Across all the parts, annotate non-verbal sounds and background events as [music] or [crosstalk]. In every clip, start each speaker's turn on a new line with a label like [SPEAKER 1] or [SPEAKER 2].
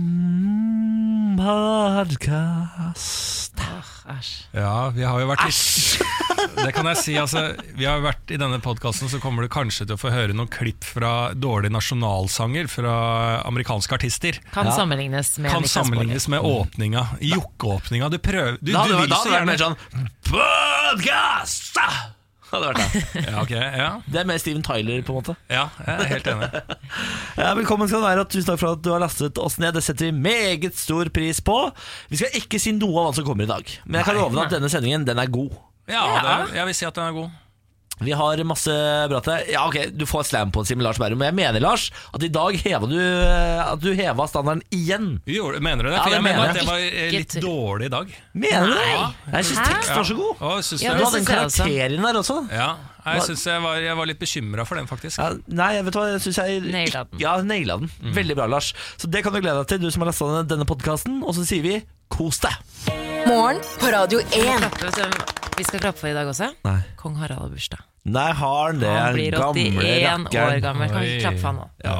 [SPEAKER 1] Mm, Podkast
[SPEAKER 2] Ah, Æsj.
[SPEAKER 3] Ja, vi har jo vært Det kan jeg si, altså Vi har jo vært i denne podcasten Så kommer du kanskje til å få høre noen klipp Fra dårlige nasjonalsanger Fra amerikanske artister
[SPEAKER 2] Kan sammenlignes med
[SPEAKER 3] Kan
[SPEAKER 2] Niklas
[SPEAKER 3] sammenlignes med åpninga Jokkeåpninga Du prøver du,
[SPEAKER 1] Da
[SPEAKER 3] du
[SPEAKER 1] hadde
[SPEAKER 3] vil
[SPEAKER 1] det
[SPEAKER 3] så
[SPEAKER 1] vært
[SPEAKER 3] gjerne
[SPEAKER 1] mer sånn Podcast Hadde vært det
[SPEAKER 3] Ja, ok, ja,
[SPEAKER 1] Det er mer Steven Tyler på en måte
[SPEAKER 3] ja jeg er helt enig
[SPEAKER 1] Ja, Velkommen skal du være, og tusen takk for at du har lastet oss ned. Det setter vi meget stor pris på. Vi skal ikke si noe om hva som kommer i dag, men jeg kan love deg at denne sendingen den er god.
[SPEAKER 3] Ja, det, jeg vil si at den er god
[SPEAKER 1] Vi har masse bra til deg. Ja, ok, Du får slam på en Simen Lars Berrum, men jeg mener Lars, at i dag heva du, eh, at du heva standarden igjen.
[SPEAKER 3] Vi gjorde- Mener du det?
[SPEAKER 1] Ja,
[SPEAKER 3] For
[SPEAKER 1] det
[SPEAKER 3] jeg mener
[SPEAKER 1] mener
[SPEAKER 3] at
[SPEAKER 2] jeg.
[SPEAKER 3] jeg var eh, litt
[SPEAKER 2] Ikke-
[SPEAKER 3] dårlig i dag
[SPEAKER 1] Mener du det?
[SPEAKER 3] Nei.
[SPEAKER 1] Jeg syns teksten var så god.
[SPEAKER 3] Å, synes
[SPEAKER 2] Ja,
[SPEAKER 1] Du
[SPEAKER 3] du det?
[SPEAKER 1] hadde en
[SPEAKER 2] synes jeg også.
[SPEAKER 1] karakter i den der også.
[SPEAKER 3] Ja, jeg synes jeg var, jeg var litt bekymret for den faktisk
[SPEAKER 1] Ja, nei, jeg vet hva, jeg synes jeg
[SPEAKER 2] Naila den.
[SPEAKER 1] Ja, naila den. Veldig bra, Lars. Så det kan du glede deg til, du som har lasta ned denne podkasten. Og så sier vi kos deg.
[SPEAKER 4] Morgen på Radio 1.
[SPEAKER 2] Vet du hvem Vi skal klappe for i dag også.
[SPEAKER 1] Nei.
[SPEAKER 2] Kong Harald har bursdag.
[SPEAKER 1] Nei, har han det?
[SPEAKER 2] Han blir
[SPEAKER 1] gamle
[SPEAKER 2] 81 år
[SPEAKER 1] rakkeren.
[SPEAKER 2] gammel. Kan vi
[SPEAKER 3] Oi.
[SPEAKER 2] ikke klappe for han nå?
[SPEAKER 3] Ja.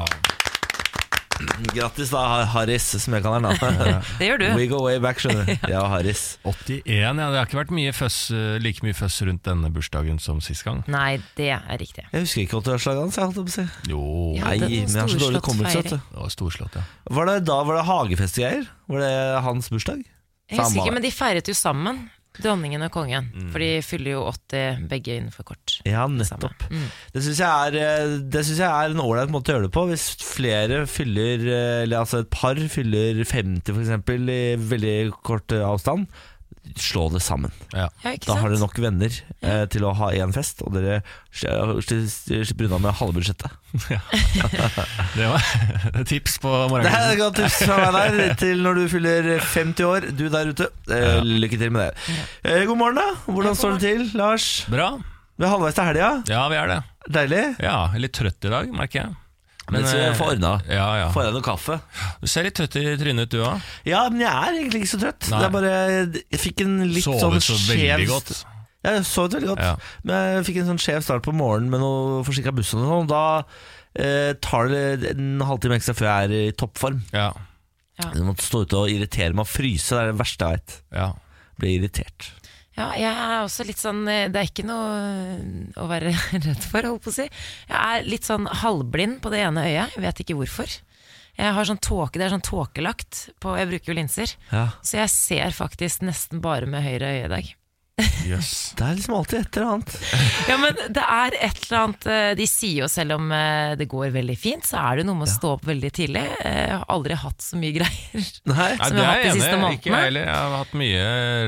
[SPEAKER 1] Grattis da, Har- Harris, som jeg kaller [laughs] han.
[SPEAKER 2] Det gjør du.
[SPEAKER 1] We go way back, skjønner
[SPEAKER 2] [laughs]
[SPEAKER 1] du. Ja, Harris.
[SPEAKER 3] 81, ja. Det har ikke vært mye føss, eh, like mye føss rundt denne bursdagen som sist gang.
[SPEAKER 2] Nei, det er riktig.
[SPEAKER 1] Jeg husker ikke åttiårslaget hans. jeg holdt på å si.
[SPEAKER 3] Jo,
[SPEAKER 2] Ja,
[SPEAKER 1] Nei,
[SPEAKER 2] det
[SPEAKER 1] men jeg
[SPEAKER 2] var
[SPEAKER 1] har så dårlig
[SPEAKER 2] storslått
[SPEAKER 1] hukommelse. vet
[SPEAKER 2] feiring.
[SPEAKER 1] du.
[SPEAKER 3] det var storslått, ja.
[SPEAKER 1] Var det da var det hagefestgreier? Var det hans bursdag?
[SPEAKER 2] Jeg husker
[SPEAKER 1] Samme det. Mm.
[SPEAKER 2] ikke, men de feiret jo sammen. Dronningen og kongen. For de fyller jo 80 begge innenfor kort. Mm.
[SPEAKER 1] Ja, nettopp. Det syns jeg er, eh, det synes jeg er en ålreit måte å gjøre det på. Hvis flere fyller, eh, eller altså et par fyller 50 f.eks. i veldig kort eh, avstand, slå det sammen.
[SPEAKER 3] ja.
[SPEAKER 2] Ja, ikke
[SPEAKER 1] Da har
[SPEAKER 2] sant?
[SPEAKER 1] dere nok venner eh, til å ha én fest, og dere sli- sli- slipper unna med halve budsjettet.
[SPEAKER 3] Det var [laughs] et tips på
[SPEAKER 1] Det er
[SPEAKER 3] morgenkvisten.
[SPEAKER 1] et godt tips fra meg [laughs] der til når du fyller 50 år, du der ute. Eh, lykke til med det. Eh, god morgen, da. Hvordan står det til, Lars?
[SPEAKER 3] Bra.
[SPEAKER 1] Vi er halvveis til helga.
[SPEAKER 3] Ja, vi er det.
[SPEAKER 1] Deilig.
[SPEAKER 3] Ja, jeg er Litt trøtt i dag, merker jeg.
[SPEAKER 1] Men så
[SPEAKER 3] eh,
[SPEAKER 1] får ordna.
[SPEAKER 3] Ja, ja.
[SPEAKER 1] Får jeg noe kaffe?
[SPEAKER 3] Du ser litt trøtt i trynet ut, du òg.
[SPEAKER 1] Ja, men jeg er egentlig ikke så trøtt.
[SPEAKER 3] Nei.
[SPEAKER 1] Det er bare, jeg fikk en litt sånn
[SPEAKER 3] Sovet så veldig
[SPEAKER 1] skjev-
[SPEAKER 3] godt.
[SPEAKER 1] Ja, jeg sovet veldig godt.
[SPEAKER 3] Ja.
[SPEAKER 1] Men jeg fikk en sånn skjev start på morgenen med noe forsinka buss og sånn. og Da eh, tar det en halvtime ekstra før jeg er i toppform.
[SPEAKER 3] Ja,
[SPEAKER 1] Jeg måtte stå ute og irritere meg og fryse. Det er det verste jeg veit.
[SPEAKER 3] ja.
[SPEAKER 1] Blir irritert.
[SPEAKER 2] Ja, jeg er også litt sånn eh, Det er ikke noe eh, å være [laughs] redd for, holdt på å si. Jeg er litt sånn halvblind på det ene øyet. Jeg vet ikke hvorfor. Jeg har sånn tåke, Det er sånn tåkelagt. På, jeg bruker jo linser.
[SPEAKER 1] Ja.
[SPEAKER 2] Så jeg ser faktisk nesten bare med høyre øye i dag.
[SPEAKER 3] Jøss.
[SPEAKER 1] Det er liksom alltid et eller annet.
[SPEAKER 2] Ja, men det er et eller annet eh, De sier jo selv om eh, det går veldig fint, så er det noe med å stå opp veldig tidlig. Eh, Jeg har aldri hatt så mye [laughs] greier.
[SPEAKER 1] Nei.
[SPEAKER 3] Nei,
[SPEAKER 2] Som
[SPEAKER 3] det
[SPEAKER 2] jeg har
[SPEAKER 3] er
[SPEAKER 2] hatt de
[SPEAKER 3] jeg
[SPEAKER 2] siste
[SPEAKER 3] enig i. Ikke jeg
[SPEAKER 2] månedene.
[SPEAKER 3] heller. Jeg har hatt mye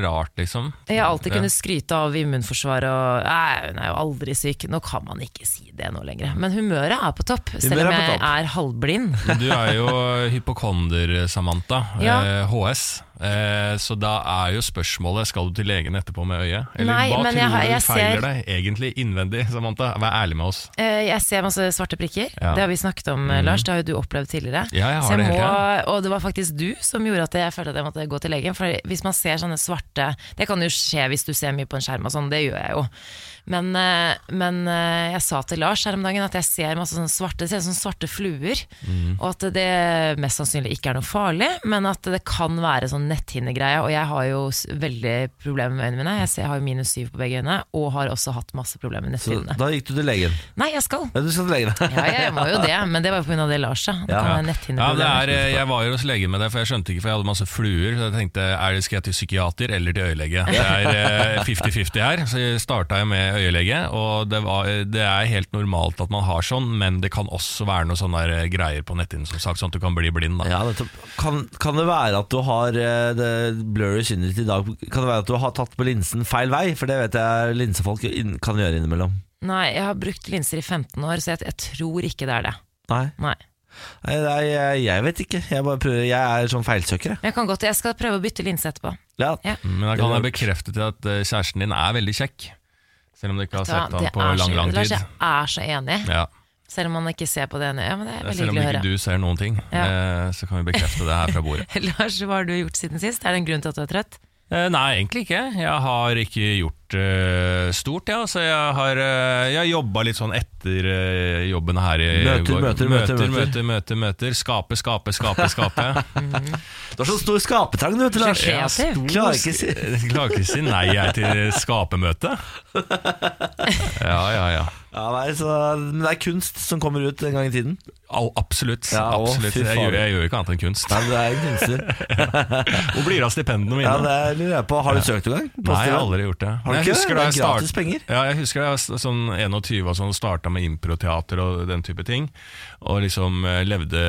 [SPEAKER 3] rart, liksom.
[SPEAKER 2] Jeg har alltid
[SPEAKER 3] Ja.
[SPEAKER 2] kunnet skryte av immunforsvaret og Nei, hun er jo aldri syk. Nå kan man ikke si det nå lenger. Men humøret er på topp, selv
[SPEAKER 1] Humøret
[SPEAKER 2] om
[SPEAKER 1] er på
[SPEAKER 2] jeg
[SPEAKER 1] topp.
[SPEAKER 2] er halvblind.
[SPEAKER 3] Men Du er jo hypokonder, Samantha.
[SPEAKER 2] Ja.
[SPEAKER 3] Eh, HS. Eh, så da er jo spørsmålet Skal du til legen etterpå med øyet? Eller
[SPEAKER 2] Nei,
[SPEAKER 3] hva
[SPEAKER 2] men
[SPEAKER 3] tror
[SPEAKER 2] jeg har- jeg
[SPEAKER 3] du feiler
[SPEAKER 2] ser-
[SPEAKER 3] deg egentlig innvendig, Samantha? Vær ærlig med oss.
[SPEAKER 2] Eh, Jeg ser masse svarte prikker.
[SPEAKER 3] Ja. Mm.
[SPEAKER 2] Det har vi snakket om, Lars. Det har jo du opplevd tidligere.
[SPEAKER 3] Ja, jeg har
[SPEAKER 2] Så jeg
[SPEAKER 3] det hele
[SPEAKER 2] må, og det var faktisk du som gjorde at jeg følte at jeg måtte gå til legen. For hvis man ser sånne svarte Det kan jo skje hvis du ser mye på en skjerm og sånn, det gjør jeg jo. Men, eh, men eh, jeg sa til Lars her om dagen at jeg ser masse sånne svarte, det ser ut som svarte fluer.
[SPEAKER 3] Mm.
[SPEAKER 2] Og at det mest sannsynlig ikke er noe farlig, men at det kan være sånn netthinnegreie. Og jeg har jo s- veldig problemer med øynene mine. Jeg, ser, jeg har jo minus syv på begge øynene, og har også hatt masse problemer med
[SPEAKER 1] Så
[SPEAKER 2] netthinnene.
[SPEAKER 1] da gikk du til legen.
[SPEAKER 2] Nei, jeg skal.
[SPEAKER 1] Ja, du skal til legen.
[SPEAKER 2] Ja, jeg må jo det, men det var jo pga. det Lars, ja. Det kan være
[SPEAKER 3] Ja, det
[SPEAKER 2] netthinneproblemer.
[SPEAKER 3] er, eh, jeg var jo hos lege med det, for jeg skjønte ikke, for jeg hadde masse fluer. Så jeg tenkte er det, skal jeg til psykiater eller til øyelege? Det er eh, 50-50 her. Så starta jeg med øyelege, og det, var, eh, det er helt normalt at man har sånn, men det kan også være noen sånne der eh, greier på netthinnen, som sagt, sånn at du kan bli blind. Da.
[SPEAKER 1] Ja, nettopp. kan, kan det være at du har eh, det blurry synet ditt i dag Kan det være at du har tatt på linsen feil vei? For det vet jeg linsefolk inn- kan gjøre innimellom.
[SPEAKER 2] Nei, jeg har brukt linser i 15 år, så jeg, jeg tror ikke det er det.
[SPEAKER 1] Nei,
[SPEAKER 2] Nei.
[SPEAKER 1] nei, nei jeg, jeg vet ikke. Jeg, bare prøver, jeg er sånn feilsøker, jeg.
[SPEAKER 2] Men jeg kan godt, jeg skal prøve å bytte linse etterpå.
[SPEAKER 1] Ja.
[SPEAKER 2] Ja.
[SPEAKER 3] Men jeg kan jeg bekrefte til at eh, kjæresten din er veldig kjekk. Selv om du ikke har
[SPEAKER 2] Da,
[SPEAKER 3] sett
[SPEAKER 2] det
[SPEAKER 3] han på
[SPEAKER 2] er så-
[SPEAKER 3] lang, lang
[SPEAKER 2] Lars,
[SPEAKER 3] tid.
[SPEAKER 2] jeg er så enig,
[SPEAKER 3] Ja,
[SPEAKER 2] selv om man ikke ser på det ene. Ja, men det er veldig
[SPEAKER 3] Selv om
[SPEAKER 2] hyggelig å
[SPEAKER 3] ikke
[SPEAKER 2] høre.
[SPEAKER 3] du ser noen ting,
[SPEAKER 2] Ja.
[SPEAKER 3] eh, så kan vi bekrefte det her fra bordet.
[SPEAKER 2] [laughs] Lars, hva har du gjort siden sist? Er det en grunn til at du er trøtt?
[SPEAKER 3] [laughs] Eh, Nei, egentlig ikke. Jeg har ikke gjort eh, stort, ja. Så jeg har, eh, jeg har jobba litt sånn etter eh, jobben her. i
[SPEAKER 1] Møter,
[SPEAKER 3] går.
[SPEAKER 1] møter, møter,
[SPEAKER 3] møter,
[SPEAKER 1] møter.
[SPEAKER 3] møter, møter, møter. Skape, skape, skape, skape.
[SPEAKER 1] Du har så stor skapertrang, du, vet du, Lars.
[SPEAKER 3] Sånn
[SPEAKER 2] Så kreativ.
[SPEAKER 1] Ja, Klarer ikke å si
[SPEAKER 3] [laughs] Jeg klarer ikke å si nei jeg til [laughs] skapemøte. Ja, ja, ja.
[SPEAKER 1] ja, nei, så, Men det er kunst som kommer ut en gang i tiden.
[SPEAKER 3] Al absolutt.
[SPEAKER 1] Ja, å,
[SPEAKER 3] absolutt.
[SPEAKER 1] fy
[SPEAKER 3] Jeg,
[SPEAKER 1] faen.
[SPEAKER 3] gjør, jeg gjør ikke annet enn kunst.
[SPEAKER 1] Nei, men du er en kunstner.
[SPEAKER 3] Hvor blir det av stipendene mine?
[SPEAKER 1] Ja, det lurer jeg på. Har du søkt noen gang?
[SPEAKER 3] Nei, jeg har
[SPEAKER 1] Positivt.
[SPEAKER 3] aldri gjort det.
[SPEAKER 1] Har du
[SPEAKER 3] Men jeg
[SPEAKER 1] ikke det?
[SPEAKER 3] husker
[SPEAKER 1] Det
[SPEAKER 3] da
[SPEAKER 1] er
[SPEAKER 3] jeg start-
[SPEAKER 1] gratis penger.
[SPEAKER 3] Ja, jeg husker da jeg var s- sånn 21 og sånn, starta med improteater og den type ting. Og liksom eh, levde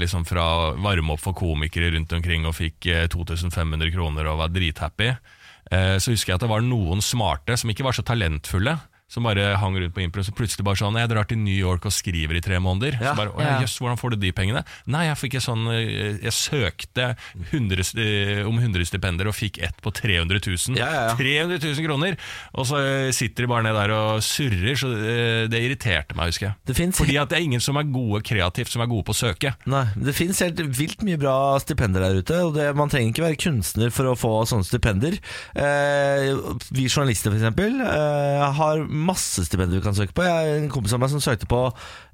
[SPEAKER 3] liksom fra varme opp for komikere rundt omkring og fikk eh, 2500 kroner og var drithappy. Eh, Så husker jeg at det var noen smarte som ikke var så talentfulle. Som bare hang rundt på impro, så plutselig bare sånn Jeg drar til New York og skriver i tre måneder.
[SPEAKER 1] Ja.
[SPEAKER 3] Så bare, «Å, ja,
[SPEAKER 2] Ja.
[SPEAKER 3] jøss, hvordan får du de pengene? Nei, jeg fikk en sånn eh, Jeg søkte 100, st- eh, om 100 stipender og fikk ett på 300 000.
[SPEAKER 1] Ja, ja, ja.
[SPEAKER 3] 300 000 kroner! Og så eh, sitter de bare ned der og surrer, så eh, det irriterte meg, husker jeg.
[SPEAKER 1] Det finnes-
[SPEAKER 3] Fordi at det er ingen som er gode kreativt, som er gode på å søke.
[SPEAKER 1] Nei, men Det finnes helt vilt mye bra stipender der ute. Og det, Man trenger ikke være kunstner for å få sånne stipender. Eh, vi journalister, f.eks., eh, har masse stipender vi kan søke på. Jeg har En kompis av meg som søkte på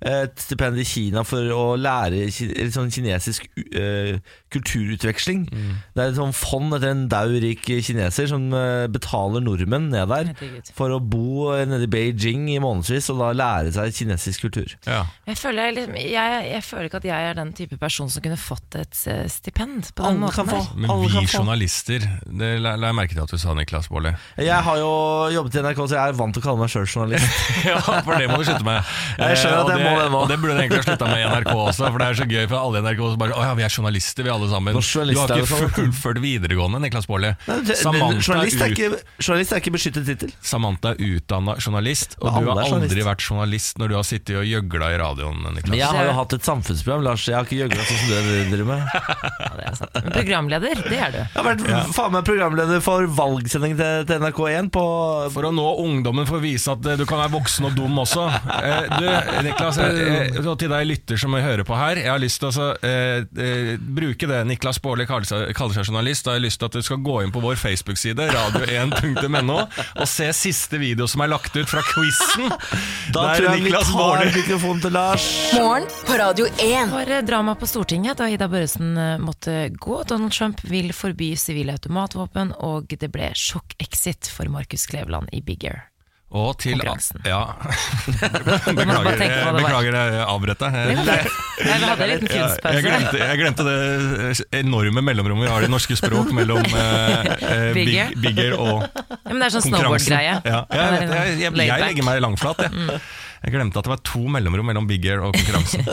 [SPEAKER 1] et stipend i Kina for å lære ki- litt sånn kinesisk eh, kulturutveksling.
[SPEAKER 2] Mm.
[SPEAKER 1] Det er et sånn fond etter en daurik kineser som eh, betaler nordmenn ned der
[SPEAKER 2] Herregud.
[SPEAKER 1] for å bo eh, nede i Beijing i månedsvis og da lære seg kinesisk kultur.
[SPEAKER 3] Ja.
[SPEAKER 2] Jeg føler, liksom, jeg, jeg føler ikke at jeg er den type person som kunne fått et eh, stipend på den
[SPEAKER 1] Alle kan
[SPEAKER 2] måten.
[SPEAKER 1] få.
[SPEAKER 2] her.
[SPEAKER 3] Men
[SPEAKER 1] Alle
[SPEAKER 3] vi
[SPEAKER 1] kan få.
[SPEAKER 3] journalister, det la, la jeg merke til at du sa, Niklas Baarli.
[SPEAKER 1] [laughs] Jeg har jo jobbet i NRK, så jeg er vant til å kalle meg sjøl [laughs] journalist.
[SPEAKER 3] Ja, for det må du slutte med.
[SPEAKER 1] Jeg skjønner
[SPEAKER 3] Eh, og
[SPEAKER 1] at jeg må det nå.
[SPEAKER 3] Og det burde du egentlig ha slutta med i NRK også, for det er så gøy for alle i NRK som bare Å ja, vi er journalister, vi alle sammen.
[SPEAKER 1] Nå,
[SPEAKER 3] Du
[SPEAKER 1] journalister
[SPEAKER 3] har
[SPEAKER 1] er
[SPEAKER 3] ikke
[SPEAKER 1] det sånn.
[SPEAKER 3] fullført videregående, Niklas Baarli.
[SPEAKER 1] Men det- men
[SPEAKER 3] Samantha,
[SPEAKER 1] Journalist er
[SPEAKER 3] ut,
[SPEAKER 1] ikke, journalist er ikke beskyttet tittel.
[SPEAKER 3] Samantha er utdanna journalist, og
[SPEAKER 1] Men
[SPEAKER 3] du
[SPEAKER 1] alle
[SPEAKER 3] har
[SPEAKER 1] er
[SPEAKER 3] aldri
[SPEAKER 1] journalist.
[SPEAKER 3] vært journalist når du har sittet og gjøgla i radioen,
[SPEAKER 1] Men
[SPEAKER 3] Niklas.
[SPEAKER 1] jeg har jo hatt et samfunnsprogram, Lars. Jeg har ikke gjøgla sånn som du driver [laughs] med. Jeg
[SPEAKER 2] Ja, det er sant. Men [laughs] programleder, det er du.
[SPEAKER 1] har vært faen meg programleder for valgsending til, til NRK1 på
[SPEAKER 3] For å nå ungdommen for å vise at eh, du kan være voksen og dum også. Eh, Du, Niklas, eh, eh, og til deg lytter som hører på her, jeg har lyst til å så, eh, eh, bruke det Niklas Baarli kaller, seg- kaller seg journalist, da har jeg lyst til at du skal gå inn på vår Facebook-side, radio1.no, og se siste video som er lagt ut fra [laughs] quizen.
[SPEAKER 1] Da
[SPEAKER 3] Der
[SPEAKER 1] tror jeg vi
[SPEAKER 3] Niklas
[SPEAKER 1] tar
[SPEAKER 3] Baarli-
[SPEAKER 1] mikrofonen til Lars.
[SPEAKER 4] Morgen på Radio 1.
[SPEAKER 2] Det var eh, drama på Stortinget da Ida Børresen eh, måtte gå. Donald Trump vil forby sivile automatvåpen, og det ble sjokk-exit for Markus Kleveland i Big Air.
[SPEAKER 3] Og til
[SPEAKER 2] Konkurransen.
[SPEAKER 3] Ja.
[SPEAKER 2] bare
[SPEAKER 3] Beklager,
[SPEAKER 2] tenke på hva det
[SPEAKER 3] jeg-
[SPEAKER 2] var.
[SPEAKER 3] beklager jeg avbrøt
[SPEAKER 2] Det
[SPEAKER 3] deg.
[SPEAKER 2] var fint. Jeg hadde en liten
[SPEAKER 3] Jeg
[SPEAKER 2] kunstpause.
[SPEAKER 3] glemte, jeg glemte det enorme mellomrommet vi har i norske språk mellom eh, eh,
[SPEAKER 2] Big
[SPEAKER 3] Big-
[SPEAKER 2] Air.
[SPEAKER 3] Big Air og
[SPEAKER 2] Ja, men det er sånn
[SPEAKER 3] konkurransen.
[SPEAKER 2] snowboard-greie.
[SPEAKER 3] Ja. Jeg,
[SPEAKER 2] Den
[SPEAKER 3] vet,
[SPEAKER 2] er
[SPEAKER 3] jeg, jeg, jeg,
[SPEAKER 2] laid back. Mm.
[SPEAKER 3] legger meg langflat, jeg. Jeg glemte at det var to mellomrom mellom Big Air og
[SPEAKER 2] [laughs]
[SPEAKER 3] konkurransen.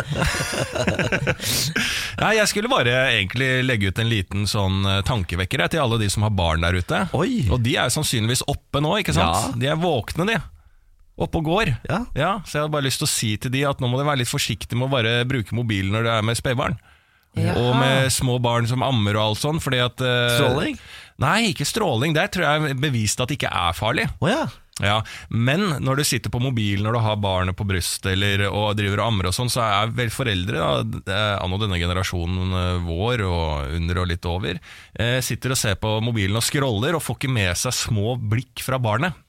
[SPEAKER 3] Nei, jeg skulle bare egentlig legge ut en liten sånn eh, tankevekker jeg, til alle de som har barn der ute.
[SPEAKER 1] Oi.
[SPEAKER 3] Og de er jo sannsynligvis oppe nå, ikke sant?
[SPEAKER 1] Ja.
[SPEAKER 3] De er våkne, de. Oppe og går.
[SPEAKER 1] Ja.
[SPEAKER 3] Så jeg hadde bare lyst til å si til de at nå må de være litt forsiktige med å bare bruke mobilen når du er med spedbarn.
[SPEAKER 2] Jaha.
[SPEAKER 3] Og med små barn som ammer og alt sånn, fordi at eh,
[SPEAKER 1] Stråling?
[SPEAKER 3] Nei, ikke stråling. Der tror jeg er bevist at det ikke er farlig.
[SPEAKER 1] Å ja.
[SPEAKER 3] Ja, Men når du sitter på mobilen når du har barnet på brystet eller, og driver og ammer og sånn, så er vel foreldre, da, eh, anno denne generasjonen eh, vår og under og litt over, eh, sitter og ser på mobilen og scroller og får ikke med seg små blikk fra barnet.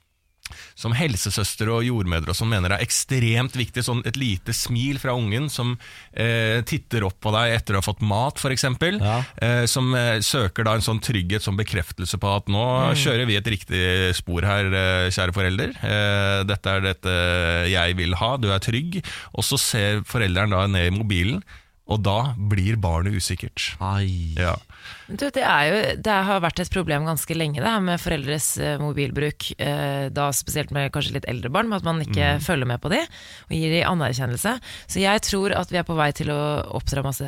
[SPEAKER 3] Som helsesøstre og jordmødre og sånn mener er ekstremt viktig. Sånn et lite smil fra ungen som eh, titter opp på deg etter å ha fått mat, f.eks.
[SPEAKER 1] Ja.
[SPEAKER 3] Eh, som eh, søker da en sånn trygghet som bekreftelse på at nå kjører vi et riktig spor her, eh, kjære forelder. Eh, dette er dette jeg vil ha, du er trygg. Og så ser forelderen da ned i mobilen, og da blir barnet usikkert.
[SPEAKER 1] Ai.
[SPEAKER 3] Ja.
[SPEAKER 2] Du, det, er jo, det har vært et problem ganske lenge det her med foreldres eh, mobilbruk, eh, da spesielt med kanskje litt eldre barn, med at man ikke
[SPEAKER 3] Mm.
[SPEAKER 2] følger med på de og gir de anerkjennelse. Så jeg tror at vi er på vei til å oppdra masse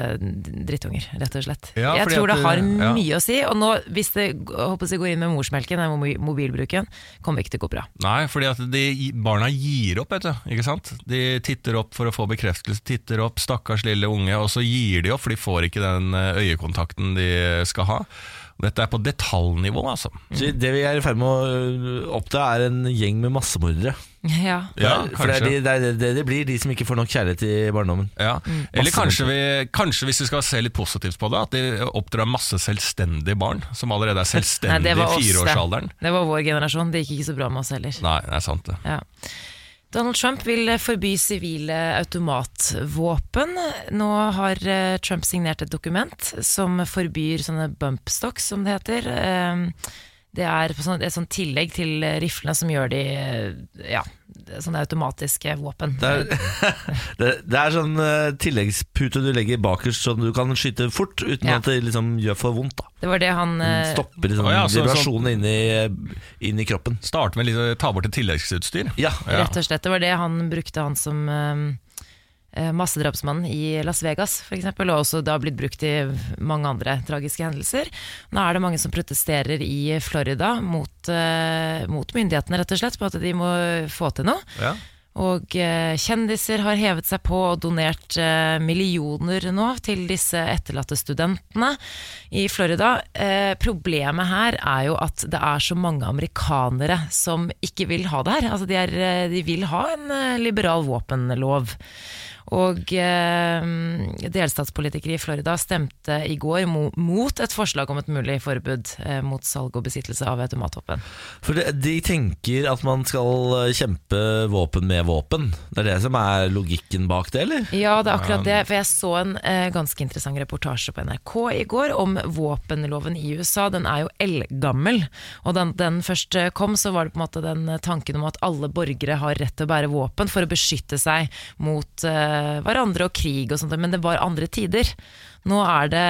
[SPEAKER 2] drittunger, rett og slett.
[SPEAKER 3] Ja,
[SPEAKER 2] jeg
[SPEAKER 3] fordi
[SPEAKER 2] tror
[SPEAKER 3] at
[SPEAKER 2] det har
[SPEAKER 3] det- ja.
[SPEAKER 2] mye å si, og nå hvis det g- jeg håper jeg går inn med morsmelken, den mobi- mobilbruken, kommer det ikke til å gå bra. [laughs]
[SPEAKER 3] Nei, fordi at de, barna gir opp, vet du. Ikke sant? De titter opp for å få bekreftelse, titter opp, stakkars lille unge, og så gir de opp, for de får ikke den eh, øyekontakten de skal ha. Dette er på detaljnivå, altså.
[SPEAKER 1] øh, Så det vi er i ferd med å oppdage, er en gjeng med massemordere.
[SPEAKER 2] Ja.
[SPEAKER 3] Ja,
[SPEAKER 1] for det er,
[SPEAKER 3] kanskje.
[SPEAKER 1] de, det er det det blir, de som ikke får nok kjærlighet i barndommen.
[SPEAKER 3] Ja. Eller kanskje, vi, kanskje hvis vi skal se litt positivt på det, at de oppdrar masse selvstendige barn som allerede er
[SPEAKER 2] Nei,
[SPEAKER 3] selvstendige
[SPEAKER 2] det var
[SPEAKER 3] i
[SPEAKER 2] oss, det.
[SPEAKER 3] fireårsalderen.
[SPEAKER 2] Det var vår generasjon. Det gikk ikke så bra med oss heller.
[SPEAKER 3] Nei, det er sant, det.
[SPEAKER 2] Ja. Donald Trump vil forby sivile automatvåpen. Nå har eh, Trump signert et dokument som forbyr sånne bump stocks, som det heter. Eh, Det er på sånn- et sånt tillegg til eh, riflene som gjør de eh, ja, sånne automatiske våpen.
[SPEAKER 1] Det er, det, det er sånn eh, tilleggspute du legger bakerst, sånn du kan skyte fort uten
[SPEAKER 2] Ja.
[SPEAKER 1] at det liksom gjør for vondt. da
[SPEAKER 2] Det var det han
[SPEAKER 1] Den
[SPEAKER 2] eh,
[SPEAKER 1] Stopper liksom,
[SPEAKER 3] Å ja, så-
[SPEAKER 1] vibrasjonene inn, i, eh, inn i kroppen.
[SPEAKER 3] Starte med litt, ta bort et tilleggsutstyr.
[SPEAKER 1] Ja,
[SPEAKER 3] Ja.
[SPEAKER 2] Rett og slett. Det var det han brukte, han som eh, massedrapsmannen i Las Vegas f.eks., og også da blitt brukt i mange andre tragiske hendelser. Nå er det mange som protesterer i Florida mot, eh, mot myndighetene, rett og slett, på at de må få til noe.
[SPEAKER 3] Ja.
[SPEAKER 2] Og eh, kjendiser har hevet seg på og donert eh, millioner nå til disse etterlatte studentene i Florida. Eh, problemet her er jo at det er så mange amerikanere som ikke vil ha det her. Altså de, er, eh, de vil ha en eh, liberal våpenlov. Og eh, delstatspolitikere i Florida stemte i går mo mot et forslag om et mulig forbud eh, mot salg og besittelse av automatvåpen.
[SPEAKER 1] For det, de tenker at man skal eh, kjempe våpen med våpen. Det er det som er logikken bak det, eller?
[SPEAKER 2] Ja, det er akkurat det. For jeg så en eh, ganske interessant reportasje på NRK i går om våpenloven i USA. Den er jo eldgammel. Og da den, den først eh, kom, så var det på en måte den eh, tanken om at alle borgere har rett til å bære våpen for å beskytte seg mot eh, hverandre og krig og sånt. Men det var andre tider. Nå er det,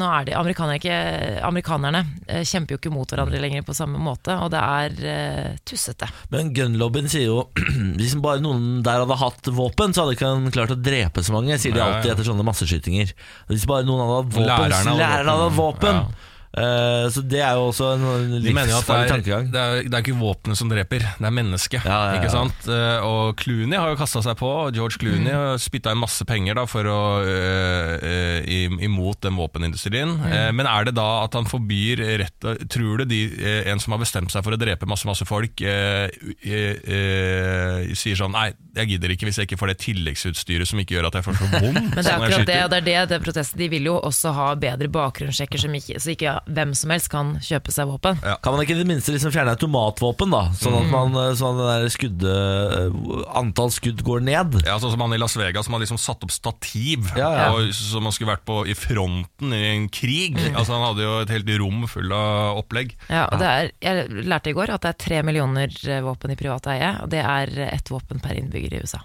[SPEAKER 2] nå er det amerikanere, ikke, amerikanerne eh, kjemper jo ikke mot hverandre lenger på samme måte, og det er eh, tussete.
[SPEAKER 1] Men gunlobbyen sier jo [clears throat] hvis bare noen der hadde hatt våpen, så hadde ikke han klart å drepe så mange, sier de
[SPEAKER 3] Ja, ja.
[SPEAKER 1] alltid etter sånne masseskytinger. Hvis bare noen hadde hatt våpen,
[SPEAKER 3] Lærerne
[SPEAKER 1] lærerne
[SPEAKER 3] hadde
[SPEAKER 1] hadde, hatt våpen.
[SPEAKER 3] våpen.
[SPEAKER 1] Eh, så det er jo også en
[SPEAKER 3] De mener
[SPEAKER 1] livsfarlig
[SPEAKER 3] jo at det er,
[SPEAKER 1] tankegang.
[SPEAKER 3] det, er, det er ikke våpenet som dreper, det er mennesket.
[SPEAKER 1] Ja, ja, ja.
[SPEAKER 3] Ikke sant? Eh, Og Clooney har jo kasta seg på, og George
[SPEAKER 1] Mm.
[SPEAKER 3] Clooney har spytta inn masse penger da, for å, eh, eh, im- imot den våpenindustrien.
[SPEAKER 1] Mm.
[SPEAKER 3] Eh, Men er det da at han forbyr rett Tror du de, eh, en som har bestemt seg for å drepe masse masse folk, eh, eh, eh, sier sånn Nei, jeg gidder ikke hvis jeg ikke får det tilleggsutstyret som ikke gjør at jeg får så
[SPEAKER 1] [laughs]
[SPEAKER 2] Men
[SPEAKER 3] vondt.
[SPEAKER 2] det er
[SPEAKER 3] når jeg
[SPEAKER 2] akkurat det,
[SPEAKER 3] skyter.»
[SPEAKER 2] og det er det, det er protesten. De vil jo også ha bedre bakgrunnssjekker, som ikke, så ikke hvem som helst kan kjøpe seg våpen.
[SPEAKER 1] Kan man ikke i det minste liksom fjerne automatvåpen, da? Sånn at, man, eh, sånn at det der skudde, eh, antall skudd går ned?
[SPEAKER 3] Ja, sånn som han i Las Vegas som har liksom satt opp stativ
[SPEAKER 1] Ja, ja.
[SPEAKER 3] Og, som han skulle vært på i fronten i en krig. Altså Han hadde jo et helt rom full av opplegg.
[SPEAKER 2] Ja, og det er, jeg lærte i går at det er tre millioner eh, våpen i privat eie, og det er eh, ett våpen per innbygger i USA.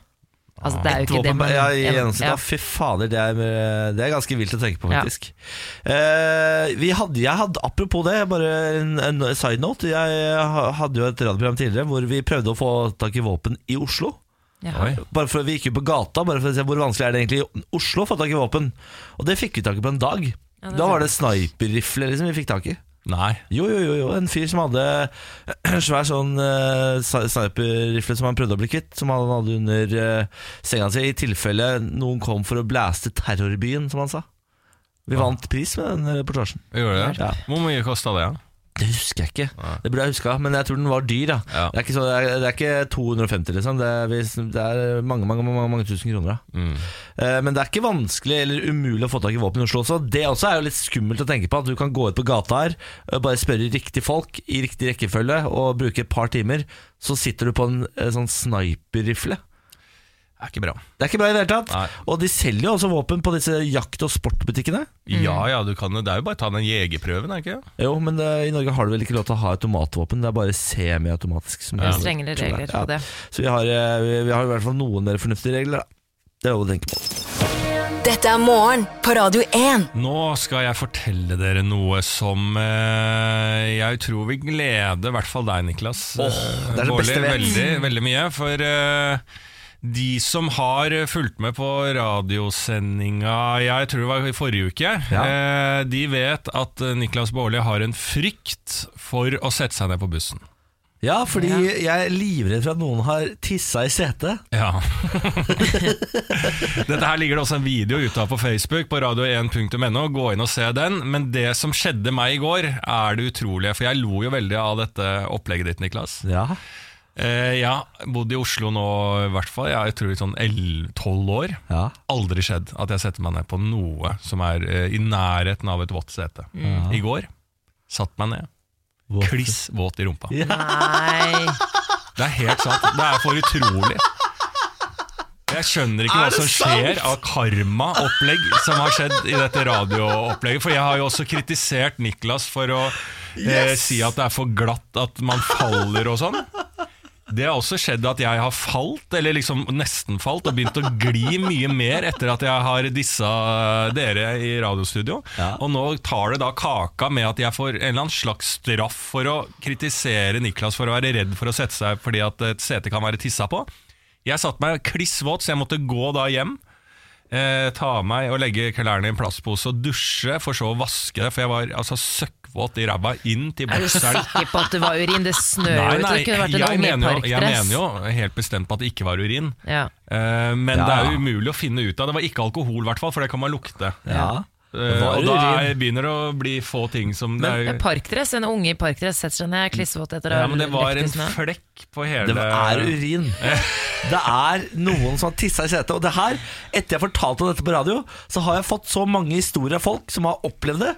[SPEAKER 2] Altså, det er jo ikke det
[SPEAKER 1] Våpen,
[SPEAKER 2] man
[SPEAKER 1] ja, i
[SPEAKER 2] ja,
[SPEAKER 1] gjennomsnitt,
[SPEAKER 2] ja.
[SPEAKER 1] ja. Fy fader, det er, eh, det er ganske vilt å tenke på,
[SPEAKER 2] Ja.
[SPEAKER 1] faktisk. Eh, vi hadde, jeg hadde, apropos det, bare en, en side note. Jeg eh, ha- hadde jo et radioprogram tidligere hvor vi prøvde å få tak i våpen i Oslo.
[SPEAKER 2] Jaha.
[SPEAKER 3] Oi.
[SPEAKER 1] Bare for, vi gikk jo på gata bare for å se hvor vanskelig er det egentlig i Oslo å få tak i våpen. Og det fikk vi tak i på en dag.
[SPEAKER 2] Ja, det er
[SPEAKER 1] da var det sniperrifle liksom, vi fikk tak i.
[SPEAKER 3] Nei.
[SPEAKER 1] Jo, jo, jo, jo. En fyr som hadde [clears throat] en svær sånn eh, sni- sniperrifle som han prøvde å bli kvitt, som han hadde under eh, senga si, i tilfelle noen kom for å blæste terrorbyen, som han sa. Vi vant pris med den eh, reportasjen.
[SPEAKER 3] Gjorde det?
[SPEAKER 1] Ja.
[SPEAKER 3] Hvor mye kosta det? Ja?
[SPEAKER 1] Det husker jeg ikke. Det burde jeg huska, men jeg tror den var dyr. Da.
[SPEAKER 3] Ja.
[SPEAKER 1] Det, er ikke så, det, er, det er ikke 250, liksom. Det er, vi- det er mange, mange, mange, mange tusen kroner. Da.
[SPEAKER 3] Mm.
[SPEAKER 1] Eh, Men det er ikke vanskelig eller umulig å få tak i våpen i Oslo også. Det også er jo litt skummelt å tenke på, at du kan gå ut på gata her, eh, bare spørre riktig folk i riktig rekkefølge og bruke et par timer, så sitter du på en eh, sånn sniperrifle.
[SPEAKER 3] Er ikke bra.
[SPEAKER 1] Det er ikke bra i det hele tatt.
[SPEAKER 3] Nei.
[SPEAKER 1] Og de selger jo også våpen på disse jakt- og sportbutikkene.
[SPEAKER 3] Ja ja, du kan, jo- det er jo bare å ta den jegerprøven, er det ikke? det?
[SPEAKER 1] Jo, men eh, i Norge har du vel ikke lov til å ha automatvåpen, det er bare semiautomatisk. Som
[SPEAKER 2] Det er
[SPEAKER 1] heter,
[SPEAKER 2] strengere
[SPEAKER 1] tror jeg.
[SPEAKER 2] regler på det.
[SPEAKER 1] Så vi har, eh, vi- vi har i hvert fall noen mer fornuftige regler, da. Det er lov å tenke på.
[SPEAKER 4] Dette er morgen på Radio 1.
[SPEAKER 3] Nå skal jeg fortelle dere noe som eh, jeg tror vil glede i hvert fall deg, Niklas.
[SPEAKER 1] Åh, det er det
[SPEAKER 3] Eh,
[SPEAKER 1] beste jeg vet.
[SPEAKER 3] Veldig, veldig mye. For eh, de som har fulgt med på radiosendinga jeg tror det var i forrige uke, eh, de vet at Niklas Baarli har en frykt for å sette seg ned på bussen.
[SPEAKER 1] Ja, fordi jeg er livredd for at noen har tissa i setet.
[SPEAKER 3] Ja. [laughs] Dette her ligger det også en video ute av på Facebook på radio1.no. Gå inn og se den. Men det som skjedde meg i går, er det utrolige. For jeg lo jo veldig av dette opplegget ditt, Niklas.
[SPEAKER 1] Ja.
[SPEAKER 3] Eh, ja, bodd i Oslo nå i hvert fall. Jeg, jeg tror i sånn 11-12 år.
[SPEAKER 1] Ja.
[SPEAKER 3] Aldri skjedd at jeg setter meg ned på noe som er eh, i nærheten av et vått sete. I går satt meg ned,
[SPEAKER 1] Våt-
[SPEAKER 3] kliss våt i rumpa.
[SPEAKER 2] Nei.
[SPEAKER 3] Det er helt sant. Det er for utrolig. Jeg skjønner ikke hva
[SPEAKER 1] det
[SPEAKER 3] som skjer av karmaopplegg som har skjedd i dette radioopplegget. For jeg har jo også kritisert Niklas for å eh,
[SPEAKER 1] Yes!
[SPEAKER 3] si at det er for glatt at man faller og sånn. Det har også skjedd at jeg har falt, eller liksom nesten falt, og begynt å gli mye mer etter at jeg har dissa dere i radiostudio.
[SPEAKER 1] Ja.
[SPEAKER 3] Og nå tar det da kaka med at jeg får en eller annen slags straff for å kritisere Niklas for å være redd for å sette seg fordi at et sete kan være tissa på. Jeg satte meg kliss våt, så jeg måtte gå da hjem. Eh, ta av meg og legge klærne i en plastpose og dusje, for så å vaske det. For jeg var altså søkkvåt i ræva inn til
[SPEAKER 2] [laughs] Er du
[SPEAKER 3] bokseren.
[SPEAKER 2] sikker på at det var urin? Det snør jo ute. Det kunne vært en
[SPEAKER 3] jeg mener, jo,
[SPEAKER 2] unge i
[SPEAKER 3] jeg
[SPEAKER 2] parkdress.
[SPEAKER 3] mener jo helt bestemt på at det ikke var urin.
[SPEAKER 2] Ja.
[SPEAKER 3] Eh, men
[SPEAKER 1] Ja.
[SPEAKER 3] det er jo umulig å finne ut av. Det var ikke alkohol, i hvert fall, for det kan man lukte.
[SPEAKER 1] Ja.
[SPEAKER 3] Eh,
[SPEAKER 1] Var
[SPEAKER 3] og
[SPEAKER 1] det
[SPEAKER 3] da
[SPEAKER 1] urin?
[SPEAKER 3] er, begynner det å bli få ting som det er,
[SPEAKER 2] En Parkdress, En unge i parkdress setter seg ned klissvåt etter å
[SPEAKER 3] ja,
[SPEAKER 2] ha
[SPEAKER 3] Men det var
[SPEAKER 2] lekt i
[SPEAKER 3] en
[SPEAKER 2] snø.
[SPEAKER 3] flekk på hele
[SPEAKER 1] Det er urin.
[SPEAKER 3] [laughs]
[SPEAKER 1] Det er noen som har tissa i setet. Og det her, etter jeg fortalte dette på radio, så har jeg fått så mange historier av folk som har opplevd det.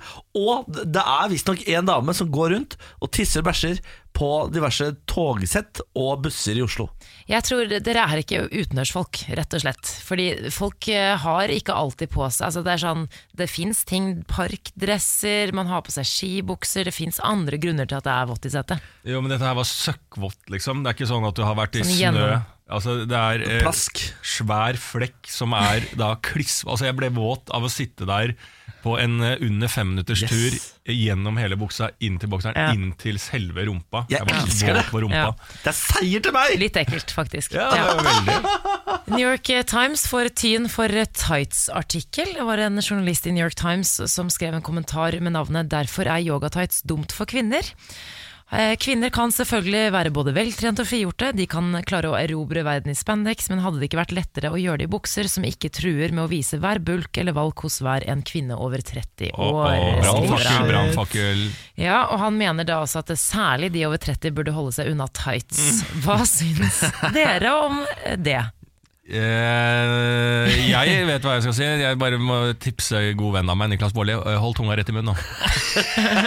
[SPEAKER 1] Og det er visstnok en dame som går rundt og tisser og bæsjer på diverse togsett og busser i Oslo.
[SPEAKER 2] Jeg tror dere er ikke utenørsfolk, rett og slett. Fordi folk eh, har ikke alltid på seg altså Det er sånn, det fins ting, parkdresser, man har på seg skibukser, det fins andre grunner til at det er vått i setet.
[SPEAKER 3] Jo, men dette her var søkkvått, liksom. Det er ikke sånn at du har vært i
[SPEAKER 2] Sånn
[SPEAKER 3] snø.
[SPEAKER 2] gjennom-
[SPEAKER 3] Altså, det er eh,
[SPEAKER 1] Plask.
[SPEAKER 3] svær flekk som er da kliss Altså jeg ble våt av å sitte der på en eh, under fem minutters
[SPEAKER 1] Yes.
[SPEAKER 3] tur gjennom hele buksa, inn til bokseren,
[SPEAKER 2] Ja.
[SPEAKER 3] inn til selve rumpa.
[SPEAKER 1] Jeg
[SPEAKER 3] var
[SPEAKER 1] elsker
[SPEAKER 3] våt
[SPEAKER 1] det.
[SPEAKER 3] På rumpa.
[SPEAKER 2] Ja.
[SPEAKER 1] Det er seier til meg!
[SPEAKER 2] Litt ekkelt, faktisk.
[SPEAKER 3] Ja, det
[SPEAKER 2] Ja.
[SPEAKER 3] var veldig
[SPEAKER 2] New York Times får tyn for tights-artikkel. Det var en journalist i New York Times som skrev en kommentar med navnet 'Derfor er yogatights dumt for kvinner'. Eh, Kvinner kan selvfølgelig være både veltrente og frigjorte. De kan klare å erobre verden i spandex, men hadde det ikke vært lettere å gjøre det i bukser som ikke truer med å vise hver bulk eller valk hos hver en kvinne over 30
[SPEAKER 3] Å, å,
[SPEAKER 2] år? skriver
[SPEAKER 1] bra.
[SPEAKER 3] Brannfakkel,
[SPEAKER 2] han.
[SPEAKER 3] brannfakkel.
[SPEAKER 2] Ja, og han mener da også at det, særlig de over 30 burde holde seg unna tights. Hva syns dere om det?
[SPEAKER 3] Eh, jeg vet hva jeg skal si. Jeg bare må tipse god venn av meg, Niklas Baarli. eh, Hold tunga rett i munnen nå.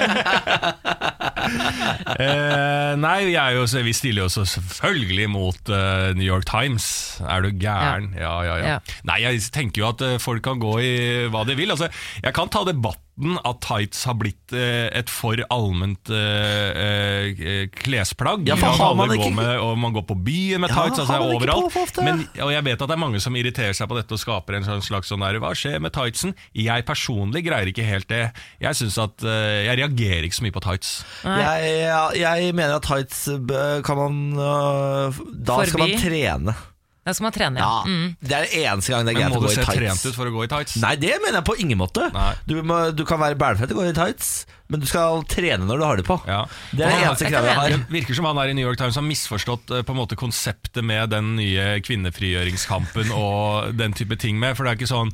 [SPEAKER 3] eh, nei, jeg er jo, så- vi stiller jo så selvfølgelig mot eh, New York Times. Er du gæren? Ja, ja, ja.
[SPEAKER 2] Ja.
[SPEAKER 3] Nei, jeg tenker jo at eh, folk kan gå i hva de vil. Altså, jeg kan ta debatten at tights har blitt eh, et for allment eh, eh, klesplagg.
[SPEAKER 1] Ja, for
[SPEAKER 3] At
[SPEAKER 1] har
[SPEAKER 3] alle
[SPEAKER 1] man ikke-
[SPEAKER 3] går med, og man går på byen med
[SPEAKER 1] Ja,
[SPEAKER 3] tights, altså
[SPEAKER 1] har man ikke på
[SPEAKER 3] overalt.
[SPEAKER 1] for ofte?
[SPEAKER 3] Men og jeg vet at det er mange som irriterer seg på dette og skaper en sånn slags sånn der, Hva skjer med tightsen? Jeg personlig greier ikke helt det. Jeg synes at eh, Jeg reagerer ikke så mye på tights.
[SPEAKER 1] Jeg, jeg, jeg mener at tights bø- kan man øh, Da skal man
[SPEAKER 2] Forbi.
[SPEAKER 1] trene.
[SPEAKER 2] Da skal man trene.
[SPEAKER 1] Ja, Det er den eneste gang det er
[SPEAKER 3] Men
[SPEAKER 1] greit
[SPEAKER 3] må
[SPEAKER 1] å
[SPEAKER 3] du
[SPEAKER 1] gå i
[SPEAKER 3] se
[SPEAKER 1] tights.
[SPEAKER 3] trent ut for å gå i tights?
[SPEAKER 1] Nei, det mener jeg på ingen måte.
[SPEAKER 3] Nei.
[SPEAKER 1] Du, må, du kan være bælfett og gå i tights, men du skal trene når du har det på.
[SPEAKER 3] Ja.
[SPEAKER 1] Det er det
[SPEAKER 3] Og han-
[SPEAKER 1] eneste
[SPEAKER 2] jeg
[SPEAKER 1] kravet
[SPEAKER 2] kan
[SPEAKER 1] jeg
[SPEAKER 3] Det
[SPEAKER 1] har.
[SPEAKER 3] virker som han er i New York Times har misforstått eh, på en måte konseptet med den nye kvinnefrigjøringskampen og den type ting med. For det er ikke sånn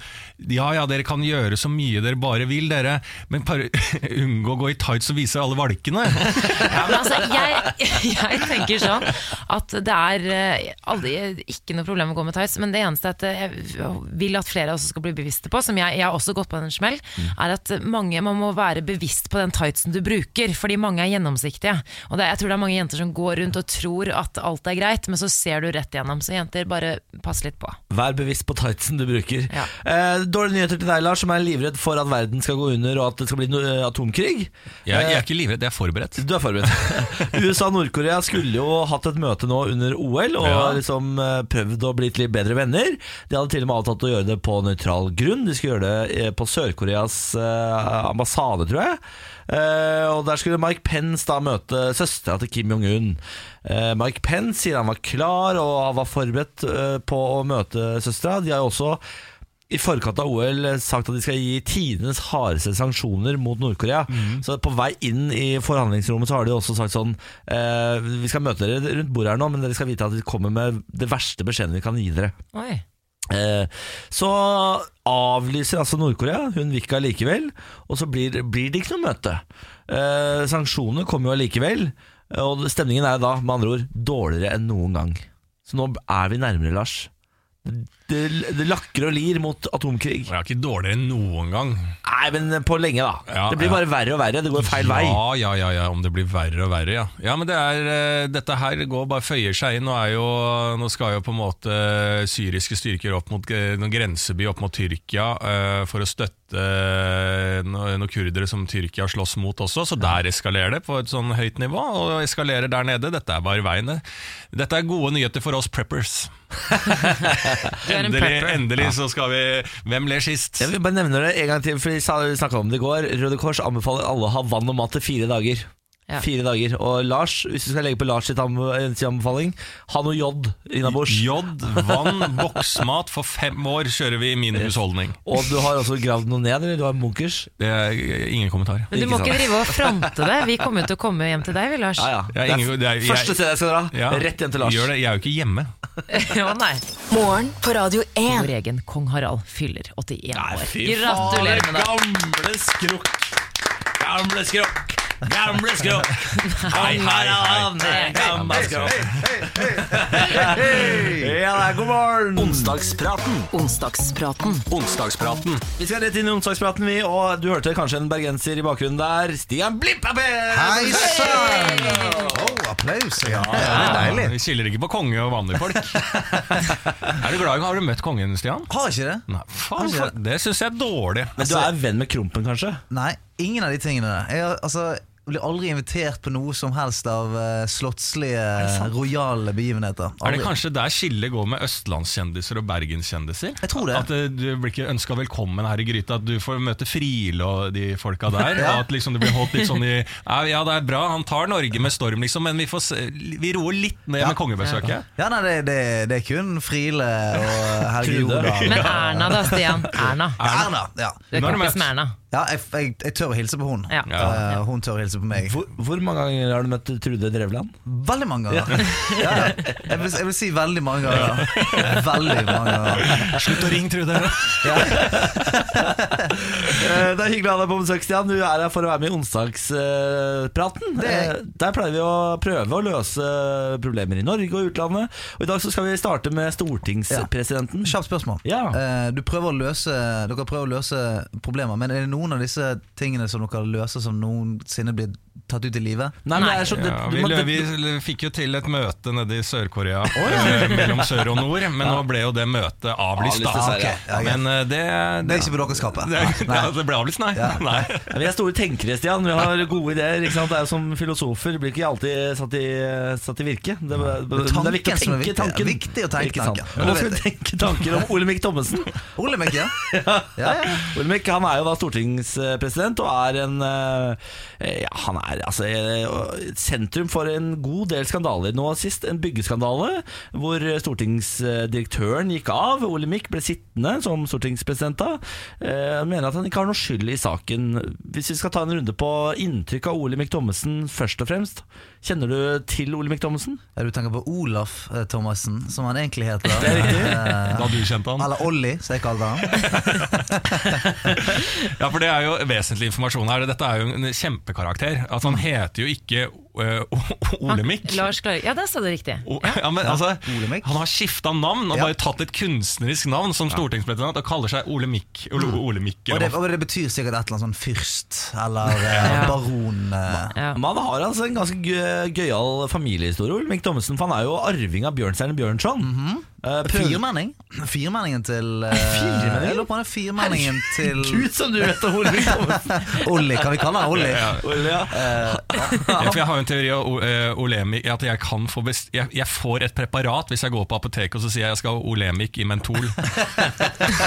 [SPEAKER 3] Ja ja, dere kan gjøre så mye dere bare vil, dere, men par, [laughs] unngå å gå i tights og vise alle valkene.
[SPEAKER 2] Ja, men altså, jeg, [laughs] jeg tenker sånn at det er eh, aldri, ikke noe problem å gå med tights, men det eneste at eh, jeg vil at flere også skal bli bevisste på, som jeg, jeg har også gått på en smell,
[SPEAKER 1] Mm.
[SPEAKER 2] er at mange, man må være bevisst på den tightsen du bruker, fordi mange er gjennomsiktige. Og det, jeg tror det er mange jenter som går rundt og tror at alt er greit, men så ser du rett gjennom. Så jenter, bare pass litt på.
[SPEAKER 1] Vær bevisst på tightsen du bruker.
[SPEAKER 2] Ja.
[SPEAKER 1] Eh, dårlige nyheter til deg, Lars, som er livredd for at verden skal gå under og at det skal bli no eh, atomkrig. Eh,
[SPEAKER 3] Jeg, jeg er ikke livredd, jeg er forberedt.
[SPEAKER 1] Du er forberedt.
[SPEAKER 3] [laughs]
[SPEAKER 1] USA og Nord-Korea skulle jo hatt et møte nå under OL og
[SPEAKER 3] Ja.
[SPEAKER 1] liksom eh, prøvd å bli litt bedre venner. De hadde til og med avtalt å gjøre det på nøytral grunn. De skulle gjøre det eh, på Sør-Koreas eh, ambassade, tror jeg. Eh, og Der skulle Mike Pence da møte søstera til Kim Jong-un. Eh, Mike Pence sier han var klar og han var forberedt eh, på å møte søstera. De har jo også i forkant av OL sagt at de skal gi tidenes hardeste sanksjoner mot Nord-Korea. Så på vei inn i forhandlingsrommet så har de også sagt sånn eh, Vi skal møte dere rundt bordet her nå, men dere skal vite at vi kommer med det verste beskjeden vi kan gi dere.
[SPEAKER 2] Oi.
[SPEAKER 1] Eh, så avlyser altså Nord-Korea, hun vil ikke allikevel, og så blir, blir det ikke noe møte. Eh, sanksjonene kommer jo allikevel. Og stemningen er da, med andre ord, dårligere enn noen gang. Så nå er vi nærmere, Lars. Det, det lakker og lir mot atomkrig.
[SPEAKER 3] Jeg er ikke dårligere enn noen gang.
[SPEAKER 1] Nei, men på lenge, da.
[SPEAKER 3] Ja,
[SPEAKER 1] det blir
[SPEAKER 3] ja.
[SPEAKER 1] bare verre og verre. Det går feil vei.
[SPEAKER 3] Ja, ja, ja, ja, om det blir verre og verre, ja. Ja, men det er, eh, dette her går bare føyer seg inn. Nå, er jo, nå skal jo på en måte syriske styrker opp mot eh, noen grenseby opp mot Tyrkia eh, for å støtte eh, no- noen kurdere som Tyrkia slåss mot også, så der eskalerer det på et sånn høyt nivå, og eskalerer der nede. Dette er bare veien det. Dette er gode nyheter for oss preppers.
[SPEAKER 2] Du er en
[SPEAKER 3] Endelig,
[SPEAKER 2] prepper.
[SPEAKER 3] endelig så skal vi Hvem ler sist?
[SPEAKER 1] Jeg vil bare nevne det en gang til, for vi sa- vi snakka om det i går. Røde Kors anbefaler alle å ha vann og mat til fire dager.
[SPEAKER 2] Ja.
[SPEAKER 1] Fire dager. Og Lars, hvis du skal legge på Lars sitt anbe- eh, sin anbefaling, ha noe jod innabords.
[SPEAKER 3] Jod, vann, boksmat. For fem år kjører vi i min husholdning.
[SPEAKER 1] Og du har også gravd noe ned, eller? Du har munkers?
[SPEAKER 3] Det er ingen kommentar.
[SPEAKER 2] Men du må
[SPEAKER 1] Ikke
[SPEAKER 2] ikke
[SPEAKER 1] sant.
[SPEAKER 2] drive og fronte det. Vi kommer jo til å komme hjem til deg, vi, Lars.
[SPEAKER 1] Ja, ja.
[SPEAKER 3] Jeg er ingen- det er- jeg-
[SPEAKER 1] første stedet jeg skal dra.
[SPEAKER 3] Ja,
[SPEAKER 1] Rett hjem til Lars.
[SPEAKER 3] Gjør det, Jeg er jo ikke hjemme.
[SPEAKER 2] [laughs] Å, nei.
[SPEAKER 4] Morgen på Radio
[SPEAKER 2] Vår
[SPEAKER 4] 1.
[SPEAKER 2] egen kong Harald fyller 81 år.
[SPEAKER 3] fy
[SPEAKER 2] Gratulerer med dagen.
[SPEAKER 3] Gamle skrukk! Gamle skrukk! Gamle skrukk! Hei, hei, hei. Gamle skrukk.
[SPEAKER 1] Ja, det er god morgen!
[SPEAKER 5] Onsdagspraten.
[SPEAKER 4] Onsdagspraten.
[SPEAKER 5] Onsdagspraten.
[SPEAKER 1] Vi skal rett inn i onsdagspraten, vi. Og du hørte kanskje en bergenser i bakgrunnen der. Stian Blipp er med!
[SPEAKER 6] Hei sann! Oh, applaus. Ja, det er deilig.
[SPEAKER 3] Vi skiller ikke på konge og vanlige folk. Er du glad i Har du møtt kongen, Stian?
[SPEAKER 6] Har ikke det?
[SPEAKER 3] Nei, faen, faen, det syns jeg er dårlig.
[SPEAKER 1] Men du er venn med Krompen, kanskje?
[SPEAKER 6] Nei, ingen av de tingene der. Jeg har- altså, blir aldri invitert på noe som helst av eh, slottslige, rojale begivenheter.
[SPEAKER 3] Er det
[SPEAKER 6] Aldri.
[SPEAKER 3] kanskje der skillet går med østlandskjendiser og bergenskjendiser?
[SPEAKER 6] Jeg tror det.
[SPEAKER 3] At eh, du blir ikke ønska velkommen her i gryta, at du får møte Friele og de folka der.
[SPEAKER 6] [laughs] Ja.
[SPEAKER 3] Og at liksom det blir holdt litt sånn i Ja, ja, det er bra, han tar Norge med storm, liksom, men vi, får se, vi roer litt ned med kongebesøket.
[SPEAKER 6] Ja, nei, det, det, det er kun Friele og Helge
[SPEAKER 1] Trude.
[SPEAKER 6] Jordal.
[SPEAKER 2] Men Erna da, Stian. Erna.
[SPEAKER 6] Erna. Ja,
[SPEAKER 2] Du er
[SPEAKER 3] Nå er det
[SPEAKER 2] kompis med
[SPEAKER 3] møtt.
[SPEAKER 2] Erna.
[SPEAKER 6] ja jeg, jeg, jeg tør å hilse på hun.
[SPEAKER 2] Ja.
[SPEAKER 6] Eh, hun tør å hilse på meg.
[SPEAKER 1] Hvor, hvor mange ganger har du møtt Trude Drevland?
[SPEAKER 6] Veldig mange ganger. [laughs] Ja, ja. Jeg, vil, jeg vil si veldig mange ganger. Veldig mange ganger.
[SPEAKER 3] Slutt å ringe, Trude!
[SPEAKER 6] [laughs] Ja.
[SPEAKER 1] Eh, Det er hyggelig å ha deg på besøk, Stian. Du er her for å være med i onsdagspraten. Eh,
[SPEAKER 6] Det er jeg.
[SPEAKER 1] Der pleier vi å prøve å løse problemer i Norge og utlandet. Og I dag så skal vi starte med stortingspresidenten.
[SPEAKER 6] Kjapt spørsmål.
[SPEAKER 1] Ja.
[SPEAKER 6] Eh, Du prøver å løse, dere prøver å løse problemer, men er det noen av disse tingene som dere løser som noensinne blir tatt ut i livet?
[SPEAKER 1] Nei, men det er så, det,
[SPEAKER 3] Ja,
[SPEAKER 1] du
[SPEAKER 3] vi,
[SPEAKER 1] må-
[SPEAKER 3] lø-
[SPEAKER 1] det,
[SPEAKER 3] vi l- fikk jo til et møte nede i Sør-Korea, eh, mellom sør og nord, men nå ble jo det møtet avlyst.
[SPEAKER 1] Avlyst,
[SPEAKER 3] da.
[SPEAKER 1] dessverre.
[SPEAKER 6] Ja, ok.
[SPEAKER 3] Men eh, det,
[SPEAKER 6] Det er ikke på deres kappe.
[SPEAKER 3] [laughs] det, det, det ble avlyst, nei. nei.
[SPEAKER 1] Ja, vi er store tenkere, Stian. Vi har gode ideer. Ikke sant? Det er jo Som filosofer blir ikke alltid satt i, satt i virke. Det, det, det,
[SPEAKER 6] tanken
[SPEAKER 1] er viktig å
[SPEAKER 6] som
[SPEAKER 1] tenke
[SPEAKER 6] er viktig.
[SPEAKER 1] tanken.
[SPEAKER 6] Viktig å tenke
[SPEAKER 1] Ikke sant?
[SPEAKER 6] tanken. Ja,
[SPEAKER 1] Og Nå
[SPEAKER 6] det
[SPEAKER 1] skal vi
[SPEAKER 6] vet
[SPEAKER 1] tenke tanker om Olemic Thommessen.
[SPEAKER 6] Olemek, ja. ja, ja.
[SPEAKER 1] Olemic han er jo da stortingspresident og er en eh, ja, Han er altså eh, sentrum for en god del skandaler. Nå sist en byggeskandale hvor stortingsdirektøren gikk av. Olemic ble sittende som stortingspresident da. Eh, Han mener at han ikke har noe skyld i saken. Hvis vi skal ta en runde på inntrykk av Olemic Thommessen først og fremst. Kjenner du til Olemic Thommessen?
[SPEAKER 6] Ja, Du tenker på Olaf eh, Thomassen, som han egentlig heter.
[SPEAKER 1] er
[SPEAKER 6] Eh,
[SPEAKER 3] Da du kjente han.
[SPEAKER 6] Eller Olli, som jeg kalte han.
[SPEAKER 3] Ja, for det er jo vesentlig informasjon her. Dette er jo en kjempekarakter. At han heter jo ikke øh, O- Olemic.
[SPEAKER 2] Lars klarer Ja, der sa du riktig.
[SPEAKER 3] O- Ja, men altså,
[SPEAKER 6] Olemic.
[SPEAKER 3] han har skifta navn og
[SPEAKER 6] Ja.
[SPEAKER 3] bare tatt et kunstnerisk navn som stortingspresident og kaller seg Olemic. Ole Olemic
[SPEAKER 6] Mm. Og det,
[SPEAKER 3] eller hva
[SPEAKER 6] og det betyr sikkert et eller annet sånn fyrst, eller eh,
[SPEAKER 2] Ja.
[SPEAKER 6] baron. eh.
[SPEAKER 2] Ja.
[SPEAKER 1] Man har altså en ganske gøy- gøyal familiehistorie, Olemic Thommessen. For han er jo arving av Bjørnstjerne Bjørnson. Eh, prøv-
[SPEAKER 6] Firmenning. Firmenningen til eh,
[SPEAKER 1] Firmenning?
[SPEAKER 6] Jeg lurer på om det er firmenningen til
[SPEAKER 1] [laughs] Gud som du vet om Olemic Thommessen!
[SPEAKER 6] Olli. Kan vi kalle han Olli?
[SPEAKER 1] Ole, ja.
[SPEAKER 3] Ja, for jeg har jo en teori av o- eh, Olemic At jeg kan få best, jeg, jeg får et preparat hvis jeg går på apoteket og så sier jeg jeg skal ha Olemic i
[SPEAKER 6] [laughs]
[SPEAKER 3] Mentol.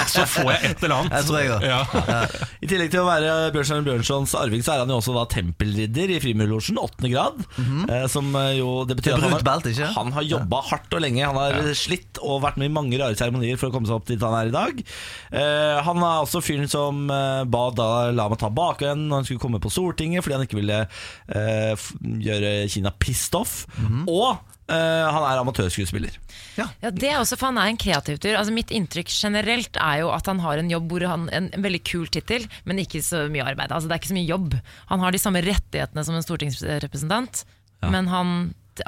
[SPEAKER 3] så får jeg et eller annet.
[SPEAKER 6] Jeg tror jeg også.
[SPEAKER 3] ja.
[SPEAKER 1] I tillegg til å være Bjørnstjerne Bjørnsons arving, så er han jo også da tempelridder i Frimurlosjen, åttende grad. eh, som eh, jo Det betyr
[SPEAKER 6] Mhm. Det er
[SPEAKER 1] at han
[SPEAKER 6] brunt
[SPEAKER 1] har,
[SPEAKER 6] belte, ikke?
[SPEAKER 1] han har jobba hardt og lenge. Han har slitt og vært med i mange rare seremonier for å komme seg opp dit han er i dag. Eh, han er også fyren som eh, ba da Lama ta bakenden når han skulle komme på Stortinget, fordi han ikke ville eh, f gjøre Kina pissed off.
[SPEAKER 6] Mhm.
[SPEAKER 1] Og eh, han er amatørskuespiller.
[SPEAKER 2] Ja, det er også, for Han er en kreativ tyr. Altså, mitt inntrykk generelt er jo at han har en jobb hvor han en, en veldig kul tittel, men ikke så mye arbeid. Altså, det er ikke så mye jobb. Han har de samme rettighetene som en stortingsrepresentant, men han,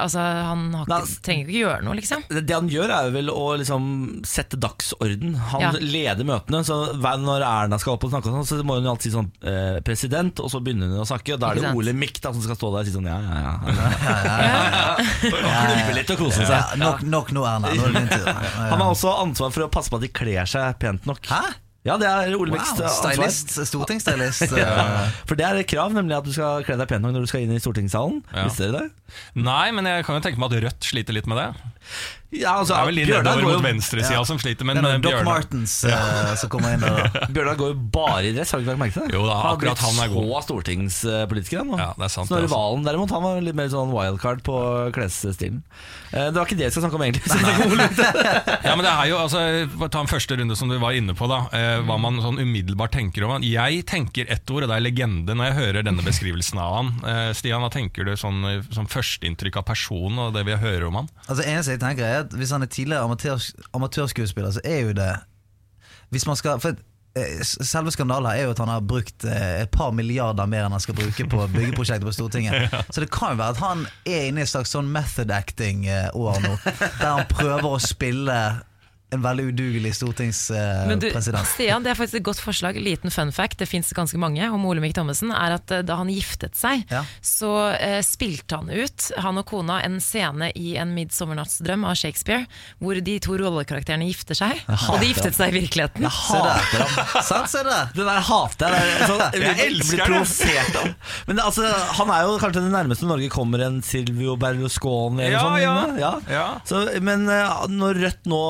[SPEAKER 2] altså, han har
[SPEAKER 1] Nei,
[SPEAKER 2] ikke,
[SPEAKER 1] altså-
[SPEAKER 2] trenger ikke gjøre noe, liksom.
[SPEAKER 1] Det det han gjør er jo vel å liksom sette dagsorden Han
[SPEAKER 2] Ja.
[SPEAKER 1] leder møtene Så hver- når Erna skal opp og snakke og sånn, Så må hun jo alltid si sånn eh, President, og så begynner hun å snakke Og da er
[SPEAKER 2] Ikke
[SPEAKER 1] det
[SPEAKER 2] sant?
[SPEAKER 1] Ole Mikk da, som skal stå der og si sånn Ja, ja, ja, ja, ja, ja, ja. [laughs] Og klubbe litt og kose
[SPEAKER 6] Ja,
[SPEAKER 1] seg
[SPEAKER 6] nok, nok nå, Erna. Nå er det din tur. Eh, Ja, ja.
[SPEAKER 1] Han har også ansvar for å passe på at de kler seg pent nok
[SPEAKER 6] Hæ?
[SPEAKER 1] Ja, det er Ole Mikks
[SPEAKER 6] Wow,
[SPEAKER 1] ansvar
[SPEAKER 6] stylist. Stortingsstylist.
[SPEAKER 1] eh, ja.
[SPEAKER 6] eh.
[SPEAKER 1] For det er et krav, nemlig at du skal kle deg pent nok Når du skal inn i stortingssalen
[SPEAKER 3] Ja.
[SPEAKER 1] Visste dere det?
[SPEAKER 3] Nei, men jeg kan jo tenke meg at Rødt sliter litt med det.
[SPEAKER 1] Ja, altså,
[SPEAKER 3] Det er vel de
[SPEAKER 1] Bjørnar
[SPEAKER 3] nedover
[SPEAKER 1] går
[SPEAKER 3] mot
[SPEAKER 1] jo-
[SPEAKER 3] venstresida som sliter,
[SPEAKER 6] Det
[SPEAKER 3] men
[SPEAKER 6] er
[SPEAKER 3] eh,
[SPEAKER 6] noen Doc
[SPEAKER 3] Bjørnar
[SPEAKER 6] Martens eh, som kommer inn der. da.
[SPEAKER 1] Bjørnar går jo bare i dress, har du ikke lagt merke til det?
[SPEAKER 3] Jo da,
[SPEAKER 1] han har
[SPEAKER 3] akkurat
[SPEAKER 1] blitt
[SPEAKER 3] han er god.
[SPEAKER 1] så stortingspolitiker, han nå.
[SPEAKER 3] Ja, det er sant,
[SPEAKER 1] Snorre
[SPEAKER 3] det, altså.
[SPEAKER 1] Valen derimot, han var litt mer sånn wildcard på klesstilen. Eh, Det var ikke det vi skal snakke om egentlig. vi skal snakke [laughs] om Ole Mikk.
[SPEAKER 3] Ja, men det er jo, altså, for å Ta en første runde som du var inne på, da. Eh, hva man sånn umiddelbart tenker om han. Jeg tenker ett ord, og det er legende, når jeg hører denne beskrivelsen av han. Eh, Stian, hva tenker du sånn, eh, som førsteinntrykk av personen og det vi hører om han?
[SPEAKER 6] Altså eneste jeg tenker er at Hvis han er tidligere amatør, amatørskuespiller, så er jo det Hvis man skal for, eh, s- Selve skandalen her er jo at han har brukt eh, et par milliarder mer enn han skal bruke på byggeprosjektet
[SPEAKER 2] [laughs]
[SPEAKER 6] på Stortinget. Så det kan jo være at han er inne i et slags sånn method acting-år nå, der han prøver å spille en veldig udugelig Eh,
[SPEAKER 2] Men du,
[SPEAKER 6] stortingspresident.
[SPEAKER 2] Stian, det er faktisk et godt forslag. Liten fun fact, det fins ganske mange om Ole Mikk Thommessen. Er at eh, da han giftet seg,
[SPEAKER 6] Ja.
[SPEAKER 2] så eh, spilte han ut, han og kona, en scene i En midtsommernattsdrøm av Shakespeare, hvor de to rollekarakterene gifter seg. Og de giftet seg i virkeligheten.
[SPEAKER 6] Se der. Sant, se der.
[SPEAKER 1] Den der hater jeg. det er sånn-
[SPEAKER 3] [laughs] Jeg
[SPEAKER 1] blir-
[SPEAKER 3] elsker
[SPEAKER 1] blir
[SPEAKER 3] det.
[SPEAKER 1] provosert av. Men det, altså, han er jo kanskje det nærmeste Norge kommer en Silvio Berlusconi eller
[SPEAKER 3] Ja,
[SPEAKER 1] sånn.
[SPEAKER 3] ja.
[SPEAKER 1] nå.
[SPEAKER 3] Ja.
[SPEAKER 1] Så, men eh, når Rødt nå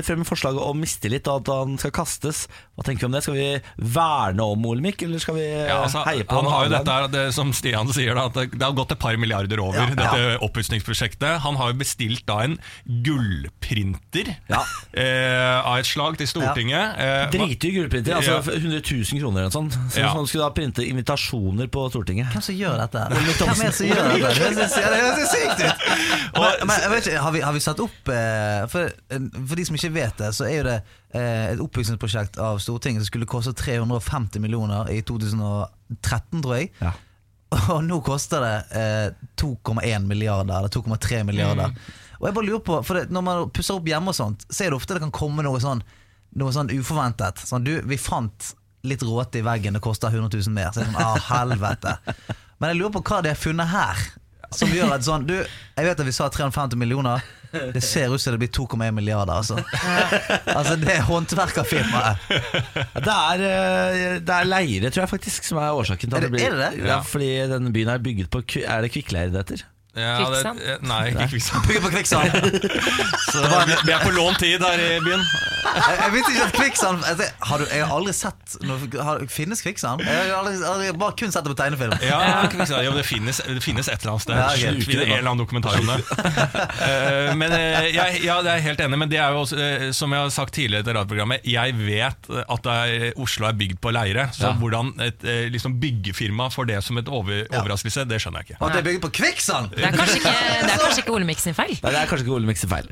[SPEAKER 1] fremmer forslaget om mistillit og at han skal kastes, hva tenker vi om det? Skal vi verne om Ole Mikk, eller skal vi
[SPEAKER 3] Ja, altså,
[SPEAKER 1] heie på
[SPEAKER 3] han har jo
[SPEAKER 1] andre?
[SPEAKER 3] dette her, det, som Stian sier, da, at det, det har gått et par milliarder over dette oppussingsprosjektet. Han har jo bestilt da en gullprinter
[SPEAKER 1] Ja.
[SPEAKER 3] eh, av et slag til Stortinget. Eh, hva-
[SPEAKER 1] Driter i gullprinter. Altså
[SPEAKER 3] Ja.
[SPEAKER 1] 100 000 kroner eller noe sånt. Så
[SPEAKER 3] Ja.
[SPEAKER 1] man skulle da printe invitasjoner på Stortinget.
[SPEAKER 6] Hvem som gjør dette? Hvem er det som gjør dette? Det høres det høres sykt ut! Men, men, jeg vet ikke, har, vi, har vi satt opp eh, for, for de som ikke vet det, så er jo det eh, et oppbyggingsprosjekt av Stortinget som skulle koste 350 millioner i 2013, tror jeg.
[SPEAKER 1] Ja.
[SPEAKER 6] [laughs] Og nå koster det eh, 2,1 milliarder, eller 2,3 milliarder. Og jeg bare lurer på, for det, Når man pusser opp hjemme og sånt, så er det ofte det kan komme noe sånn, noe sånn uforventet. Sånn, du, vi fant litt råte i veggen, det koster 100 000 mer. Så er det sånn, ah, helvete. Men jeg lurer på hva de har funnet her. Som gjør at sånn, du, jeg vet at vi sa 350 millioner, det ser ut som det blir 2,1 milliarder, altså. [laughs] Altså, det er håndverkerfirmaet.
[SPEAKER 1] Ja, Det er, eh, det er leire, tror jeg faktisk, som er årsaken til at
[SPEAKER 6] Er det-
[SPEAKER 1] blir
[SPEAKER 6] er det det?
[SPEAKER 1] Ja, fordi denne byen er bygget på ku- Er det kvikkleire det heter?
[SPEAKER 3] Ja, det-
[SPEAKER 2] Kvikksand?
[SPEAKER 3] eh, Nei, ikke kvikksand.
[SPEAKER 6] Bygger på kvikksand.
[SPEAKER 3] Så vi, vi er på lånt tid her i byen.
[SPEAKER 6] jeg, jeg visste ikke at kvikksand altså, har du, Jeg har aldri sett noe, har, Finnes kvikksand? Jeg har aldri, aldri, bare kun sett det på tegnefilm.
[SPEAKER 3] Ja, kvikksand. ja men det, finnes, det finnes et eller annet sted.
[SPEAKER 6] Ja, ok.
[SPEAKER 3] Sluker vi det en eller annen dokumentar om det. Eh, men eh, jeg, ja, det er jeg helt enig, men det er jo også, eh, som jeg har sagt tidligere i dette radioprogrammet, jeg vet at det er, eh, Oslo er bygd på leire, så
[SPEAKER 1] Ja.
[SPEAKER 3] hvordan et eh, liksom byggefirma får det som et over, overraskelse, det skjønner jeg ikke.
[SPEAKER 6] Og at det er bygd på kvikksand!
[SPEAKER 2] Det er kanskje ikke, det er kanskje ikke Ole Mikk sin feil.
[SPEAKER 1] Nei, det er kanskje ikke Ole Mikse feil.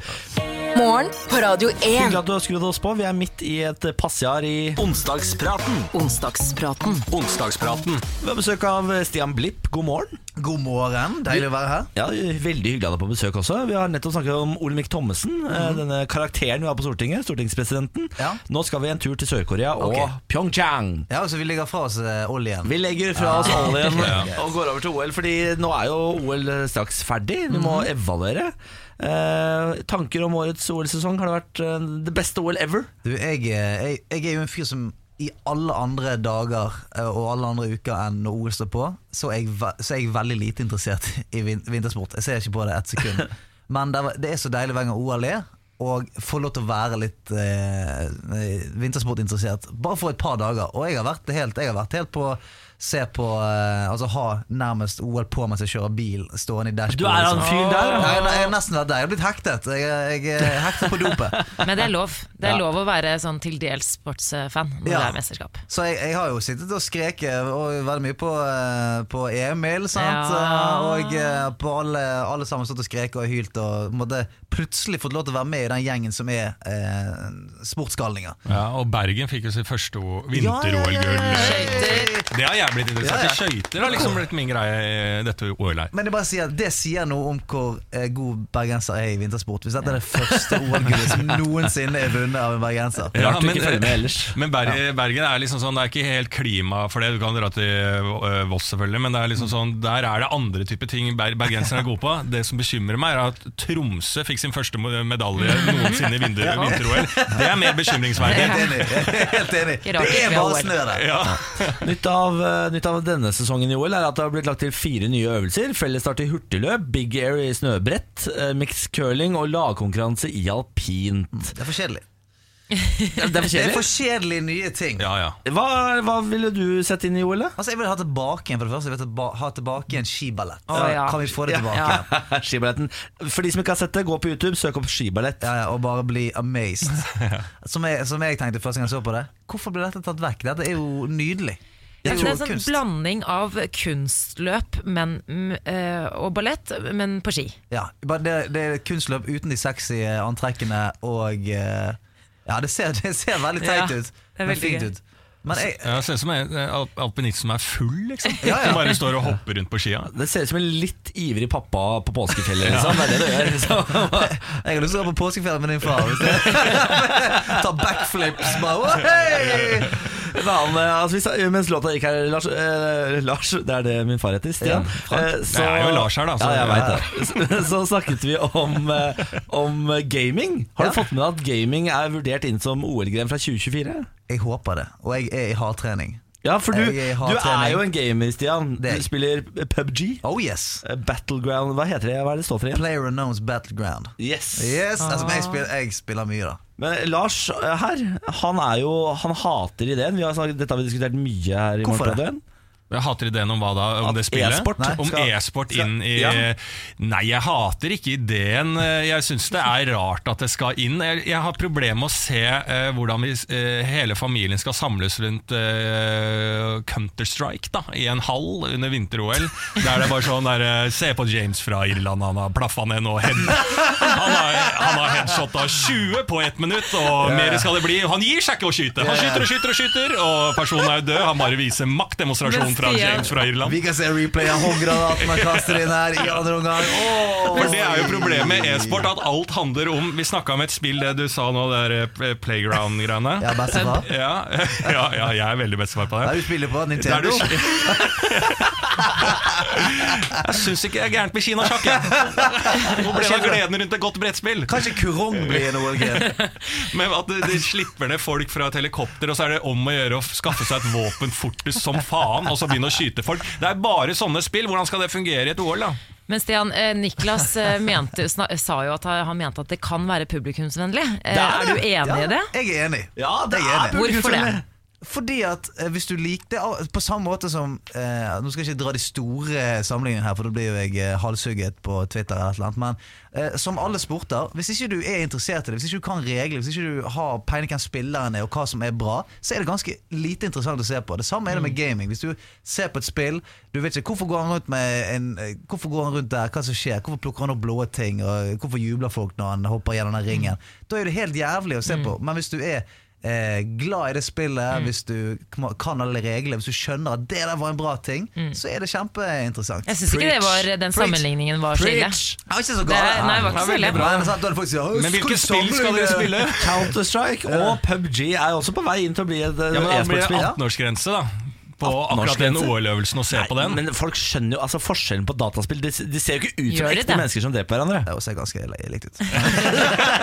[SPEAKER 4] Morgen på Radio
[SPEAKER 1] Hyggelig
[SPEAKER 4] 1.
[SPEAKER 1] at du har skrudd oss på. Vi er midt i et eh, passjar i
[SPEAKER 5] Onsdagspraten.
[SPEAKER 4] Onsdagspraten.
[SPEAKER 5] Onsdagspraten.
[SPEAKER 1] Vi har besøk av eh, Stian Blipp. God morgen.
[SPEAKER 6] God morgen, deilig å være her.
[SPEAKER 1] Ja, Veldig hyggelig å ha deg på besøk også. Vi har nettopp snakket om Olemic Thommessen. eh, Denne karakteren vi har på Stortinget. Stortingspresidenten.
[SPEAKER 6] Ja.
[SPEAKER 1] Nå skal vi en tur til Sør-Korea og
[SPEAKER 6] Ok.
[SPEAKER 1] Pyeongchang.
[SPEAKER 6] Ja, altså, Vi ligger fra oss eh, oljen.
[SPEAKER 1] Vi legger fra oss oljen [laughs] og går over til OL, Fordi nå er jo OL straks ferdig. Vi må evaluere. Eh, tanker om årets OL-sesong? Har det vært eh, det beste OL ever?
[SPEAKER 6] Du, jeg, eh, jeg, jeg er jo en fyr som i alle andre dager eh, og alle andre uker enn når OL står på, så er jeg, ve- så er jeg veldig lite interessert [laughs] i vin vintersport. Jeg ser ikke på det ett sekund.
[SPEAKER 1] [laughs]
[SPEAKER 6] Men det, er- det er så deilig hver gang OL er, og få lov til å være litt eh, vintersportinteressert bare for et par dager. Og jeg har vært helt, jeg har vært helt på se på eh, Altså ha nærmest OL på mens jeg kjører bil, stående i dashbordet.
[SPEAKER 1] Du er han
[SPEAKER 6] liksom.
[SPEAKER 1] fyren der?
[SPEAKER 6] Nei,
[SPEAKER 1] ja.
[SPEAKER 6] nei, jeg har nesten vært der. Jeg har blitt hektet. Jeg, jeg er hektet på
[SPEAKER 1] [laughs]
[SPEAKER 6] dopet.
[SPEAKER 2] Men det er lov. Det
[SPEAKER 1] Ja.
[SPEAKER 2] er lov å være sånn til dels sportsfan når det
[SPEAKER 6] Ja.
[SPEAKER 2] er mesterskap.
[SPEAKER 6] Så jeg, jeg har jo sittet og skreket og vært mye på, eh, på Emil, sant?
[SPEAKER 2] Ja.
[SPEAKER 6] Eh, Og eh, på alle, alle sammen stått og skreket og hylt og måtte plutselig fått lov til å være med i den gjengen som er eh, sportsgalninger.
[SPEAKER 3] Ja, og Bergen fikk jo sitt første o-
[SPEAKER 6] Ja, ja, ja,
[SPEAKER 2] Skøyter.
[SPEAKER 3] vinter-OL-gull.
[SPEAKER 6] ja, ja.
[SPEAKER 3] Det har jeg jeg blitt interessert
[SPEAKER 6] Ja, ja.
[SPEAKER 3] i. Skøyter har liksom blitt min greie i dette OL her.
[SPEAKER 6] Men det, bare sier, det sier noe om hvor eh, god bergenser er i vintersport. Hvis dette er det første OL-gullet som noensinne er vunnet av en bergenser.
[SPEAKER 3] Ja,
[SPEAKER 1] Rart du
[SPEAKER 3] men-
[SPEAKER 1] ikke følger med ellers.
[SPEAKER 3] Men Ber Bergen er liksom sånn, det er ikke helt klima for det. Du kan dra til øh, Voss, selvfølgelig, men det er
[SPEAKER 6] Mm.
[SPEAKER 3] liksom sånn, der er det andre typer ting ber bergenserne er gode på. Det som bekymrer meg, er at Tromsø fikk sin første mo- medalje noensinne i
[SPEAKER 6] [laughs]
[SPEAKER 3] vinter- vinter-OL. Det er mer bekymringsverdig.
[SPEAKER 6] Helt enig. Helt enig.
[SPEAKER 2] Ikke
[SPEAKER 6] Det
[SPEAKER 2] rart det ikke
[SPEAKER 6] er
[SPEAKER 2] er OL.
[SPEAKER 6] bare snø der.
[SPEAKER 3] Ja.
[SPEAKER 1] [laughs] Nytt av, eh, nytt av denne sesongen i OL er at det har blitt lagt til fire nye øvelser. Fellesstart i hurtigløp, big air i snøbrett, eh, mixed curling og lagkonkurranse i alpint.
[SPEAKER 6] Det er for kjedelig.
[SPEAKER 1] Det er for
[SPEAKER 6] Det er
[SPEAKER 1] kjedelig.
[SPEAKER 6] for kjedelig nye ting.
[SPEAKER 3] Ja, ja.
[SPEAKER 1] Hva, hva ville du sett inn i OL, [laughs] da?
[SPEAKER 6] Altså, jeg vil ha tilbake igjen for det første Jeg vil tilba ha tilbake igjen skiballett.
[SPEAKER 2] Å, ja.
[SPEAKER 6] Kan vi få det
[SPEAKER 1] Ja.
[SPEAKER 6] tilbake?
[SPEAKER 2] Ja.
[SPEAKER 6] igjen?
[SPEAKER 1] Skiballetten. For de som ikke har sett det, gå på YouTube, søk opp skiballett.
[SPEAKER 6] Ja, ja, og bare bli amazed.
[SPEAKER 2] [laughs]
[SPEAKER 6] Som jeg, som jeg tenkte første gang jeg så på det. Hvorfor ble dette tatt vekk? Dette er jo nydelig.
[SPEAKER 2] Det
[SPEAKER 6] Det
[SPEAKER 2] er
[SPEAKER 6] er jo
[SPEAKER 2] en sånn
[SPEAKER 6] kunst.
[SPEAKER 2] blanding av kunstløp men, mm, eh, og ballett, men på ski.
[SPEAKER 6] Ja, bare det, det er kunstløp uten de sexy eh, antrekkene og eh, Ja, det ser, det ser veldig
[SPEAKER 2] Ja,
[SPEAKER 6] teit ut,
[SPEAKER 2] er
[SPEAKER 6] men
[SPEAKER 2] veldig
[SPEAKER 6] fint
[SPEAKER 2] gøy.
[SPEAKER 6] ut. Men jeg, [laughs]
[SPEAKER 3] Ja, det ser ut som en eh, alp- alpinist som er full, liksom.
[SPEAKER 6] Ja, ja.
[SPEAKER 3] Som bare står og hopper rundt på skia.
[SPEAKER 1] Det ser ut som en litt ivrig pappa på påskefjellet. Liksom. Det er det det gjør. Så. [laughs]
[SPEAKER 6] jeg har lyst til å dra på påskeferie med din far. Hvis det- Ta backflips, bare «Å, hei!»
[SPEAKER 1] En annen, eh, altså, hvis, eh, mens låta gikk her, Lars, eh, Lars Det er det min far heter. Stian.
[SPEAKER 6] Ja,
[SPEAKER 1] Eh, så,
[SPEAKER 3] Det er jo Lars her, da, så-
[SPEAKER 1] ja, jeg vet det. [laughs] så snakket vi om, eh, om gaming. Har du fått med deg at gaming er vurdert inn som OL-gren fra 2024?
[SPEAKER 6] Jeg håper det, og jeg er i hardtrening.
[SPEAKER 1] Ja, for du,
[SPEAKER 6] Jeg
[SPEAKER 1] du
[SPEAKER 6] har
[SPEAKER 1] er
[SPEAKER 6] trening.
[SPEAKER 1] jo en gamer, Stian. Du
[SPEAKER 6] Det er jeg.
[SPEAKER 1] spiller PubG.
[SPEAKER 6] Oh yes!
[SPEAKER 1] eh, Battleground Hva heter det? Hva er det det står for igjen?
[SPEAKER 6] Player unknowns battleground.
[SPEAKER 1] Yes.
[SPEAKER 6] Yes,
[SPEAKER 2] Ah.
[SPEAKER 6] altså, men jeg, spiller, jeg spiller mye, da.
[SPEAKER 1] Men Lars eh, her, han er jo Han hater ideen. Vi har snakket, dette har vi diskutert mye her. i
[SPEAKER 6] Hvorfor det?
[SPEAKER 1] Morgenbladøen.
[SPEAKER 3] Jeg hater ideen om hva da? Om
[SPEAKER 1] At
[SPEAKER 3] det spillet?
[SPEAKER 1] e-sport
[SPEAKER 6] Nei.
[SPEAKER 3] om
[SPEAKER 1] skal-
[SPEAKER 3] e-sport
[SPEAKER 1] skal-
[SPEAKER 3] inn i
[SPEAKER 1] Ja.
[SPEAKER 3] Nei, jeg hater ikke ideen. Jeg syns det er rart at det skal inn. Jeg, jeg har problemer med å se eh, hvordan vi, eh, hele familien skal samles rundt eh, Counter-Strike da, i en hall under vinter-OL. Der det er bare sånn der, eh, Se på James fra Irland, han har plaffa ned nå. Head, han, har, han har headshot av 20 på ett minutt, og mer skal det bli. Han gir seg ikke å skyte. Han skyter og skyter og skyter, og personen er jo død. Han bare viser maktdemonstrasjon fra
[SPEAKER 2] Men Stian-
[SPEAKER 3] James fra Irland.
[SPEAKER 6] Vi kan se replay av håndgranaten han kaster inn her i andre omgang. Åh!
[SPEAKER 3] For det er jo problemet med e-sport, at alt handler om Vi snakka om et spill, det du sa nå, det der eh, playground-greiene.
[SPEAKER 6] Ja, bestefar.
[SPEAKER 3] Ja, [laughs] ja, ja, jeg er veldig bestefar på
[SPEAKER 6] Hva er
[SPEAKER 3] det.
[SPEAKER 6] det du spiller
[SPEAKER 3] Der
[SPEAKER 6] på?
[SPEAKER 3] du-
[SPEAKER 6] Nintendo?
[SPEAKER 3] jeg syns ikke det er gærent med kinasjakk,
[SPEAKER 6] [laughs]
[SPEAKER 3] jeg. Hvor ble det av gleden rundt et godt brettspill?
[SPEAKER 6] Kanskje kurong blir en OL-gren?
[SPEAKER 3] Men at det- det slipper ned folk fra et helikopter, og så er det om å gjøre å skaffe seg et våpen fortest som faen, og så begynne å skyte folk. Det er bare sånne spill. Hvordan skal det fungere i et OL, da?
[SPEAKER 2] Men Stian, eh, Niklas eh, mente, sna, sa jo at han han mente at det kan være publikumsvennlig. Eh,
[SPEAKER 1] Det er
[SPEAKER 2] er du enig i det?
[SPEAKER 6] Jeg er enig.
[SPEAKER 1] Ja, det
[SPEAKER 6] Jeg er
[SPEAKER 1] er
[SPEAKER 6] enig.
[SPEAKER 2] Hvorfor det?
[SPEAKER 6] Fordi at eh, hvis du liker det ah, På samme måte som eh, Nå skal jeg ikke dra de store eh, samlingene her, for da blir jo jeg eh, halshugget på Twitter. eller et eller annet Men eh, som alle sporter, hvis ikke du er interessert i det, hvis ikke du kan regler, hvis ikke du har peiling på hvem spilleren er og hva som er bra, så er det ganske lite interessant å se på. Det samme er det med gaming. Hvis du ser på et spill, du vet ikke hvorfor går han rundt med en eh, Hvorfor går han rundt der, hva som skjer, hvorfor plukker han opp blå ting, og hvorfor jubler folk når han hopper gjennom den ringen. Da er det helt jævlig å se på. Men hvis du er eh, glad i det spillet,
[SPEAKER 2] Mm.
[SPEAKER 6] hvis du kma- kan alle reglene, hvis du skjønner at det der var en bra ting, så er det kjempeinteressant.
[SPEAKER 2] Mm. Jeg syns ikke det var den sammenligningen var så ille.
[SPEAKER 1] Preach.
[SPEAKER 6] Jeg var ikke så
[SPEAKER 2] Det
[SPEAKER 6] gal.
[SPEAKER 2] er- nei, det var ikke så ille.
[SPEAKER 6] Nei, men sant, da er det folk som sier, «Å,
[SPEAKER 3] Men hvilke
[SPEAKER 6] skulle
[SPEAKER 3] spill skal
[SPEAKER 6] sammenligne-
[SPEAKER 3] dere spille?
[SPEAKER 1] Counter-Strike og PubG er også på vei inn til å bli et eh,
[SPEAKER 3] Ja, men da blir det
[SPEAKER 1] e-sportspill.
[SPEAKER 3] 18-årsgrense da På akkurat den
[SPEAKER 1] 18-årsgrense?
[SPEAKER 3] OL-øvelsen og se på den
[SPEAKER 1] Men folk skjønner jo altså forskjellen på dataspill. De, de ser jo ikke ut som
[SPEAKER 2] Gjør de
[SPEAKER 1] ekte
[SPEAKER 2] det?
[SPEAKER 1] mennesker som dreper hverandre.
[SPEAKER 6] Det ser ganske li- likt ut. [laughs]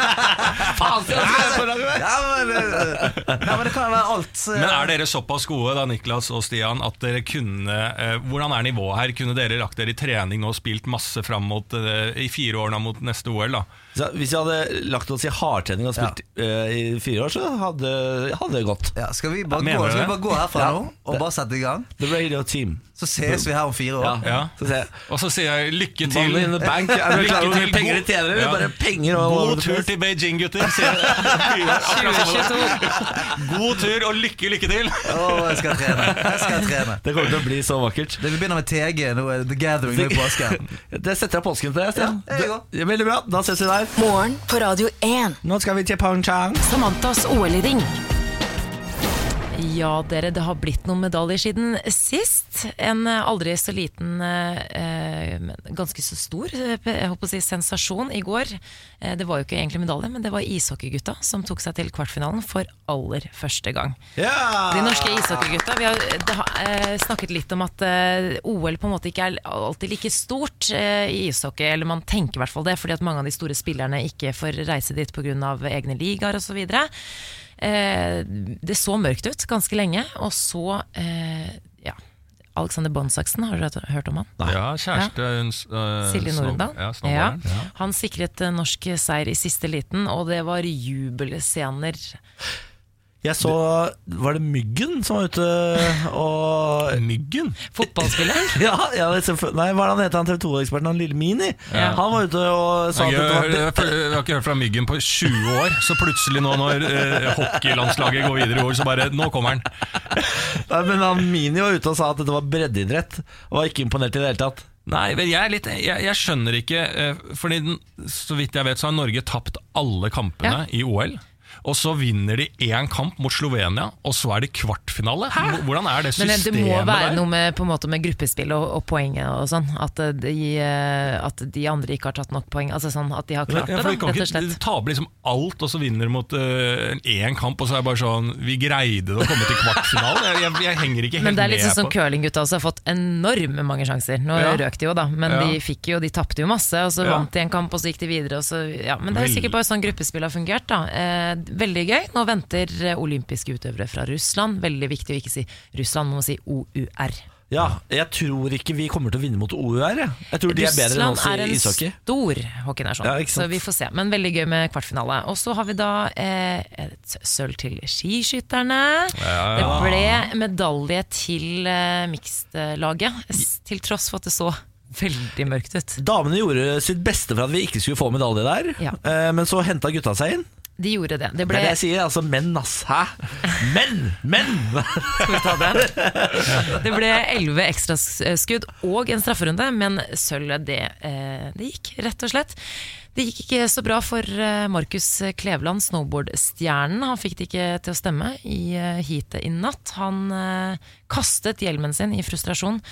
[SPEAKER 2] Faen, Stian.
[SPEAKER 6] Ja, men, eh, nei, men det kan jo være alt. eh,
[SPEAKER 3] men er dere såpass gode da, Niklas og Stian, at dere kunne eh, Hvordan er nivået her? Kunne dere lagt dere i trening nå og spilt masse fram mot eh, i fire årene mot neste OL? da?
[SPEAKER 1] Så hvis jeg hadde lagt oss i hardtrening og spilt eh, i fire år, så hadde, hadde det gått.
[SPEAKER 6] ja, skal, vi bare
[SPEAKER 3] Mener
[SPEAKER 6] gå,
[SPEAKER 3] du
[SPEAKER 6] skal vi
[SPEAKER 3] det?
[SPEAKER 6] bare gå herfra nå og bare sette i gang?
[SPEAKER 1] The Radio Team.
[SPEAKER 6] Så ses vi her om fire år.
[SPEAKER 1] Ja. Så ser jeg
[SPEAKER 3] Og så sier jeg lykke til.
[SPEAKER 1] Money in the [laughs] bank. Er du
[SPEAKER 3] Lykke
[SPEAKER 1] klar over hvor
[SPEAKER 3] til,
[SPEAKER 1] mye penger de
[SPEAKER 3] god-
[SPEAKER 1] tjener? eller
[SPEAKER 3] Ja.
[SPEAKER 1] Bare penger og
[SPEAKER 3] God tur til Beijing, gutter! Sier jeg. Akkurat samme det. God tur og lykke, lykke til!
[SPEAKER 6] Å, jeg skal trene. Jeg skal trene.
[SPEAKER 1] Det kommer til å bli så vakkert.
[SPEAKER 6] Det, vi begynner med TG, nå er det The Gathering nå i påsken.
[SPEAKER 1] [laughs] Det setter jeg påsken til deg, Stian.
[SPEAKER 6] Ja, jeg går.
[SPEAKER 1] Det- Veldig bra. Da ses vi der.
[SPEAKER 4] Morgen på Radio 1.
[SPEAKER 1] Nå skal vi til Pyeongchang.
[SPEAKER 4] Samantas OL-ring.
[SPEAKER 2] Ja, dere, det har blitt noen medaljer siden sist. En eh, aldri så liten, eh, eh, men ganske så stor eh, jeg håper å si, sensasjon i går. Eh, Det var jo ikke egentlig medalje, men det var ishockeygutta som tok seg til kvartfinalen for aller første gang. De norske ishockeygutta. Vi har det har, eh, snakket litt om at eh, OL på en måte ikke er alltid like stort eh, i ishockey. Eller man tenker i hvert fall det, fordi at mange av de store spillerne ikke får reise dit pga. egne ligaer osv. Eh, det så mørkt ut ganske lenge, og så eh, ja. Alexander Bonsaksen, har dere hørt om han?
[SPEAKER 3] Ja, kjæreste hun s- øh,
[SPEAKER 2] Silje
[SPEAKER 3] snob-
[SPEAKER 2] Norendal.
[SPEAKER 3] Ja, snowboarderen.
[SPEAKER 2] Ja. Han sikret eh, norsk seier i siste liten, og det var jubelscener.
[SPEAKER 1] Jeg så Var det Myggen som var ute og
[SPEAKER 3] Eh, Myggen?
[SPEAKER 2] Fotballspilleren?
[SPEAKER 1] [laughs] Ja, ja det er selvfø- Nei, hva er det han heter han TV 2-eksperten? Han lille Mini?
[SPEAKER 2] Ja.
[SPEAKER 1] Han var ute og sa
[SPEAKER 3] Jeg,
[SPEAKER 1] at
[SPEAKER 3] har-
[SPEAKER 1] dette
[SPEAKER 3] jeg,
[SPEAKER 1] var
[SPEAKER 3] har- jeg har ikke hørt fra Myggen på 20 år, så plutselig nå når eh, hockeylandslaget går videre i år, så bare Nå kommer han!
[SPEAKER 1] Nei, Men han Mini var ute og sa at dette var breddeidrett, og var ikke imponert i det hele tatt.
[SPEAKER 3] Nei, men jeg, er litt, jeg, jeg skjønner ikke eh, Fordi den, så vidt jeg vet så har Norge tapt alle kampene i OL Og så vinner de én kamp mot Slovenia Og så er det kvartfinale Hvor- Hvordan er det
[SPEAKER 2] Men eh,
[SPEAKER 3] systemet
[SPEAKER 2] det må være
[SPEAKER 3] der?
[SPEAKER 2] noe med, på en måte med gruppespill og, og poenget og sånn. At eh, de, eh, at de andre ikke har tatt nok poeng. Altså sånn at de har
[SPEAKER 3] Ja,
[SPEAKER 2] klart det,
[SPEAKER 3] for
[SPEAKER 2] da,
[SPEAKER 3] de kan
[SPEAKER 2] rett og
[SPEAKER 3] ikke
[SPEAKER 2] slett.
[SPEAKER 3] de taper liksom alt, og så vinner de mot eh, én kamp, og så er det bare sånn Vi greide det å komme til kvartfinalen. Jeg, jeg, jeg henger ikke helt
[SPEAKER 2] Men det er litt
[SPEAKER 3] med
[SPEAKER 2] sånn som
[SPEAKER 3] på
[SPEAKER 2] curlinggutta også har fått enorme mange sjanser. Nå
[SPEAKER 3] Ja.
[SPEAKER 2] røk de jo, da, men
[SPEAKER 3] Ja.
[SPEAKER 2] de fikk jo, de tapte jo masse. Og så
[SPEAKER 3] Ja.
[SPEAKER 2] vant de en kamp, og så gikk de videre. Og så, ja. Men det er
[SPEAKER 3] Vel-
[SPEAKER 2] sikkert bare sånn gruppespill har fungert. da eh, Veldig gøy. Nå venter eh, olympiske utøvere fra Russland. Veldig viktig å ikke si Russland, man må si OUR.
[SPEAKER 1] Ja, jeg tror ikke vi kommer til å vinne mot OUR. Jeg, jeg tror de er bedre enn
[SPEAKER 2] Russland
[SPEAKER 1] oss
[SPEAKER 2] er
[SPEAKER 1] i
[SPEAKER 2] en
[SPEAKER 1] ishockey.
[SPEAKER 2] stor hockeynasjon,
[SPEAKER 1] Ja, ikke sant.
[SPEAKER 2] så vi får se. Men veldig gøy med kvartfinale. Og så har vi da eh, et sølv til skiskytterne. Det ble medalje til eh, mixed-laget, s- til tross for at det så veldig mørkt ut.
[SPEAKER 1] Damene gjorde sitt beste for at vi ikke skulle få medalje der,
[SPEAKER 2] Ja.
[SPEAKER 1] eh, men så henta gutta seg inn.
[SPEAKER 2] De gjorde det. Det
[SPEAKER 1] Det
[SPEAKER 2] ble
[SPEAKER 1] er det jeg sier, altså menn, ass. Hæ? Menn! Menn!
[SPEAKER 2] Det ble elleve ekstraskudd og en strafferunde, men sølvet det, eh, det gikk, rett og slett. Det gikk ikke så bra for eh, Markus Kleveland, snowboardstjernen. Han fikk det ikke til å stemme i eh, heatet i natt. Han eh, kastet hjelmen sin i frustrasjon.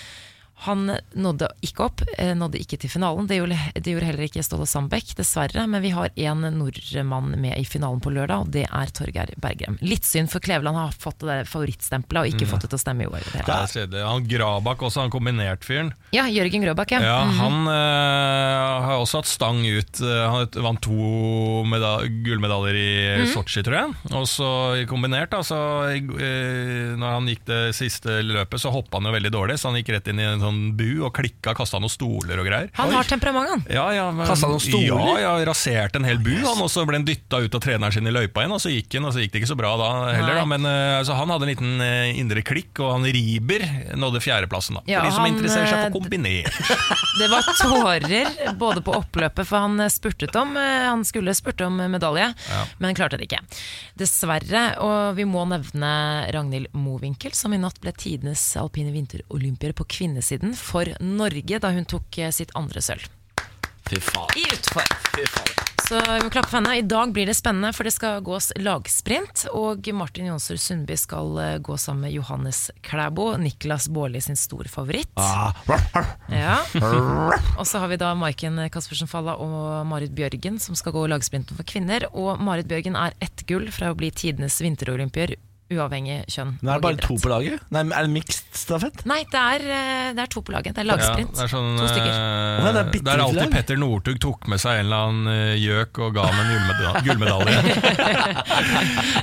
[SPEAKER 2] Han nådde ikke opp, eh, nådde ikke til finalen. Det gjorde, det gjorde heller ikke Ståle Sandbekk, dessverre. Men vi har én nordmann med i finalen på lørdag, og det er Torgeir Bergrem. Litt synd, for Kleveland har fått det der favorittstempelet og ikke fått det til å stemme i år. i Det hele
[SPEAKER 3] det. Det er kjedelig. Han Grabak også, han kombinert-fyren.
[SPEAKER 2] ja, Jørgen Grøbak, ja.
[SPEAKER 3] Ja,
[SPEAKER 2] Mm.
[SPEAKER 3] Han eh, har også hatt stang ut. Eh, han vant to meda gullmedaljer i
[SPEAKER 2] Mm.
[SPEAKER 3] Sotsji, tror jeg. Og så i kombinert, da, så eh, når han gikk det siste løpet, så hoppa han jo veldig dårlig. Så han gikk rett inn i en sånn bu og klikka, kasta noen stoler og greier.
[SPEAKER 2] Han har temperament, han.
[SPEAKER 3] Ja, ja, men,
[SPEAKER 1] Kastet noen stoler?
[SPEAKER 3] Ja, ja, raserte en hel bu. Han også ble han dytta ut av treneren sin i løypa igjen, og så gikk han, og så gikk det ikke så bra da heller. Da.
[SPEAKER 2] Nei.
[SPEAKER 3] Men eh, altså, han hadde en liten eh, indre klikk, og han Riiber nådde fjerdeplassen, da.
[SPEAKER 2] Ja,
[SPEAKER 3] for de som
[SPEAKER 2] han,
[SPEAKER 3] interesserer seg
[SPEAKER 2] eh,
[SPEAKER 3] for kombinert.
[SPEAKER 2] [laughs] Det var tårer både på oppløpet, for han spurtet om eh, Han skulle spurte om medalje, men klarte det ikke. Dessverre. Og vi må nevne Ragnhild Mowinckel, som i natt ble tidenes alpine vinterolympier på kvinnesiden for Norge da hun tok eh, sitt andre sølv.
[SPEAKER 1] Fy faen.
[SPEAKER 2] i utfor. Så vi må klappe for henne. I dag blir det spennende, for det skal gås lagsprint. Og Martin Jonsrud Sundby skal eh, gå sammen med Johannes Klæbo, Niklas Baarli sin storfavoritt.
[SPEAKER 1] Ah. [laughs]
[SPEAKER 2] Ja. Og så har vi da Maiken Caspersen Falla og Marit Bjørgen som skal gå lagsprinten for kvinner. Og Marit Bjørgen er ett gull fra å bli tidenes vinterolympier, uavhengig kjønn.
[SPEAKER 1] Nå er det
[SPEAKER 2] og
[SPEAKER 1] bare to
[SPEAKER 2] idrett.
[SPEAKER 1] på laget. Nei, men Er det mixed stafett?
[SPEAKER 2] Nei, det er, eh, det er to på laget. Det er lagsprint.
[SPEAKER 3] Ja, det er sånn,
[SPEAKER 2] to stykker.
[SPEAKER 3] eh,
[SPEAKER 1] Å, det er bitte
[SPEAKER 3] det er
[SPEAKER 1] lite
[SPEAKER 3] alltid
[SPEAKER 1] lag.
[SPEAKER 3] Petter Northug tok med seg en eller annen eh, gjøk og ga ham en gullmeda- [laughs]
[SPEAKER 2] [laughs]
[SPEAKER 3] gullmedalje.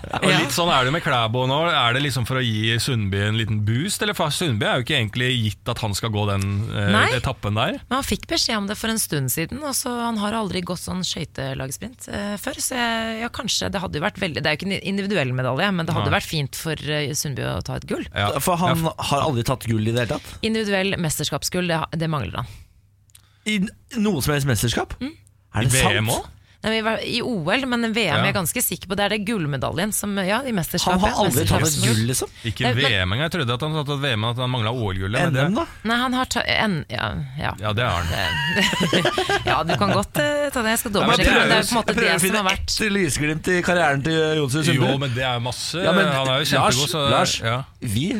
[SPEAKER 3] og
[SPEAKER 2] Ja.
[SPEAKER 3] litt sånn er det med Klæbo nå. Er det liksom for å gi Sundby en liten boost? Eller for Sundby er jo ikke egentlig gitt at han skal gå den eh,
[SPEAKER 2] Nei.
[SPEAKER 3] etappen der.
[SPEAKER 2] Men han fikk beskjed om det for en stund siden, og så han har aldri gått sånn skøytelagsprint eh, før. Så jeg, ja, kanskje det hadde jo vært veldig Det er jo ikke en individuell medalje, men det hadde vært fint for eh, Sundby å ta et gull.
[SPEAKER 3] Ja.
[SPEAKER 1] For han har aldri tatt gull i det hele tatt.
[SPEAKER 2] Individuell mesterskapsgull, det, det mangler han. Mm.
[SPEAKER 1] I n- noe som helst mesterskap? Er
[SPEAKER 3] I VM òg?
[SPEAKER 2] Nei, vi var I OL, men VM
[SPEAKER 3] Ja.
[SPEAKER 2] jeg er ganske sikker på. Det er det gullmedaljen som Ja, i mesterskapet.
[SPEAKER 1] Han har aldri tatt et
[SPEAKER 2] mesterskapet.
[SPEAKER 1] gull, liksom.
[SPEAKER 3] Ikke
[SPEAKER 2] Nei, Eh, men-
[SPEAKER 3] VM engang. Jeg trodde at han satt et VM, at han mangla OL-gullet. men
[SPEAKER 1] NM,
[SPEAKER 3] det-
[SPEAKER 1] da?
[SPEAKER 2] Nei, han har ta... En, ja, ja.
[SPEAKER 3] Ja, det har
[SPEAKER 2] Eh,
[SPEAKER 3] han.
[SPEAKER 2] ja, du kan godt eh, ta det. Jeg skal
[SPEAKER 3] men
[SPEAKER 2] dobbeltsjekke.
[SPEAKER 3] det er
[SPEAKER 2] men Det
[SPEAKER 3] jo-
[SPEAKER 2] er jo på en
[SPEAKER 1] Jeg
[SPEAKER 2] måte
[SPEAKER 1] prøver
[SPEAKER 2] det
[SPEAKER 1] å
[SPEAKER 2] som
[SPEAKER 1] finne
[SPEAKER 2] har vært
[SPEAKER 1] ett lysglimt i karrieren til Jonsrud
[SPEAKER 3] Jo,
[SPEAKER 1] Sundby.
[SPEAKER 3] men det er jo masse.
[SPEAKER 1] Ja, men
[SPEAKER 3] han er jo
[SPEAKER 1] Lars,
[SPEAKER 3] kjempegod, så
[SPEAKER 1] Lars
[SPEAKER 3] ja.
[SPEAKER 1] vi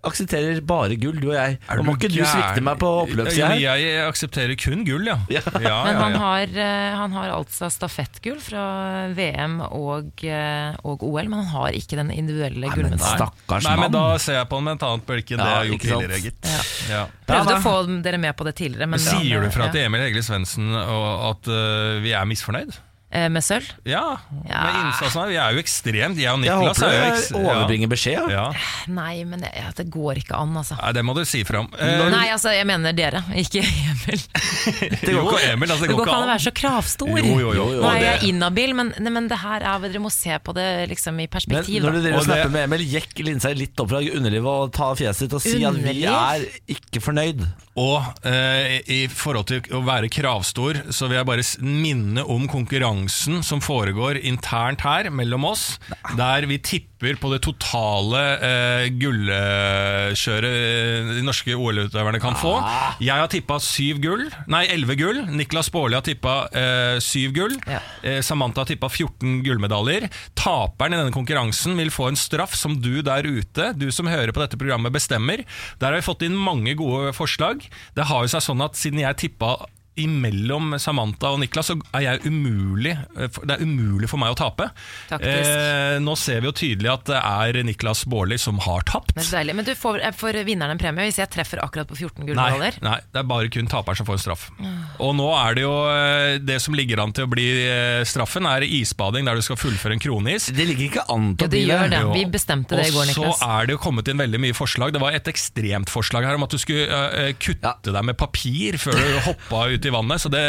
[SPEAKER 1] aksepterer bare gull, du og jeg. Og må ikke du svikte
[SPEAKER 3] gæren?
[SPEAKER 1] meg på oppløpssida her?
[SPEAKER 3] Jo, Jeg aksepterer kun gull, ja. [laughs] ja. ja,
[SPEAKER 2] Men
[SPEAKER 3] ja,
[SPEAKER 2] han har, eh, han har altså stafettgull fra VM og, eh, og OL, men han har ikke den individuelle
[SPEAKER 1] Men
[SPEAKER 2] gullmedaljen.
[SPEAKER 1] stakkars
[SPEAKER 3] Nei, men
[SPEAKER 1] mann.
[SPEAKER 3] da ser jeg på ham med et annet blikk enn det
[SPEAKER 1] Ja,
[SPEAKER 3] jeg har gjort
[SPEAKER 1] ikke sant?
[SPEAKER 3] tidligere, gitt. Ja.
[SPEAKER 2] Prøvde
[SPEAKER 1] Ja,
[SPEAKER 2] å
[SPEAKER 1] da.
[SPEAKER 2] få dere med på det tidligere, men
[SPEAKER 3] Sier du fra
[SPEAKER 2] Ja.
[SPEAKER 3] til Emil Hegle Svendsen og at øh, vi er misfornøyd?
[SPEAKER 2] Eh, Med sølv?
[SPEAKER 3] Ja, med
[SPEAKER 2] Ja.
[SPEAKER 3] innsatsen her. Vi er jo ekstremt. Jeg og
[SPEAKER 1] Jeg
[SPEAKER 3] Niklas
[SPEAKER 1] håper
[SPEAKER 3] er jo
[SPEAKER 1] du
[SPEAKER 3] ekstremt
[SPEAKER 1] overbringer beskjed. Ja.
[SPEAKER 3] Ja.
[SPEAKER 2] Nei, men det, ja, det går ikke an, altså.
[SPEAKER 3] Nei, det må du si fra om. Eh,
[SPEAKER 2] Nei, altså, jeg mener dere, ikke Emil.
[SPEAKER 3] jo, Emil, altså,
[SPEAKER 2] Det går ikke an å være så kravstor.
[SPEAKER 3] Jo, jo, jo, jo,
[SPEAKER 2] Nå er
[SPEAKER 3] det-
[SPEAKER 2] jeg inhabil, men, nei, men det her er, dere må se på det liksom,
[SPEAKER 1] Men
[SPEAKER 2] i perspektiv.
[SPEAKER 1] når du
[SPEAKER 2] da.
[SPEAKER 1] driver og
[SPEAKER 3] Og det-
[SPEAKER 1] snapper med Emil, jekk linsa litt opp fra underlivet og ta fjeset ditt og si at vi er
[SPEAKER 2] Underliv?
[SPEAKER 1] ikke fornøyd.
[SPEAKER 3] Og eh, i forhold til å være kravstor, så vil jeg bare s- minne om konkurransen som foregår internt her mellom oss, der vi tipper på det totale eh, gullkjøret eh, de norske OL-utøverne kan få. Jeg har tippa syv gull, nei elleve gull. Niklas Baarli har tippa eh, syv gull.
[SPEAKER 2] Ja.
[SPEAKER 3] Eh, Samantha har tippa 14 gullmedaljer. Taperen i denne konkurransen vil få en straff som du der ute, du som hører på dette programmet, bestemmer. Der har vi fått inn mange gode forslag. Det har jo seg sånn at siden jeg tippa imellom Samantha og Niklas, så er jeg umulig eh, for- Det er umulig for meg å tape.
[SPEAKER 2] Taktisk.
[SPEAKER 3] Eh, nå ser vi jo tydelig at det er Niklas Baarli som har tapt.
[SPEAKER 2] Men, så deilig. men du får, jeg får vinneren en premie hvis jeg treffer akkurat på 14
[SPEAKER 3] Nei,
[SPEAKER 2] gullmedaljer.
[SPEAKER 3] nei, det er bare kun taperen som får en straff. Og nå er det jo eh, Det som ligger an til å bli eh, straffen, er isbading der du skal fullføre en kroneis.
[SPEAKER 1] Det ligger ikke an
[SPEAKER 2] Ja,
[SPEAKER 1] til å
[SPEAKER 2] det
[SPEAKER 1] bli
[SPEAKER 2] gjør
[SPEAKER 1] det.
[SPEAKER 2] det.
[SPEAKER 3] Jo.
[SPEAKER 2] Vi bestemte det i går,
[SPEAKER 3] Og
[SPEAKER 2] Niklas.
[SPEAKER 3] så er det jo kommet inn veldig mye forslag. Det var et ekstremt forslag her om at du skulle eh, eh, kutte deg med papir før du hoppa ut i vannet. Så det,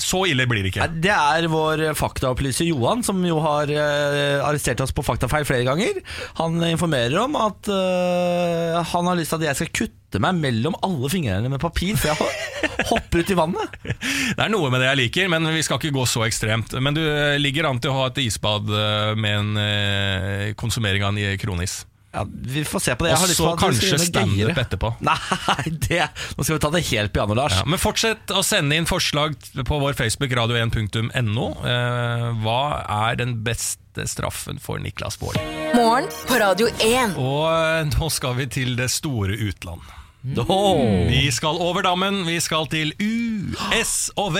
[SPEAKER 3] så ille blir det ikke.
[SPEAKER 1] Nei, Det er vår faktaopplyser Johan, som jo har eh, arrestert oss på faktafeil flere ganger. Han informerer om at eh, han har lyst til at jeg skal kutte meg mellom alle fingrene med papir før jeg ho- [laughs] hopper ut i vannet.
[SPEAKER 3] Det er noe med det jeg liker, men vi skal ikke gå så ekstremt. Men du eh, ligger an til å ha et isbad eh, med en eh, konsumering av en kronis.
[SPEAKER 1] Ja, vi får se på det.
[SPEAKER 3] Og
[SPEAKER 1] Jeg har lyst
[SPEAKER 3] så
[SPEAKER 1] til at du skal
[SPEAKER 3] kanskje
[SPEAKER 1] gjøre noe
[SPEAKER 3] standup
[SPEAKER 1] gøyere.
[SPEAKER 3] etterpå.
[SPEAKER 1] [laughs] Nei, det, nå skal vi ta det helt piano, Lars.
[SPEAKER 3] Ja, men fortsett å sende inn forslag på vår Facebook radio1.no. Eh, hva er den beste straffen for Niklas Baarli?
[SPEAKER 4] Morgen på Radio 1.
[SPEAKER 3] Og eh, nå skal vi til det store utland.
[SPEAKER 1] Åh.
[SPEAKER 3] Vi skal over dammen, vi skal til USA.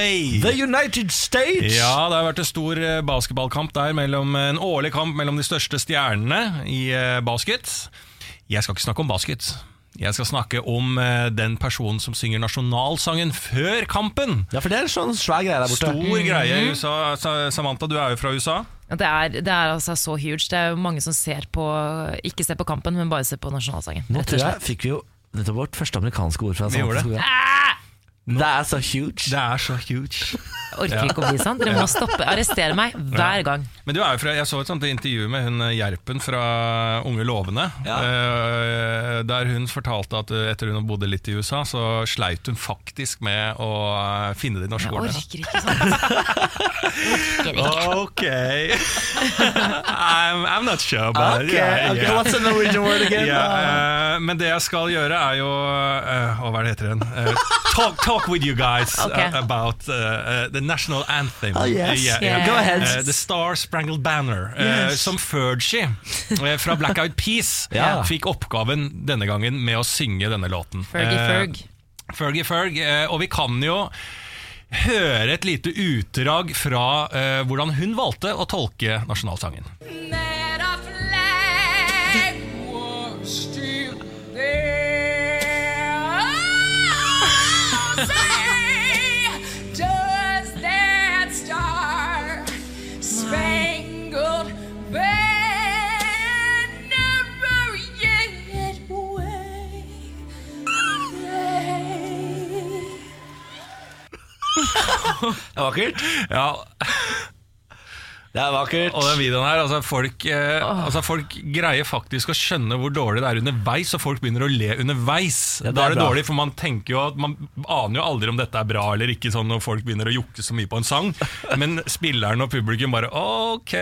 [SPEAKER 1] The United States!
[SPEAKER 3] Ja, det har vært en stor eh, basketballkamp der, mellom, en årlig kamp mellom de største stjernene i eh, basket. Jeg skal ikke snakke om basket. Jeg skal snakke om eh, den personen som synger nasjonalsangen før kampen.
[SPEAKER 1] Ja, for det er en sånn svær greie der borte.
[SPEAKER 3] Stor greie i USA. Sa- Samantha, du er jo fra USA.
[SPEAKER 2] Ja, Det er, det er altså så huge. Det er jo mange som ser på, ikke ser på kampen, men bare ser på nasjonalsangen.
[SPEAKER 1] Nå
[SPEAKER 2] rett og
[SPEAKER 1] tror
[SPEAKER 2] slett.
[SPEAKER 1] jeg fikk vi jo nettopp vårt første amerikanske ord fra
[SPEAKER 3] Vi gjorde det. Ah!
[SPEAKER 1] Samfunnsskolen. Det er så huge.
[SPEAKER 3] Det er så huge.
[SPEAKER 2] Jeg orker ikke å bli sånn. Dere må stoppe. Arrestere meg hver gang.
[SPEAKER 3] Men du er jo fra, Jeg så et sånt intervju med hun eh, Gjerpen fra Unge lovende. eh, Der hun fortalte at eh, etter hun bodde litt i USA, så sleit hun faktisk med å eh, finne de norske
[SPEAKER 2] Jeg
[SPEAKER 3] ordene.
[SPEAKER 2] orker ikke sånn.
[SPEAKER 3] Ok [laughs] I'm, I'm not sure, but
[SPEAKER 1] Ok,
[SPEAKER 3] yeah,
[SPEAKER 1] ok,
[SPEAKER 3] yeah.
[SPEAKER 1] what's the Norwegian word again?
[SPEAKER 3] Ja, eh, men det jeg skal gjøre er jo eh, Å, Hva er det heter den? Eh, talk, talk with you guys eh,
[SPEAKER 2] Ok.
[SPEAKER 3] about eh, eh, the national anthem.
[SPEAKER 1] Oh, yes.
[SPEAKER 3] Eh,
[SPEAKER 2] Yeah. Go
[SPEAKER 1] ahead.
[SPEAKER 3] Eh, the Star Sprangled Banner. eh,
[SPEAKER 1] Yes.
[SPEAKER 3] som Fergie eh, fra Black Eyed Peas
[SPEAKER 1] Ja.
[SPEAKER 3] fikk oppgaven denne gangen med å synge denne låten.
[SPEAKER 2] Fergie
[SPEAKER 3] Eh,
[SPEAKER 2] Ferg.
[SPEAKER 3] Fergie Ferg, eh, og vi kan jo høre et lite utdrag fra eh, hvordan hun valgte å tolke nasjonalsangen.
[SPEAKER 7] that a flag was still there. Oh, say, does that star spangled banner yet wave?
[SPEAKER 1] Det er vakkert.
[SPEAKER 3] Ja,
[SPEAKER 1] Det Det er vakkert.
[SPEAKER 3] Og den videoen her, altså folk, eh, altså folk greier faktisk å skjønne hvor dårlig det er underveis, og folk begynner å le underveis.
[SPEAKER 1] Ja, det er
[SPEAKER 3] da er det
[SPEAKER 1] bra.
[SPEAKER 3] dårlig, for man tenker jo at Man aner jo aldri om dette er bra eller ikke, sånn når folk begynner å jukte så mye på en
[SPEAKER 1] [laughs]
[SPEAKER 3] sang. Men spilleren og publikum bare ok.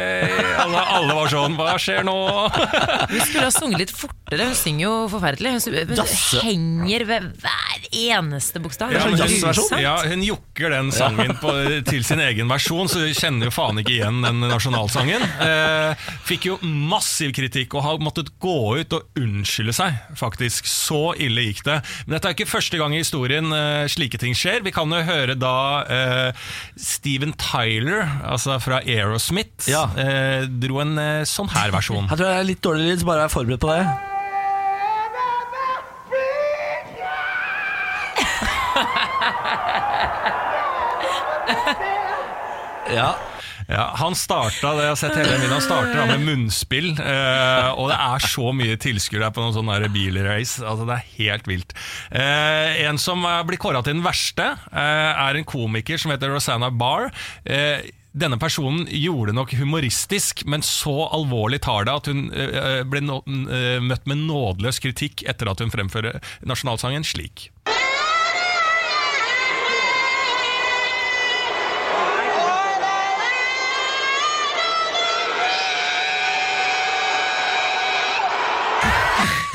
[SPEAKER 3] Alle, alle var sånn Hva skjer nå?
[SPEAKER 2] Hun skulle ha sunget litt fortere, hun synger jo forferdelig. Hun, sy- hun
[SPEAKER 1] Jasse.
[SPEAKER 2] henger ved hver eneste bokstav.
[SPEAKER 3] Ja,
[SPEAKER 1] sånn
[SPEAKER 3] men
[SPEAKER 1] jazzversjon.
[SPEAKER 3] hun, ja, hun jukker den sangen på, til sin egen versjon, så du kjenner jo faen ikke igjen den nasjonalsangen. Eh, fikk jo massiv kritikk og har måttet gå ut og unnskylde seg, faktisk. Så ille gikk det. Men dette er ikke første gang i historien eh, slike ting skjer. Vi kan jo høre da eh, Steven Tyler, altså fra Aerosmith,
[SPEAKER 1] Ja.
[SPEAKER 3] eh, dro en eh, sånn her versjon.
[SPEAKER 1] Jeg tror jeg er litt dårlig lyd, så bare vær forberedt på det. Ja.
[SPEAKER 3] Ja, han starta det jeg har sett hele den videoen, han starter da med munnspill. eh, og det er så mye tilskuere der på noen sånne der bilrace. Altså, det er helt vilt. Eh, en som eh, blir kåra til den verste, eh, er en komiker som heter Rosanna Barr. Eh, denne personen gjorde det nok humoristisk, men så alvorlig tar det at hun eh, eh, ble nå- eh, møtt med nådeløs kritikk etter at hun fremfører nasjonalsangen slik.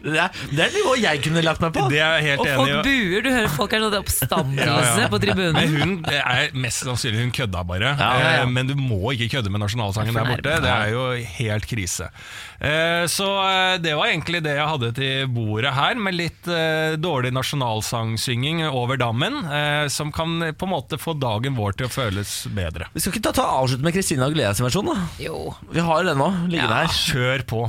[SPEAKER 1] Det er, det er nivået jeg kunne lagt meg på.
[SPEAKER 3] Det er jeg helt
[SPEAKER 2] Og
[SPEAKER 3] enig i.
[SPEAKER 2] folk buer, du hører folk er sånn oppstandelse
[SPEAKER 3] Ja, ja.
[SPEAKER 2] på tribunen.
[SPEAKER 3] Men hun er mest sannsynlig hun kødda bare.
[SPEAKER 1] ja, ja.
[SPEAKER 3] Eh, Men du må ikke kødde med nasjonalsangen der borte. Det er jo helt krise. Eh, Så eh, det var egentlig det jeg hadde til bordet her, med litt eh, dårlig nasjonalsangsynging over dammen, eh, som kan på en måte få dagen vår til å føles bedre.
[SPEAKER 1] Vi skal ikke ta, ta avslutte med Christina Aguilera sin versjon, da?
[SPEAKER 2] Jo.
[SPEAKER 1] Vi har den nå, liggende her.
[SPEAKER 3] Kjør på.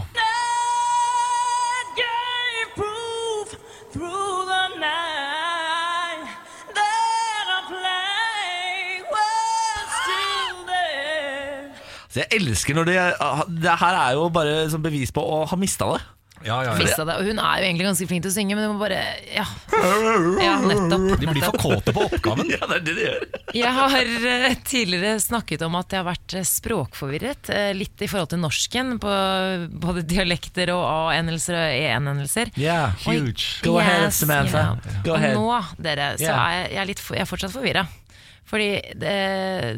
[SPEAKER 1] Så jeg elsker når de ah, Det her er jo bare som bevis på å ha mista det.
[SPEAKER 3] Ja, ja, ja.
[SPEAKER 2] Mista det. Og hun er jo egentlig ganske flink til å synge, men hun må bare
[SPEAKER 1] [laughs]
[SPEAKER 2] Ja, ja nettopp.
[SPEAKER 3] De blir for
[SPEAKER 2] nettopp.
[SPEAKER 3] kåte på oppgaven.
[SPEAKER 1] [laughs] Ja, det er det de gjør.
[SPEAKER 2] Jeg har eh, tidligere snakket om at jeg har vært eh, språkforvirret, eh, litt i forhold til norsken, på både dialekter og A-endelser og E-endelser.
[SPEAKER 1] Yeah,
[SPEAKER 2] huge.
[SPEAKER 1] Go ahead, Samantha. Go ahead.
[SPEAKER 2] Og nå, dere, så
[SPEAKER 1] Yeah.
[SPEAKER 2] er jeg, jeg, er litt, for- jeg er fortsatt forvirra. Fordi det,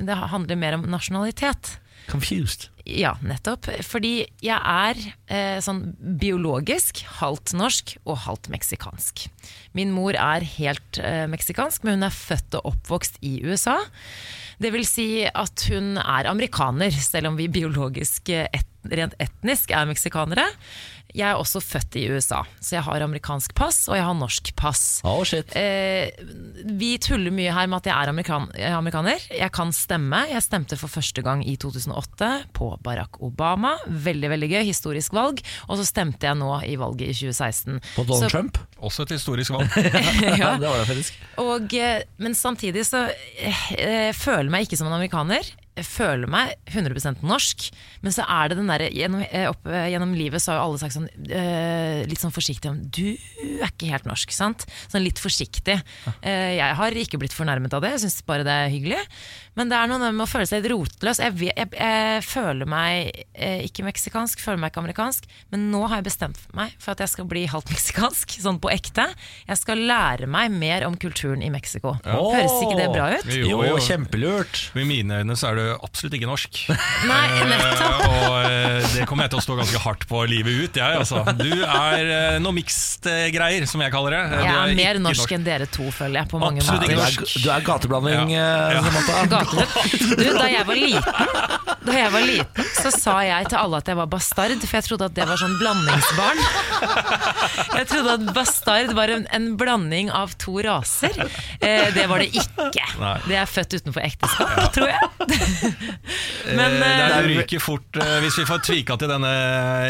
[SPEAKER 2] det handler mer om nasjonalitet.
[SPEAKER 1] Confused.
[SPEAKER 2] Ja, nettopp. Fordi jeg er eh, sånn biologisk halvt norsk og halvt meksikansk. Min mor er helt eh, meksikansk, men hun er født og oppvokst i USA. Det vil si at hun er amerikaner, selv om vi biologisk eh, et, rent etnisk er meksikanere. Jeg er også født i USA, så jeg har amerikansk pass og jeg har norsk pass.
[SPEAKER 1] Oh shit.
[SPEAKER 2] Eh, vi tuller mye her med at jeg er amerikan jeg er amerikaner. Jeg kan stemme. Jeg stemte for første gang i 2008 på Barack Obama. Veldig veldig gøy, historisk valg. Og så stemte jeg nå i valget i 2016.
[SPEAKER 1] På Donald
[SPEAKER 2] Så-
[SPEAKER 1] Trump?
[SPEAKER 3] Også et historisk valg.
[SPEAKER 1] Ja,
[SPEAKER 2] [laughs] ja.
[SPEAKER 1] [laughs] det var det faktisk.
[SPEAKER 2] Og, eh, men samtidig så eh, eh, føler jeg meg ikke som en amerikaner. Jeg føler meg 100 norsk. Men så er det den derre gjennom, eh, opp, eh, gjennom livet så har jo alle sagt sånn eh, litt sånn forsiktig om Du er ikke helt norsk, sant? Sånn litt forsiktig. Eh, jeg har ikke blitt fornærmet av det, jeg syns bare det er hyggelig. Men det er noe med å føle seg litt rotløs. Jeg, vet, jeg, jeg føler meg eh, ikke meksikansk, føler meg ikke amerikansk. Men nå har jeg bestemt meg for at jeg skal bli halvt meksikansk, [laughs] sånn på ekte. Jeg skal lære meg mer om kulturen i Mexico. Høres ikke det bra ut?
[SPEAKER 1] Jo,
[SPEAKER 3] jo.
[SPEAKER 1] kjempelurt.
[SPEAKER 3] I mine øyne så er du absolutt ikke norsk.
[SPEAKER 2] Nei, nettopp.
[SPEAKER 3] Eh, og eh, det kommer jeg til å stå ganske hardt på livet ut, jeg, altså. Du er eh, noe mixed eh, greier, som jeg kaller det. Eh,
[SPEAKER 2] Jeg
[SPEAKER 3] du
[SPEAKER 2] er mer
[SPEAKER 3] ikke
[SPEAKER 2] norsk enn dere to, føler jeg, på mange
[SPEAKER 3] Absolutt
[SPEAKER 1] Du
[SPEAKER 3] ikke
[SPEAKER 2] måter.
[SPEAKER 1] er, du er gateblanding, eh, Samantha.
[SPEAKER 2] [laughs] Gater. Du, da jeg var liten, da jeg var liten, så sa jeg til alle at jeg var bastard, for jeg trodde at det var sånn blandingsbarn. Jeg trodde at bastard var en, en blanding av to raser. Eh, det var det ikke.
[SPEAKER 3] Nei.
[SPEAKER 2] Det er født utenfor ekteskap, tror jeg. Men
[SPEAKER 3] Eh,
[SPEAKER 2] eh,
[SPEAKER 3] det er- ryker fort eh, Hvis vi får tvika til denne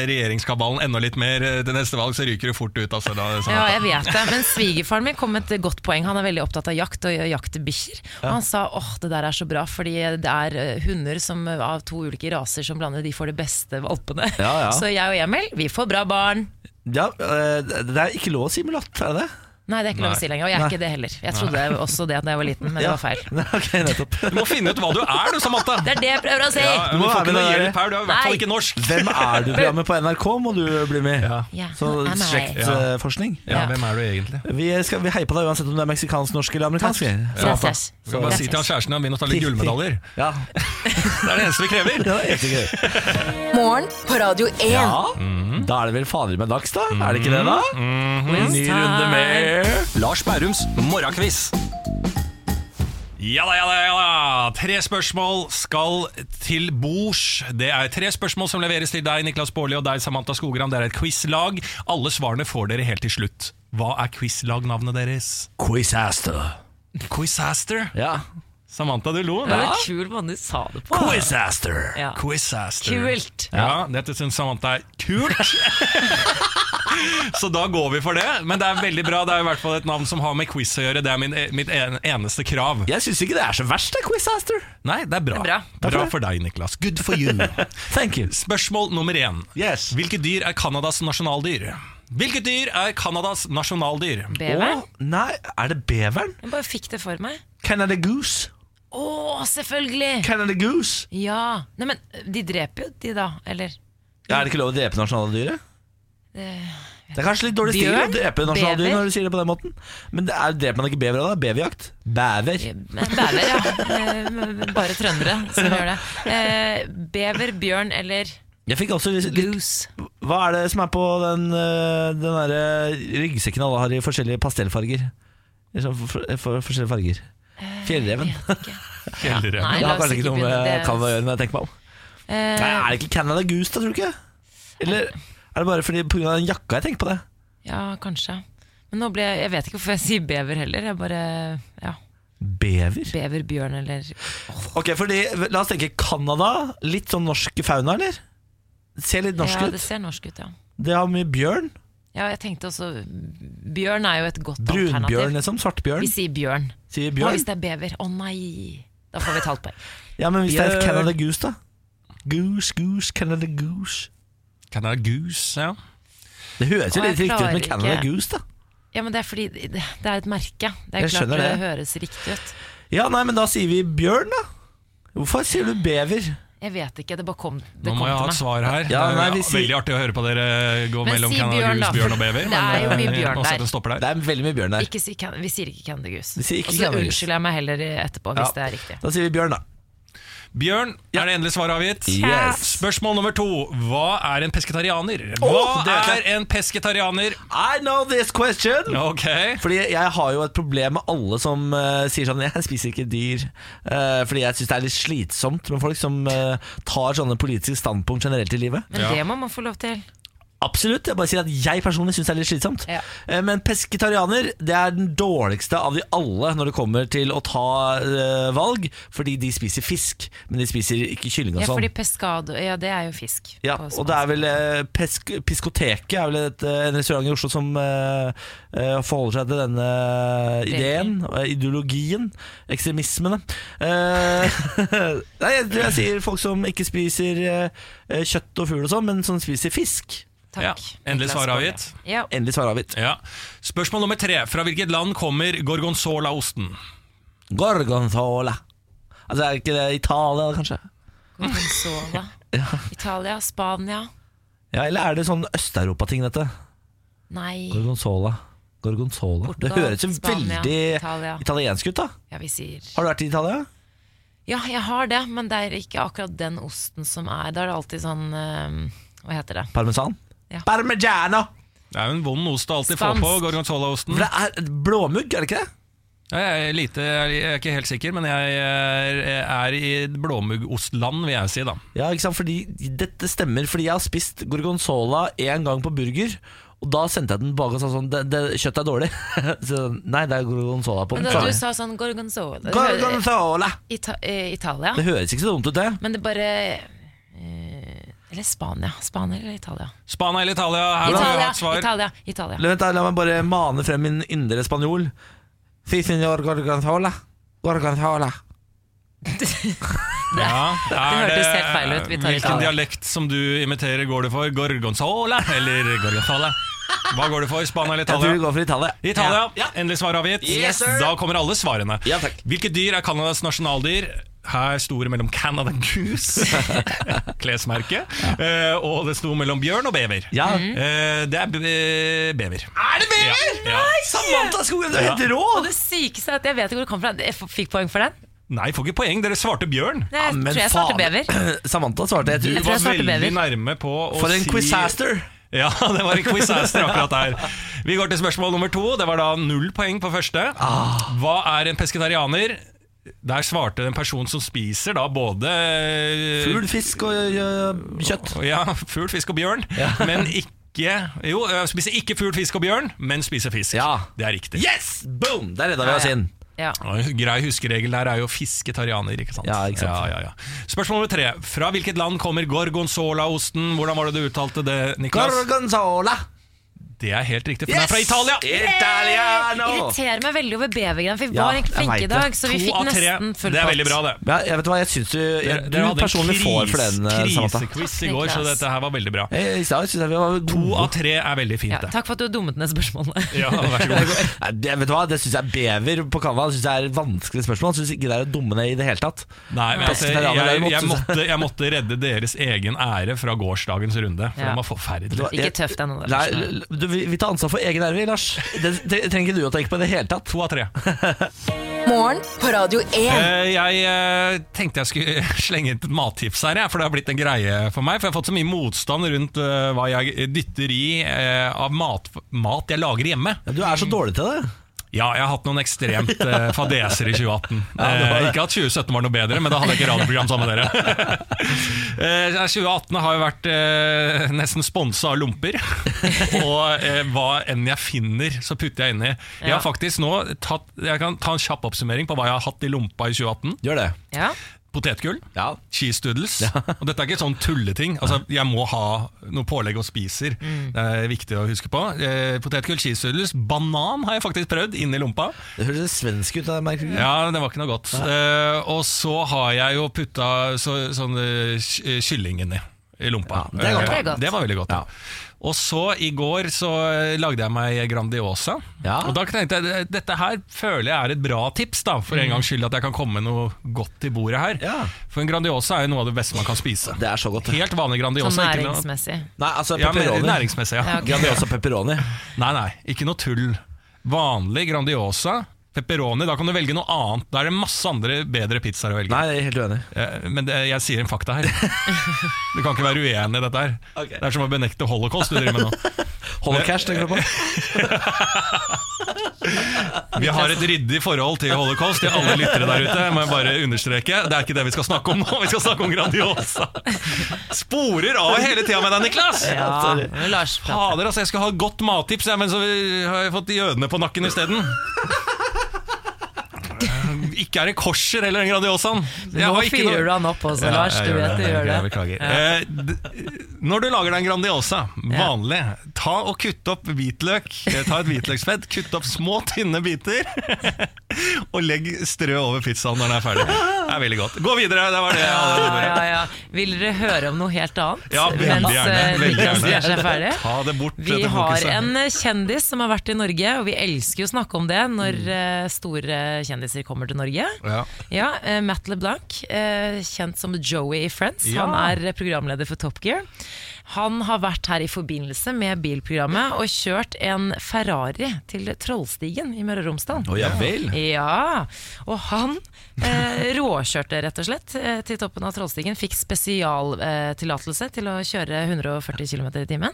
[SPEAKER 3] regjeringskabalen enda litt mer eh, til neste valg, så ryker du fort ut. Altså, da, sånn
[SPEAKER 2] Ja,
[SPEAKER 3] at-
[SPEAKER 2] jeg vet det. Men svigerfaren min kom med et godt poeng. Han er veldig opptatt av jakt og jaktbikkjer. Og han sa åh, det der er så bra, fordi det er eh, hunder som, eh, av to ulike raser som blander, de får de beste valpene. [laughs]
[SPEAKER 1] Ja, ja.
[SPEAKER 2] Så jeg og Emil, vi får bra barn.
[SPEAKER 1] Ja, eh, det er ikke lov å si mulatt, er det det?
[SPEAKER 2] Nei, det er ikke lov
[SPEAKER 3] Nei.
[SPEAKER 2] å si lenger. Og jeg er ikke det heller. Jeg trodde også det da jeg var liten, men det var feil.
[SPEAKER 1] [laughs] ok, nettopp
[SPEAKER 3] Du må finne ut hva du er, du, Samantha!
[SPEAKER 2] Det er det jeg prøver å si!
[SPEAKER 3] Ja, du
[SPEAKER 1] må
[SPEAKER 3] må få
[SPEAKER 1] være med
[SPEAKER 3] ikke noe
[SPEAKER 1] der.
[SPEAKER 3] hjelp her, du er i hvert fall
[SPEAKER 2] Nei.
[SPEAKER 3] ikke norsk.
[SPEAKER 1] Hvem er du-programmet på NRK må du bli med i.
[SPEAKER 2] Ja,
[SPEAKER 1] Så eh,
[SPEAKER 2] hvem er jeg?
[SPEAKER 1] slektforskning.
[SPEAKER 3] Ja, hvem er du egentlig?
[SPEAKER 1] Vi, skal- vi heier på deg uansett om du er meksikansk, norsk eller amerikansk. Samantha.
[SPEAKER 2] Gracias.
[SPEAKER 3] Skal bare si til han
[SPEAKER 2] Gracias.
[SPEAKER 3] kjæresten din å ta litt gullmedaljer.
[SPEAKER 1] Ja. [laughs]
[SPEAKER 3] Det er det eneste vi krever.
[SPEAKER 1] Ja, det er helt sikkert.
[SPEAKER 4] Morgen på Radio 1.
[SPEAKER 1] ja. Da er det vel fader meg dags, da? Er det ikke det, da?
[SPEAKER 3] Mhm.
[SPEAKER 1] Eh. Ny runde med
[SPEAKER 5] Lars Bærums morgenquiz.
[SPEAKER 3] Ja da, ja da, ja da. Tre spørsmål skal til bords. Det er tre spørsmål som leveres til deg, Niklas Baarli, og deg, Samantha Skogran. Det er et quizlag. Alle svarene får dere helt til slutt. Hva er quizlagnavnet deres?
[SPEAKER 1] Quizaster.
[SPEAKER 3] Quizaster.
[SPEAKER 1] Ja.
[SPEAKER 3] Samantha, du lo.
[SPEAKER 2] Det var kul måte du sa det på.
[SPEAKER 1] Quizaster.
[SPEAKER 2] Ja.
[SPEAKER 3] Quizaster.
[SPEAKER 2] Kult.
[SPEAKER 3] Ja, dette syns Samantha er kult. [laughs] Så da går vi for det. Men det er veldig bra. Det er i hvert fall et navn som har med quiz å gjøre. Det er min, mitt en, eneste krav.
[SPEAKER 1] Jeg syns ikke det er så verst, det, Quizaster.
[SPEAKER 3] Nei, det er bra.
[SPEAKER 2] Det er bra.
[SPEAKER 3] bra for deg, Niklas. Good for you.
[SPEAKER 1] [laughs] Thank you.
[SPEAKER 3] Spørsmål nummer én.
[SPEAKER 1] Yes.
[SPEAKER 3] Hvilke dyr er Canadas nasjonaldyr? Hvilket dyr er Canadas nasjonaldyr?
[SPEAKER 2] Beveren.
[SPEAKER 1] Å, nei, er det beveren?
[SPEAKER 2] Jeg bare fikk det for meg.
[SPEAKER 1] Canada Goose?
[SPEAKER 2] Å, selvfølgelig!
[SPEAKER 1] Canada Goose?
[SPEAKER 2] Ja. Nei, men de dreper jo de, da. Eller
[SPEAKER 1] Ja, er det ikke lov å drepe nasjonaldyret? Det er kanskje litt dårlig stil å
[SPEAKER 2] Bjørn?
[SPEAKER 1] drepe nasjonaldyr
[SPEAKER 2] Bever?
[SPEAKER 1] når du sier det på den måten. Men det er, dreper man ikke bever av det? Beverjakt? Bever.
[SPEAKER 2] Men Bever, ja. Eh, men Bare trøndere som gjør det. Eh, Bever, bjørn eller
[SPEAKER 1] Jeg fikk også litt, litt
[SPEAKER 2] goose.
[SPEAKER 1] Hva er det som er på den, øh, den derre ryggsekken alle har i forskjellige pastellfarger? I sånn For, for, forskjellige farger. Fjellreven.
[SPEAKER 3] Fjellreven.
[SPEAKER 2] Nei,
[SPEAKER 1] [laughs] Det
[SPEAKER 2] Eh, la
[SPEAKER 1] har
[SPEAKER 2] oss
[SPEAKER 1] kanskje ikke
[SPEAKER 2] ikke
[SPEAKER 1] noe
[SPEAKER 2] begynne.
[SPEAKER 1] med
[SPEAKER 2] Det-
[SPEAKER 1] Canada å gjøre, når jeg tenker meg om. Nei,
[SPEAKER 2] Eh,
[SPEAKER 1] er det ikke Canada Goose, da, tror du ikke? Eller er det bare fordi pga. den jakka jeg tenker på det?
[SPEAKER 2] ja, kanskje. Men nå ble jeg, jeg vet ikke hvorfor jeg sier bever heller. Jeg bare ja,
[SPEAKER 1] Bever?
[SPEAKER 2] Bever, bjørn eller
[SPEAKER 1] Ok, fordi, La oss tenke Canada. Litt sånn norsk fauna, eller? Ser litt norsk
[SPEAKER 2] Ja, det
[SPEAKER 1] ut.
[SPEAKER 2] ser norsk ut, ja.
[SPEAKER 1] Det har mye bjørn.
[SPEAKER 2] Ja, jeg tenkte også Bjørn er jo et godt
[SPEAKER 1] Brunbjørn,
[SPEAKER 2] alternativ.
[SPEAKER 1] liksom.
[SPEAKER 2] Vi
[SPEAKER 1] Svartbjørn.
[SPEAKER 2] sier bjørn.
[SPEAKER 1] Sier
[SPEAKER 2] Hva hvis
[SPEAKER 1] bjørn.
[SPEAKER 2] det er bever? Å nei! Da får vi et halvt poeng.
[SPEAKER 1] Ja, men hvis det er
[SPEAKER 3] Bjørn.
[SPEAKER 1] Canada Goose, da? Goose, goose, Canada Goose.
[SPEAKER 3] Canada Goose, ja.
[SPEAKER 1] Det høres jo
[SPEAKER 2] Å, jeg
[SPEAKER 1] litt riktig ut med
[SPEAKER 2] klarer
[SPEAKER 1] Canada
[SPEAKER 2] ikke.
[SPEAKER 1] Goose, da.
[SPEAKER 2] Ja, men Det er fordi det det er et merke. Det er
[SPEAKER 1] Jeg
[SPEAKER 2] klart
[SPEAKER 1] skjønner
[SPEAKER 2] det
[SPEAKER 1] det.
[SPEAKER 2] høres riktig ut.
[SPEAKER 1] Ja, nei, men da sier vi bjørn, da. Hvorfor sier du bever?
[SPEAKER 2] Jeg vet ikke, det bare kom, det
[SPEAKER 3] Nå
[SPEAKER 2] kom
[SPEAKER 3] må jeg ha
[SPEAKER 2] til
[SPEAKER 3] et
[SPEAKER 2] meg.
[SPEAKER 3] svar her.
[SPEAKER 1] Ja,
[SPEAKER 3] det
[SPEAKER 1] nei,
[SPEAKER 3] er
[SPEAKER 1] vi
[SPEAKER 3] jo
[SPEAKER 1] sier-
[SPEAKER 3] veldig artig å høre på dere gå
[SPEAKER 2] Men
[SPEAKER 3] mellom
[SPEAKER 2] si
[SPEAKER 3] Canada
[SPEAKER 2] bjørn, da,
[SPEAKER 3] Goose,
[SPEAKER 2] for
[SPEAKER 3] bjørn og bever.
[SPEAKER 2] det er jo mye
[SPEAKER 3] eh,
[SPEAKER 2] bjørn
[SPEAKER 3] må sette
[SPEAKER 2] der.
[SPEAKER 3] en stopper der.
[SPEAKER 1] Det er veldig mye bjørn der.
[SPEAKER 2] Ikke si can, vi sier ikke Candy Goose.
[SPEAKER 1] Vi sier ikke
[SPEAKER 2] Og så
[SPEAKER 1] Candy Goose.
[SPEAKER 2] unnskylder jeg meg heller etterpå hvis det er riktig.
[SPEAKER 1] Da sier vi bjørn, da.
[SPEAKER 3] Bjørn er det endelige svaret avgitt.
[SPEAKER 1] Yes.
[SPEAKER 3] Spørsmål nummer to. Hva er en pesketarianer? Hva
[SPEAKER 1] Åh, det vet jeg.
[SPEAKER 3] er en pesketarianer?
[SPEAKER 1] I know this question!
[SPEAKER 3] Ok.
[SPEAKER 1] Fordi jeg har jo et problem med alle som eh, sier sånn [laughs] Jeg spiser ikke dyr. Eh, fordi jeg syns det er litt slitsomt med folk som eh, tar sånne politiske standpunkt generelt i livet.
[SPEAKER 2] Men
[SPEAKER 3] Ja.
[SPEAKER 2] det må man få lov til.
[SPEAKER 1] Absolutt. Jeg bare sier at jeg personlig syns det er litt slitsomt.
[SPEAKER 2] Ja.
[SPEAKER 1] Eh, men pesketarianer det er den dårligste av de alle når det kommer til å ta eh, valg, fordi de spiser fisk, men de spiser ikke kylling og
[SPEAKER 2] Ja,
[SPEAKER 1] sånn.
[SPEAKER 2] fordi pescado Ja, det er jo fisk.
[SPEAKER 1] Ja,
[SPEAKER 2] på
[SPEAKER 1] og det er vel eh, pesk Piskoteket er vel et, eh, en restaurant i Oslo som eh, eh, forholder seg til denne ideen, eh, ideologien, ekstremismene. Eh, [laughs] Nei, jeg, tror jeg sier folk som ikke spiser eh, eh, kjøtt og fugl og sånn, men som spiser fisk.
[SPEAKER 2] spansk. Takk.
[SPEAKER 3] Ja, endelig
[SPEAKER 2] Niklas
[SPEAKER 3] svar
[SPEAKER 2] Baarli.
[SPEAKER 3] avgitt.
[SPEAKER 2] Ja.
[SPEAKER 1] Endelig svaret avgitt.
[SPEAKER 3] Ja. Spørsmål nummer tre. Fra hvilket land kommer gorgonzola-osten?
[SPEAKER 1] Gorgonzola. Altså, er ikke det Italia, kanskje? [laughs]
[SPEAKER 2] Gorgonzola. Italia, Spania
[SPEAKER 1] Ja, Eller er det sånn Øst-Europa-ting, dette?
[SPEAKER 2] Nei.
[SPEAKER 1] Gorgonzola. Gorgonzola. det
[SPEAKER 2] Portugal,
[SPEAKER 1] høres jo
[SPEAKER 2] Spania,
[SPEAKER 1] veldig
[SPEAKER 2] Italia.
[SPEAKER 1] italiensk ut, da.
[SPEAKER 2] Ja, vi sier
[SPEAKER 1] Har du vært i Italia?
[SPEAKER 2] Ja, jeg har det, men det er ikke akkurat den osten som er Da er det alltid sånn eh, Hva heter det?
[SPEAKER 1] Parmesan?
[SPEAKER 2] Ja.
[SPEAKER 1] Parmigiano!
[SPEAKER 3] Det er jo en vond ost å alltid få
[SPEAKER 2] Spansk.
[SPEAKER 3] på, gorgonzola-osten.
[SPEAKER 1] For det er blåmugg, er det ikke det?
[SPEAKER 3] Jeg er, lite, jeg er ikke helt sikker, men jeg er, er i blåmuggostland, vil jeg si. da
[SPEAKER 1] Ja, ikke sant? Fordi Dette stemmer, fordi jeg har spist gorgonzola én gang på burger. Og da sendte jeg den bak og sa sånn det, det, Kjøttet er dårlig. [laughs] Så, nei, det er gorgonzola på
[SPEAKER 2] Men
[SPEAKER 1] den.
[SPEAKER 2] da, du
[SPEAKER 1] Sorry.
[SPEAKER 2] sa sånn gorgonzola
[SPEAKER 1] Gorgonzola!
[SPEAKER 2] Ita eh, Italia.
[SPEAKER 1] Det høres ikke så dumt ut, det.
[SPEAKER 2] Men det bare eh, Eller Spania. Spania eller Italia?
[SPEAKER 3] Spania eller Italia? Her har vi
[SPEAKER 2] Italia,
[SPEAKER 3] hatt svar.
[SPEAKER 2] Italia, Italia.
[SPEAKER 1] La, vent da, la meg bare mane frem min indre spanjol. Si senor gorgonzola. Gorgonzola.
[SPEAKER 3] Ja,
[SPEAKER 2] [laughs]
[SPEAKER 3] er
[SPEAKER 2] hørtes helt feil ut. Vi tar
[SPEAKER 3] Hvilken
[SPEAKER 2] Italia.
[SPEAKER 3] dialekt som du imiterer, går du for? Gorgonzola eller gorgonzola? Hva går du for? Spania eller
[SPEAKER 1] Jeg tror vi
[SPEAKER 3] Italia?
[SPEAKER 1] går for Italia.
[SPEAKER 3] Italia. Endelig svar avgitt.
[SPEAKER 5] Yes, sir.
[SPEAKER 3] da kommer alle svarene.
[SPEAKER 5] Ja, takk.
[SPEAKER 3] Hvilke dyr er Canadas nasjonaldyr? Her sto det mellom Canada Goose, [laughs] klesmerket, eh, og det sto mellom bjørn og bever.
[SPEAKER 1] Ja.
[SPEAKER 2] Mm.
[SPEAKER 3] Eh, Det er be- bever. Er det bever?! Ja.
[SPEAKER 1] Samantha Skogen, du er helt rå!
[SPEAKER 2] Og det sykeste er at jeg vet ikke hvor det kom fra. Jeg f- fikk poeng for den.
[SPEAKER 3] Nei, får ikke poeng. Dere svarte bjørn.
[SPEAKER 2] Det jeg tror jeg svarte bever.
[SPEAKER 1] [clears throat] Samantha svarte jeg
[SPEAKER 3] Du
[SPEAKER 1] tror.
[SPEAKER 2] tror
[SPEAKER 3] var
[SPEAKER 2] jeg svarte
[SPEAKER 3] veldig
[SPEAKER 2] bever.
[SPEAKER 3] nærme på å
[SPEAKER 1] For en
[SPEAKER 3] si
[SPEAKER 1] quizaster!
[SPEAKER 3] Ja, det var en quizaster akkurat der. Vi går til spørsmål nummer to. Det var da null poeng på første.
[SPEAKER 1] Ah.
[SPEAKER 3] Hva er en pesketarianer? Der svarte en person som spiser da både
[SPEAKER 1] Fugl, fisk og øh, kjøtt.
[SPEAKER 3] Ja, fugl, fisk og bjørn, men ikke jo, øh, spiser ikke fugl, fisk og bjørn, men spiser fisk.
[SPEAKER 1] Ja.
[SPEAKER 3] Det er riktig.
[SPEAKER 1] Yes! Boom! Der redda vi oss inn.
[SPEAKER 2] Ja.
[SPEAKER 3] Og en Grei huskeregel der er jo fisketarianer, ikke sant?
[SPEAKER 1] Ja, ikke sant.
[SPEAKER 3] Ja, ja, ja. Spørsmål nummer tre. Fra hvilket land kommer gorgonzola-osten? Hvordan var det du uttalte det, Niklas?
[SPEAKER 1] Gorgonzola!
[SPEAKER 3] Det er helt riktig, for den er fra Italia.
[SPEAKER 1] Italiano!
[SPEAKER 2] Irriterer meg veldig over bevergreiene, for vi
[SPEAKER 1] Ja,
[SPEAKER 2] var egentlig
[SPEAKER 1] jeg
[SPEAKER 2] flinke i
[SPEAKER 1] vet
[SPEAKER 2] dag.
[SPEAKER 1] det.
[SPEAKER 2] Så vi
[SPEAKER 3] To
[SPEAKER 2] fikk
[SPEAKER 3] av tre.
[SPEAKER 2] nesten full
[SPEAKER 3] Det er
[SPEAKER 2] pott.
[SPEAKER 3] veldig bra, det.
[SPEAKER 1] Ja, jeg vet hva, jeg syns du, jeg, du personlig får for den, eh, Samantha.
[SPEAKER 3] krisekviss i går, så
[SPEAKER 2] Niklas.
[SPEAKER 3] dette her var veldig bra.
[SPEAKER 1] Eh, I stad syns jeg vi var
[SPEAKER 3] To
[SPEAKER 1] gode.
[SPEAKER 3] av tre er veldig
[SPEAKER 2] Ja,
[SPEAKER 3] fint, det.
[SPEAKER 2] takk for at du har dummet ned
[SPEAKER 3] [laughs]
[SPEAKER 2] spørsmålene.
[SPEAKER 3] Ja, vær så god.
[SPEAKER 1] Nei, [laughs] det, vet du hva, det syns jeg bever på Canva. Det synes jeg er et vanskelig spørsmål. Syns ikke det er å dumme ned i det hele tatt.
[SPEAKER 3] Nei, men altså, jeg,
[SPEAKER 1] Pesketarianer
[SPEAKER 3] jeg,
[SPEAKER 1] derimot, synes
[SPEAKER 3] måtte, jeg måtte redde deres egen ære fra gårsdagens runde, for
[SPEAKER 2] Ja.
[SPEAKER 3] den var forferdelig.
[SPEAKER 2] Ikke tøft ennå. da.
[SPEAKER 1] Nei, l- l- du, vi, vi tar ansvar for egen ære, vi, Lars. Det, det trenger ikke du å tenke på i det hele tatt.
[SPEAKER 3] To av tre.
[SPEAKER 4] Morgen på Radio 1.
[SPEAKER 3] Eh, Jeg eh, tenkte jeg skulle [laughs] slenge inn et mattips her, jeg, for det har blitt en greie for meg. For jeg har fått så mye motstand rundt eh, hva jeg dytter i eh, av mat, mat jeg lager hjemme.
[SPEAKER 1] Ja, Du er så dårlig til det.
[SPEAKER 3] Ja, jeg har hatt noen ekstremt
[SPEAKER 1] [laughs]
[SPEAKER 3] eh, fadeser i 2018.
[SPEAKER 1] det var
[SPEAKER 3] Eh,
[SPEAKER 1] det.
[SPEAKER 3] ikke at 2017 var noe bedre, men da hadde jeg ikke radioprogram sammen med dere.
[SPEAKER 1] [laughs]
[SPEAKER 3] eh, 2018 har jo vært eh, nesten sponsa av
[SPEAKER 1] [laughs]
[SPEAKER 3] lomper, og eh, hva enn jeg finner, så putter jeg inni. Jeg
[SPEAKER 2] Ja.
[SPEAKER 3] har faktisk nå tatt, jeg kan ta en kjapp oppsummering på hva jeg har hatt i lompa i 2018.
[SPEAKER 1] Gjør det.
[SPEAKER 2] Ja.
[SPEAKER 3] Potetgull,
[SPEAKER 1] Ja.
[SPEAKER 3] cheese doodles. Og dette er ikke sånn tulleting. Altså, jeg må ha noe pålegg og spiser. Det er viktig å huske på. Eh, potetgull, cheese doodles. Banan har jeg faktisk prøvd inni lompa.
[SPEAKER 1] Det høres svensk ut. da, merker du.
[SPEAKER 3] Ja, det var ikke noe godt. Eh, og så har jeg jo putta så, sånn eh, ky- eh, kylling inni. I lompa.
[SPEAKER 1] det er godt.
[SPEAKER 3] Eh,
[SPEAKER 2] Det er godt.
[SPEAKER 3] det var veldig godt. ja. Og så i går så eh, lagde jeg meg Grandiosa.
[SPEAKER 1] Ja.
[SPEAKER 3] Og da tenkte jeg dette her føler jeg er et bra tips, da for en gangs skyld at jeg kan komme med noe godt til bordet her.
[SPEAKER 1] Mm. Ja.
[SPEAKER 3] For en Grandiosa er jo noe av det beste man kan spise.
[SPEAKER 1] Det er så godt. det.
[SPEAKER 3] Helt vanlig Grandiosa.
[SPEAKER 2] Sånn
[SPEAKER 3] ikke noe-
[SPEAKER 2] næringsmessig.
[SPEAKER 1] Nei, altså
[SPEAKER 3] Ja, men
[SPEAKER 1] pepperoni.
[SPEAKER 3] næringsmessig, ja.
[SPEAKER 2] Ja, ok.
[SPEAKER 1] Grandiosa pepperoni.
[SPEAKER 3] Nei, nei, ikke noe tull. Vanlig Grandiosa, pepperoni, da kan du velge noe annet. Da er det masse andre bedre pizzaer å velge.
[SPEAKER 1] Nei, jeg er helt uenig.
[SPEAKER 3] Eh, Men det, jeg sier en fakta
[SPEAKER 1] [laughs]
[SPEAKER 3] her. Du kan ikke være uenig i dette her.
[SPEAKER 1] Ok.
[SPEAKER 3] Det er som å benekte holocaust du driver med nå.
[SPEAKER 1] Holocaust, tenker du på?
[SPEAKER 3] Vi har et ryddig forhold til holocaust til alle lyttere der ute. må jeg bare understreke. Det er ikke det vi skal snakke om nå, vi skal snakke om Grandiosa. Sporer av hele tida med deg, Niklas!
[SPEAKER 2] Ja, men Lars prater.
[SPEAKER 3] Fader, altså, jeg skal ha et godt mattips, jeg, men så har jeg fått jødene på nakken isteden.
[SPEAKER 2] [laughs]
[SPEAKER 3] Ikke er det korser eller en Grandiosaen.
[SPEAKER 2] Nå fyrer du han opp også, Lars. Du vet du gjør det.
[SPEAKER 3] Beklager. Eh, d- når du lager deg en Grandiosa, vanlig, ta og kutt opp hvitløk. Eh, Ta et hvitløksfett, kutt opp små, tynne biter, [laughs] og legg strø over pizzaen når den er ferdig. Det er veldig godt. Gå videre, det var det jeg hadde. på
[SPEAKER 2] Ja,
[SPEAKER 3] bordet.
[SPEAKER 2] ja, ja. Vil dere høre om noe helt annet?
[SPEAKER 3] Ja, veldig
[SPEAKER 2] mens
[SPEAKER 3] gjerne,
[SPEAKER 2] eh,
[SPEAKER 3] veldig
[SPEAKER 2] Niklas
[SPEAKER 3] gjerne.
[SPEAKER 2] gjør seg ferdig?
[SPEAKER 3] Ta det bort.
[SPEAKER 2] Vi
[SPEAKER 3] dette
[SPEAKER 2] har
[SPEAKER 3] fokuset.
[SPEAKER 2] en eh, kjendis som har vært i Norge, og vi elsker jo å snakke om det når eh, store kjendiser kommer til Norge.
[SPEAKER 3] Ja.
[SPEAKER 2] Ja, eh, Matt LeBlanc, eh, kjent som Joey i Friends.
[SPEAKER 3] Ja.
[SPEAKER 2] Han er eh, programleder for Top Gear. Han har vært her i forbindelse med bilprogrammet og kjørt en Ferrari til Trollstigen i Møre og Romsdal.
[SPEAKER 1] Å ja vel.
[SPEAKER 2] Ja, og han eh, [laughs] råkjørte rett og slett eh, til toppen av Trollstigen. Fikk spesialtillatelse eh, tillatelse til å kjøre 140 km i timen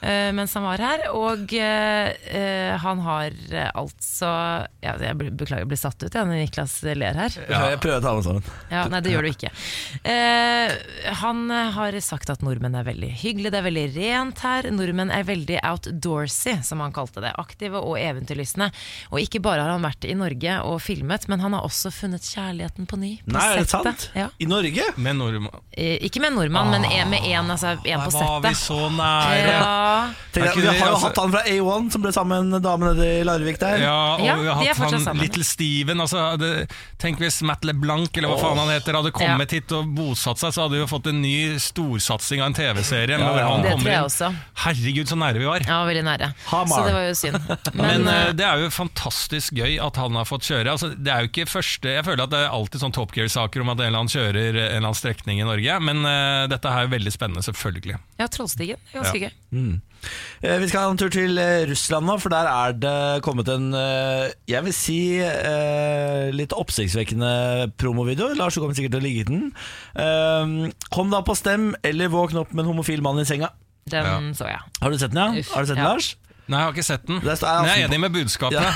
[SPEAKER 2] eh, mens han var her. Og eh, eh, han har eh, altså ja, Jeg blir- beklager, jeg blir satt ut jeg, når Niklas ler her.
[SPEAKER 1] Jeg prøver å ta meg sammen.
[SPEAKER 2] Ja, nei, det gjør du ikke. Eh, han eh, har sagt at nordmenn er veldig hyggelige, det er veldig rent her. Nordmenn er veldig outdoorsy, som han kalte det. Aktive og eventyrlystne. Og ikke bare har han vært i Norge og filmet, men han har også funnet kjærligheten på ny. På
[SPEAKER 1] Nei, er det
[SPEAKER 2] settet.
[SPEAKER 1] sant?
[SPEAKER 2] Ja.
[SPEAKER 1] I Norge?
[SPEAKER 3] Men når du må-
[SPEAKER 2] Eh, ikke med en nordmann, men en med en, altså, en på
[SPEAKER 3] Der var vi
[SPEAKER 2] settet.
[SPEAKER 3] så nære.
[SPEAKER 2] Ja, Ja.
[SPEAKER 1] Tenk deg,
[SPEAKER 3] Er ikke
[SPEAKER 1] vi
[SPEAKER 3] det,
[SPEAKER 1] har jo
[SPEAKER 3] altså-
[SPEAKER 1] hatt han fra A1 som ble sammen med damen nede i Larvik der.
[SPEAKER 3] Ja, og
[SPEAKER 2] Ja,
[SPEAKER 3] vi
[SPEAKER 2] de
[SPEAKER 3] har
[SPEAKER 2] er
[SPEAKER 3] hatt
[SPEAKER 2] fortsatt
[SPEAKER 3] han
[SPEAKER 2] sammen.
[SPEAKER 3] Little Steven. Altså, det, tenk hvis Matt LeBlanc eller hva faen han heter hadde kommet hit og bosatt seg, så hadde vi jo fått en ny storsatsing av en TV-serie. med hvor han
[SPEAKER 2] Det
[SPEAKER 3] kommer
[SPEAKER 2] tror jeg
[SPEAKER 3] inn.
[SPEAKER 2] også.
[SPEAKER 3] Herregud, så nære vi var.
[SPEAKER 2] Ja, veldig nære.
[SPEAKER 1] Hamar.
[SPEAKER 2] Så det var jo synd.
[SPEAKER 3] Men
[SPEAKER 2] Men,
[SPEAKER 3] eh, det er jo fantastisk gøy at han har fått kjøre. Altså, det er jo ikke første Jeg føler at det er alltid sånn Top Gear-saker om at en eller annen kjører en eller annen strekning i Norge, men eh, dette her er jo veldig spennende, selvfølgelig.
[SPEAKER 2] eh, ja, Trollstigen. det er Ganske gøy.
[SPEAKER 1] Eh, Vi skal ha en tur til eh, Russland nå, for der er det kommet en eh, Jeg vil si eh, litt oppsiktsvekkende promovideo. Lars, du kommer sikkert til å like den. Eh, Kom da på stem, eller våkn opp med en homofil mann i senga.
[SPEAKER 2] Den så jeg.
[SPEAKER 1] Har du sett den, ja?
[SPEAKER 2] Uff,
[SPEAKER 1] har du sett den,
[SPEAKER 2] ja.
[SPEAKER 1] Lars?
[SPEAKER 3] Nei, jeg har ikke sett den,
[SPEAKER 1] Det er-
[SPEAKER 3] men jeg er enig med budskapet. [laughs] jeg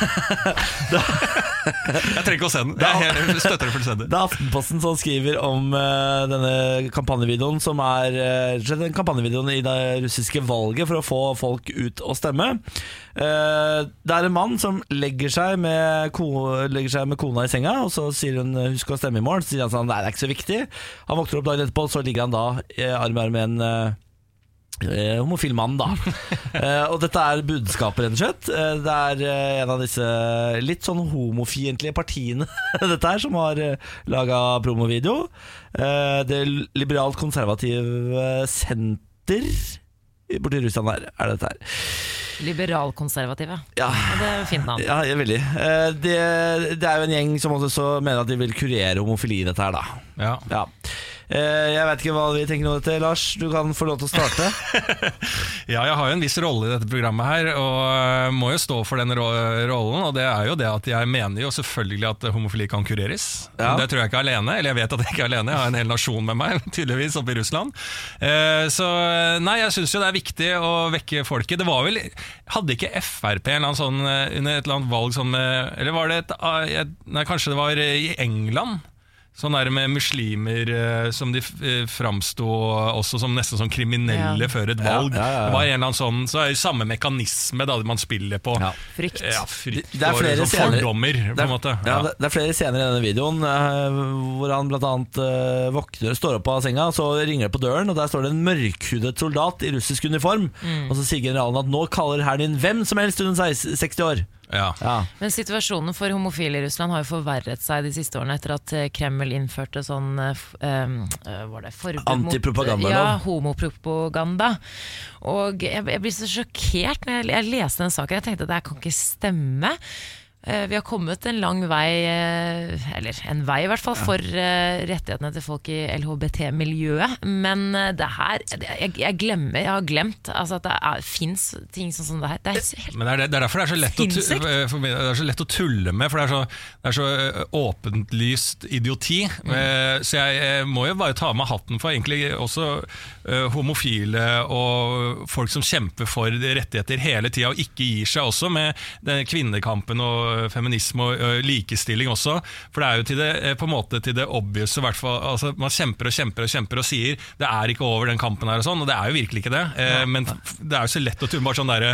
[SPEAKER 3] trenger ikke å se den. Jeg er helt- støtter det fullstendig.
[SPEAKER 1] Det er Aftenposten som skriver om eh, denne kampanjevideoen, som er eh, rett og slett den kampanjevideoen i det russiske valget for å få folk ut og stemme. Eh, det er en mann som legger seg, med ko legger seg med kona i senga, og så sier hun eh, 'husk å stemme i morgen'. Så sier han sånn 'nei, det er ikke så viktig'. Han våkner opp dagen etterpå, og så ligger han da eh, arm i arm med en eh, eh, homofil mann, da. Eh, og dette er budskapet, rett og slett. Eh, det er eh, en av disse litt sånn homofiendtlige partiene [laughs] dette her, som har eh, laga promovideo. Eh, det liberalt konservative senter borti Russland her, er det dette her.
[SPEAKER 2] Liberalkonservative.
[SPEAKER 1] Ja,
[SPEAKER 2] Og Det er jo fint navn.
[SPEAKER 1] ja veldig. Eh, det, det er jo en gjeng som også så mener at de vil kurere homofili i dette her, da.
[SPEAKER 3] Ja.
[SPEAKER 1] Ja. Eh, jeg veit ikke hva vi tenker om dette, Lars. Du kan få lov til å starte.
[SPEAKER 3] Ja, jeg har jo en viss rolle i dette programmet her, og øh, må jo stå for den ro rollen. Og det er jo det at jeg mener jo selvfølgelig at homofili kan kureres.
[SPEAKER 1] Ja.
[SPEAKER 3] Det tror jeg ikke er alene, eller jeg vet at jeg ikke er alene. Jeg har en hel nasjon med meg, [laughs] tydeligvis, oppe i Russland. Eh, så nei, jeg syns jo det er viktig å vekke folket. Det var vel Hadde ikke Frp en eller annen sånn eh, under et eller annet valg sånn med Eller var det et ah, jeg- Nei, kanskje det var eh, i England? Sånn der med muslimer eh, som de eh, framsto også som nesten som kriminelle
[SPEAKER 2] Ja.
[SPEAKER 3] før et valg.
[SPEAKER 1] Ja, ja, ja, ja.
[SPEAKER 3] Det var en eller annen sånn, så er det jo samme mekanisme da, man spiller på.
[SPEAKER 1] Ja.
[SPEAKER 2] Frykt.
[SPEAKER 3] Ja, frykt
[SPEAKER 1] Det- det er flere
[SPEAKER 3] og sånn
[SPEAKER 1] scener-
[SPEAKER 3] fordommer, på
[SPEAKER 1] Det er-
[SPEAKER 3] en måte.
[SPEAKER 1] Ja. det- det er flere scener i denne videoen eh, hvor han blant annet eh, våkner, står opp av senga, så ringer det på døren, og der står det en mørkhudet soldat i russisk uniform. Og så sier generalen at nå kaller herren din hvem som helst under 16 60 år.
[SPEAKER 3] Ja.
[SPEAKER 1] Ja.
[SPEAKER 2] Men situasjonen for homofile i Russland har jo forverret seg de siste årene etter at eh, Kreml innførte sånn eh, f- em, eh, var det forbud
[SPEAKER 1] Antipropagandalov.
[SPEAKER 2] mot Ja, homopropaganda. Og jeg, jeg blir så sjokkert når jeg, jeg leste den saken. Jeg tenkte at det her kan ikke stemme. Eh, Vi har kommet en lang vei, eh, eller en vei i hvert fall, for eh, rettighetene til folk i LHBT-miljøet. Men eh, det her det- Jeg, jeg glemmer, jeg har glemt altså at det fins ting sånn som det her. Det er helt
[SPEAKER 3] Men det er, det, det er derfor det er, så lett å, tu-
[SPEAKER 2] Sinnssykt.
[SPEAKER 3] eh, for meg- det er så lett å tulle med, for det er så, det er så eh, åpenlyst idioti.
[SPEAKER 1] Mm.
[SPEAKER 3] Eh, Så jeg eh, må jo bare ta av meg hatten for egentlig også eh, homofile og folk som kjemper for rettigheter hele tida og ikke gir seg, også med den kvinnekampen og eh, feminisme og eh, likestilling også. For det er jo til det, eh, på en måte til det obvious, i hvert fall. Altså, man kjemper og kjemper og kjemper og sier det er ikke over den kampen her og sånn, og det er jo virkelig ikke det. Eh, Men f- det er jo så lett å tulle bare sånn derre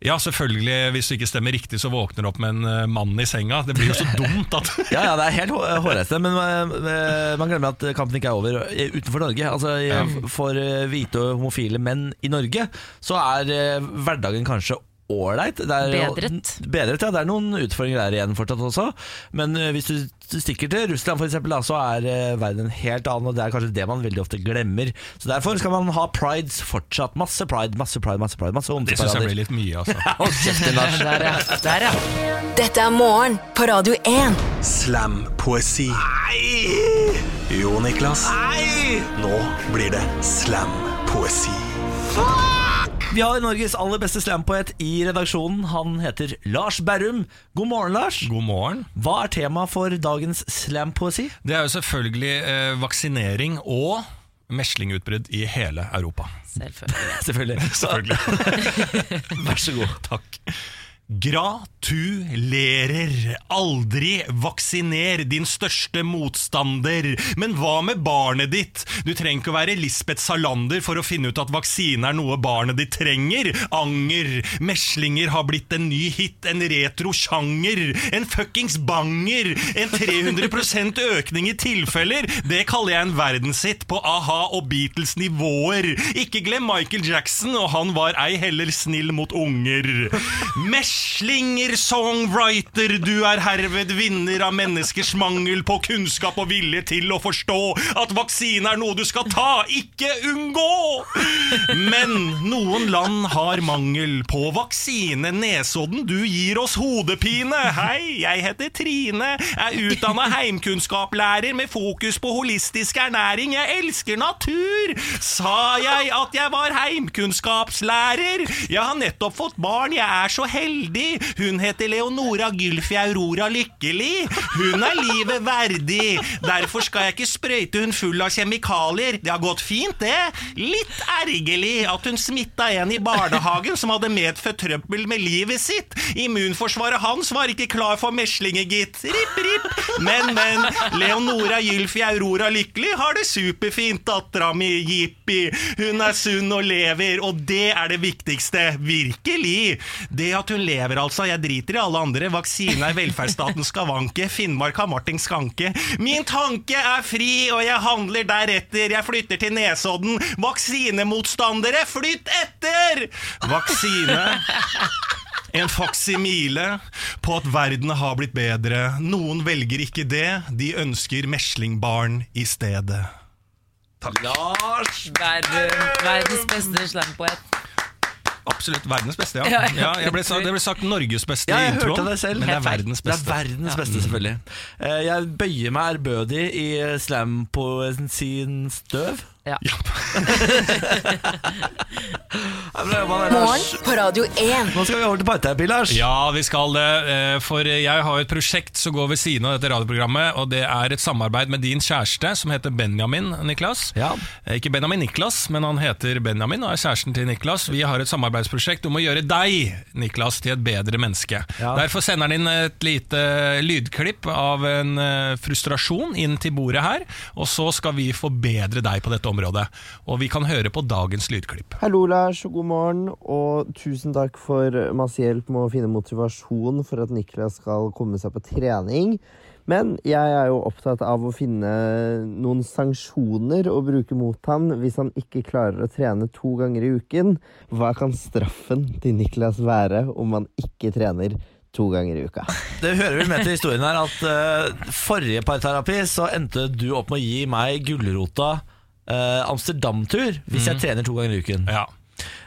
[SPEAKER 3] Ja, selvfølgelig, hvis du ikke stemmer riktig, så våkner du opp med en eh, mann i senga. Det [laughs] blir jo så dumt at
[SPEAKER 1] Ja, ja, det er helt hå- hårreisende, men eh, man glemmer at kampen ikke er over eh, utenfor Norge. Altså, i- For eh, hvite og homofile menn i Norge så er eh, hverdagen kanskje ålreit. Det er-
[SPEAKER 2] Bedret.
[SPEAKER 1] Bedret, ja. Det er noen utfordringer der igjen fortsatt også. Men eh, hvis du stikker til Russland for eksempel, da, så er eh, verden en helt annen, og det er kanskje det man veldig ofte glemmer. Så derfor skal man ha prides fortsatt. Masse pride, masse pride, masse pride. Masse
[SPEAKER 3] Det syns jeg
[SPEAKER 1] homseparader.
[SPEAKER 3] blir litt mye, altså.
[SPEAKER 1] Hold kjeft din, Lars.
[SPEAKER 2] [laughs] Der, ja. Der, ja.
[SPEAKER 4] Dette er morgen på Radio 1.
[SPEAKER 8] Slam-poesi. Jo, Niklas. Nå blir det slam-poesi.
[SPEAKER 1] Vi har Norges aller beste slampoet i redaksjonen. Han heter Lars Berrum. God morgen, Lars.
[SPEAKER 3] God morgen.
[SPEAKER 1] Hva er temaet for dagens slampoesi?
[SPEAKER 3] Det er jo selvfølgelig eh, vaksinering og meslingutbrudd i hele Europa.
[SPEAKER 2] [laughs] Selvfølgelig.
[SPEAKER 1] Selvfølgelig.
[SPEAKER 3] [laughs] Selvfølgelig.
[SPEAKER 1] Vær så god.
[SPEAKER 3] Takk. Gratulerer! Aldri vaksiner din største motstander. Men hva med barnet ditt? Du trenger ikke å være Lisbeth Salander for å finne ut at vaksine er noe barnet ditt trenger. Anger. Meslinger har blitt en ny hit, en retro sjanger. En fuckings banger!
[SPEAKER 1] [laughs]
[SPEAKER 3] En 300 økning i tilfeller! Det kaller jeg en verdenshit på a-ha og Beatles nivåer. Ikke glem Michael Jackson, og han var ei heller snill mot unger. Meslinger songwriter, du er herved vinner av menneskers mangel på kunnskap og vilje til å forstå at vaksine er noe du skal ta, ikke unngå! Men noen land har mangel på vaksine. Nesodden, du gir oss hodepine. Hei, jeg heter Trine, er utdanna heimkunnskapslærer med fokus på holistisk ernæring. Jeg elsker natur! Sa jeg at jeg var heimkunnskapslærer? Jeg har nettopp fått barn, jeg er så heldig. Hun heter Leonora Gylfi Aurora Lykkelig. Hun er livet verdig. Derfor skal jeg ikke sprøyte hun full av kjemikalier. Det har gått fint, det. Litt ergerlig at hun smitta en i barnehagen som hadde medfødt trøbbel med livet sitt. Immunforsvaret hans var ikke klar for meslinger, gitt. Ripp, ripp. Men, men. Leonora Gylfi Aurora Lykkelig har det superfint, dattera mi. Jippi. Hun er sunn og lever, og det er det viktigste. Virkelig. Det at hun lever, altså. Jeg driter i alle andre. Vaksine er velferdsstatens skavanke. Finnmark har Martin Skanke. Min tanke er fri, og jeg handler deretter. Jeg flytter til Nesodden. Vaksinemotstandere, flytt etter! Vaksine en faksimile på at verden har blitt bedre. Noen velger ikke det, de ønsker meslingbarn i stedet.
[SPEAKER 2] Verdens, verdens beste slampoet.
[SPEAKER 3] Absolutt verdens beste, ja.
[SPEAKER 2] Ja, ja.
[SPEAKER 3] ja jeg ble, sa- det ble sagt Norges beste
[SPEAKER 1] Ja,
[SPEAKER 3] i
[SPEAKER 1] jeg hørte
[SPEAKER 3] introen,
[SPEAKER 1] det selv.
[SPEAKER 3] men det er
[SPEAKER 1] Helt feil.
[SPEAKER 3] verdens
[SPEAKER 1] Det
[SPEAKER 3] beste. Mm.
[SPEAKER 1] er verdens beste, selvfølgelig. Eh, Jeg bøyer meg ærbødig i slam på sin støv.
[SPEAKER 2] Ja.
[SPEAKER 1] Ja, men det er jo bare-
[SPEAKER 7] Morgen på Radio 1.
[SPEAKER 1] Nå skal vi over til parterapi, Lars.
[SPEAKER 9] Ja, vi skal det. eh, For jeg har jo et prosjekt som går ved siden av dette radioprogrammet, og det er et samarbeid med din kjæreste, som heter Benjamin Niklas.
[SPEAKER 1] Ja.
[SPEAKER 9] Eh, Ikke Benjamin Niklas, men han heter Benjamin og er kjæresten til Niklas. Vi har et samarbeidsprosjekt om å gjøre deg, Niklas, til et bedre menneske.
[SPEAKER 1] Ja.
[SPEAKER 9] Derfor sender han inn et lite lydklipp av en eh, frustrasjon inn til bordet her, og så skal vi forbedre deg på dette området. Og vi kan høre på dagens lydklipp.
[SPEAKER 10] Hallo, Lars, og god morgen. Og tusen takk for masse hjelp med å finne motivasjon for at Niklas skal komme seg på trening. Men jeg er jo opptatt av å finne noen sanksjoner å bruke mot ham hvis han ikke klarer å trene to ganger i uken. Hva kan straffen til Niklas være om han ikke trener to ganger i uka?
[SPEAKER 1] Det hører vel med til historien her at eh, forrige parterapi så endte du opp med å gi meg gulrota eh, Amsterdam-tur hvis
[SPEAKER 3] Mm.
[SPEAKER 1] jeg trener to ganger i uken.
[SPEAKER 9] Ja.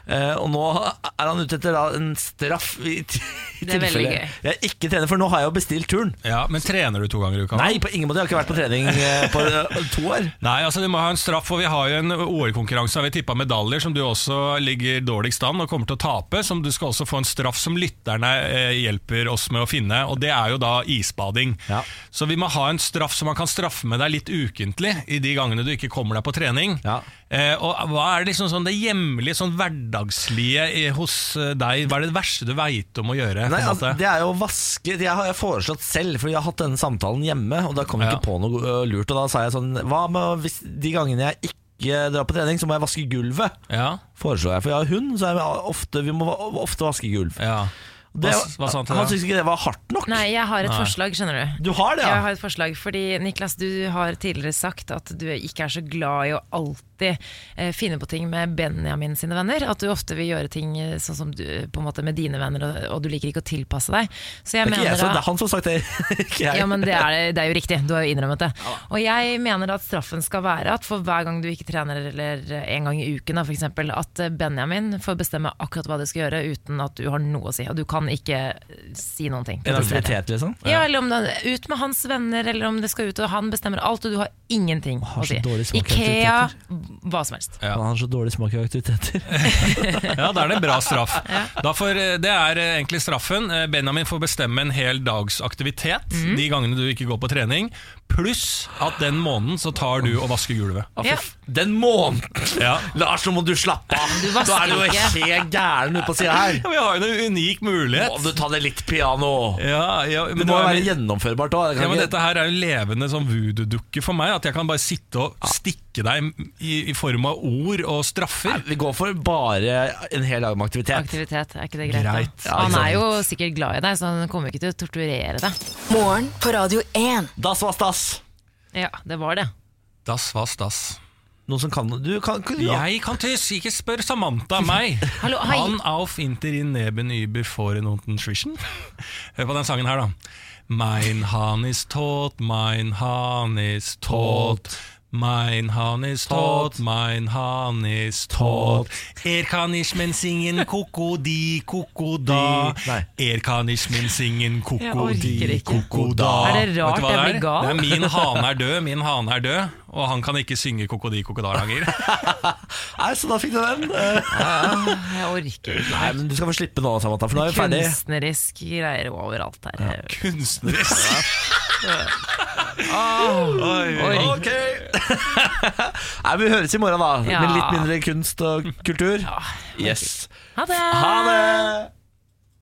[SPEAKER 1] Eh, og nå er han ute etter da, en straff i, t- i
[SPEAKER 2] Det er veldig
[SPEAKER 1] tilfelle jeg ikke trener, for nå har jeg jo bestilt turen.
[SPEAKER 9] ja, Men trener du to ganger i uka?
[SPEAKER 1] Nei, på ingen måte. Jeg har ikke vært på trening eh, på eh, to år.
[SPEAKER 9] Nei, altså de må ha en straff, og vi har jo en OL-konkurranse og vi tippa medaljer, som du også ligger dårligst an og kommer til å tape. Som du skal også få en straff som lytterne eh, hjelper oss med å finne, og det er jo da isbading.
[SPEAKER 1] Ja.
[SPEAKER 9] Så vi må ha en straff som man kan straffe med deg litt ukentlig i de gangene du ikke kommer deg på trening.
[SPEAKER 1] Ja.
[SPEAKER 9] Eh, og hva er det liksom sånn det hjemlige, sånn hverdagslige eh, hos eh, deg? Hva er det verste du veit om å gjøre?
[SPEAKER 1] Nei,
[SPEAKER 9] på en
[SPEAKER 1] altså,
[SPEAKER 9] måte?
[SPEAKER 1] det er jo å vaske Det har jeg foreslått selv, for jeg har hatt denne samtalen hjemme. Og da kom jeg
[SPEAKER 9] Ja.
[SPEAKER 1] ikke på noe ø, lurt. Og da sa jeg sånn Hva med å- hvis de gangene jeg ikke drar på trening, så må jeg vaske gulvet?
[SPEAKER 9] Ja,
[SPEAKER 1] Foreslår jeg. For jeg har hund, så er vi ofte, vi må va- ofte vaske gulv.
[SPEAKER 9] ja.
[SPEAKER 1] Det-
[SPEAKER 9] Hva, hva sa han til
[SPEAKER 1] han
[SPEAKER 9] deg?
[SPEAKER 1] syntes ikke det var hardt nok.
[SPEAKER 2] Nei, jeg har et forslag, skjønner du.
[SPEAKER 1] Du har det,
[SPEAKER 2] Jeg
[SPEAKER 1] ja?
[SPEAKER 2] har et forslag, fordi Niklas, du har tidligere sagt at du ikke er så glad i å alltid eh, finne på ting med Benjamin sine venner. At du ofte vil gjøre ting eh, sånn som du, på en måte med dine venner, og, og du liker ikke å tilpasse deg. Så jeg
[SPEAKER 1] Det er ikke
[SPEAKER 2] mener
[SPEAKER 1] jeg, så
[SPEAKER 2] da-
[SPEAKER 1] det er han som har sagt det. [laughs] ikke jeg.
[SPEAKER 2] ja, men det er, det er jo riktig, du har jo innrømmet det. Og jeg mener at straffen skal være at for hver gang du ikke trener, eller en gang i uken da, for eksempel, at Benjamin får bestemme akkurat hva du skal gjøre uten at du har noe å si, og du kan ikke eh, si noen ting.
[SPEAKER 1] En aktivitet, liksom?
[SPEAKER 2] Ja, eller om det er ut med hans venner, eller om det skal ut, og han bestemmer alt, og du har ingenting å
[SPEAKER 1] så
[SPEAKER 2] si.
[SPEAKER 1] dårlig smak i
[SPEAKER 2] Ikea, hva som helst.
[SPEAKER 9] Ja.
[SPEAKER 1] Han har så dårlig smak i aktiviteter.
[SPEAKER 9] Ja, da er det en bra straff. Da får, det er eh, egentlig straffen. Eh, Benjamin får bestemme en hel dags aktivitet de gangene du ikke går på trening, pluss at den måneden så tar du og vasker gulvet.
[SPEAKER 2] Ja.
[SPEAKER 1] Den måneden!
[SPEAKER 3] Ja.
[SPEAKER 1] Lars, nå må du slappe av!
[SPEAKER 2] Du
[SPEAKER 1] Nå er
[SPEAKER 2] vasker
[SPEAKER 1] du jo
[SPEAKER 2] ikke.
[SPEAKER 1] helt gæren ute på sida her.
[SPEAKER 3] Ja, Vi har jo en unik mulighet.
[SPEAKER 1] Må du ta det litt piano?
[SPEAKER 3] Ja, ja, men
[SPEAKER 1] Det må jo være gjennomførbart òg.
[SPEAKER 3] ja, men Dette her er jo levende sånn voodoo-dukke for meg. At jeg kan bare sitte og stikke deg i, i form av ord og straffer.
[SPEAKER 1] Vi går for bare en hel dag med aktivitet.
[SPEAKER 2] Aktivitet, er ikke det greit?
[SPEAKER 3] Greit.
[SPEAKER 2] da? Han er jo sikkert glad i deg, så han kommer ikke til å torturere deg.
[SPEAKER 7] Morgen på Radio 1.
[SPEAKER 1] Das was das.
[SPEAKER 2] Ja, det var det.
[SPEAKER 3] Das was das.
[SPEAKER 1] Noen som kan Du kan, kan ja.
[SPEAKER 3] Jeg kan tyss, ikke spør Samantha meg.
[SPEAKER 1] [laughs]
[SPEAKER 2] Hallo, hei.
[SPEAKER 3] Han auf inter in neben über foren und inzwischen. [laughs] Hør på den sangen her, da. Mein Han is tot, mein Han is tot. Mein Han is tot, mein Han is tot. Er kan ich men singen koko di
[SPEAKER 2] [laughs]
[SPEAKER 3] koko da.
[SPEAKER 1] Di, nei.
[SPEAKER 3] Er kan ich men singen koko
[SPEAKER 2] Jeg orker
[SPEAKER 3] di
[SPEAKER 2] ikke.
[SPEAKER 3] koko da.
[SPEAKER 2] Er det rart
[SPEAKER 3] Vet du hva
[SPEAKER 2] jeg
[SPEAKER 3] det
[SPEAKER 2] blir
[SPEAKER 3] er?
[SPEAKER 2] gal?
[SPEAKER 3] Det er min hane er død, min hane er død. Og han kan ikke synge koko di koko da lenger.
[SPEAKER 1] Nei, så da fikk du den. Eh,
[SPEAKER 2] Jeg orker ikke.
[SPEAKER 1] Nei, men Du skal få slippe nå, Samantha, for nå er vi ferdig.
[SPEAKER 2] Kunstnerisk greier overalt her.
[SPEAKER 3] [laughs] Kunstnerisk.
[SPEAKER 2] Oi.
[SPEAKER 1] Ok [laughs] Nei, Vi høres i morgen, da.
[SPEAKER 2] Ja.
[SPEAKER 1] Med litt mindre kunst og kultur. Yes.
[SPEAKER 2] Ha det!
[SPEAKER 1] Ha det!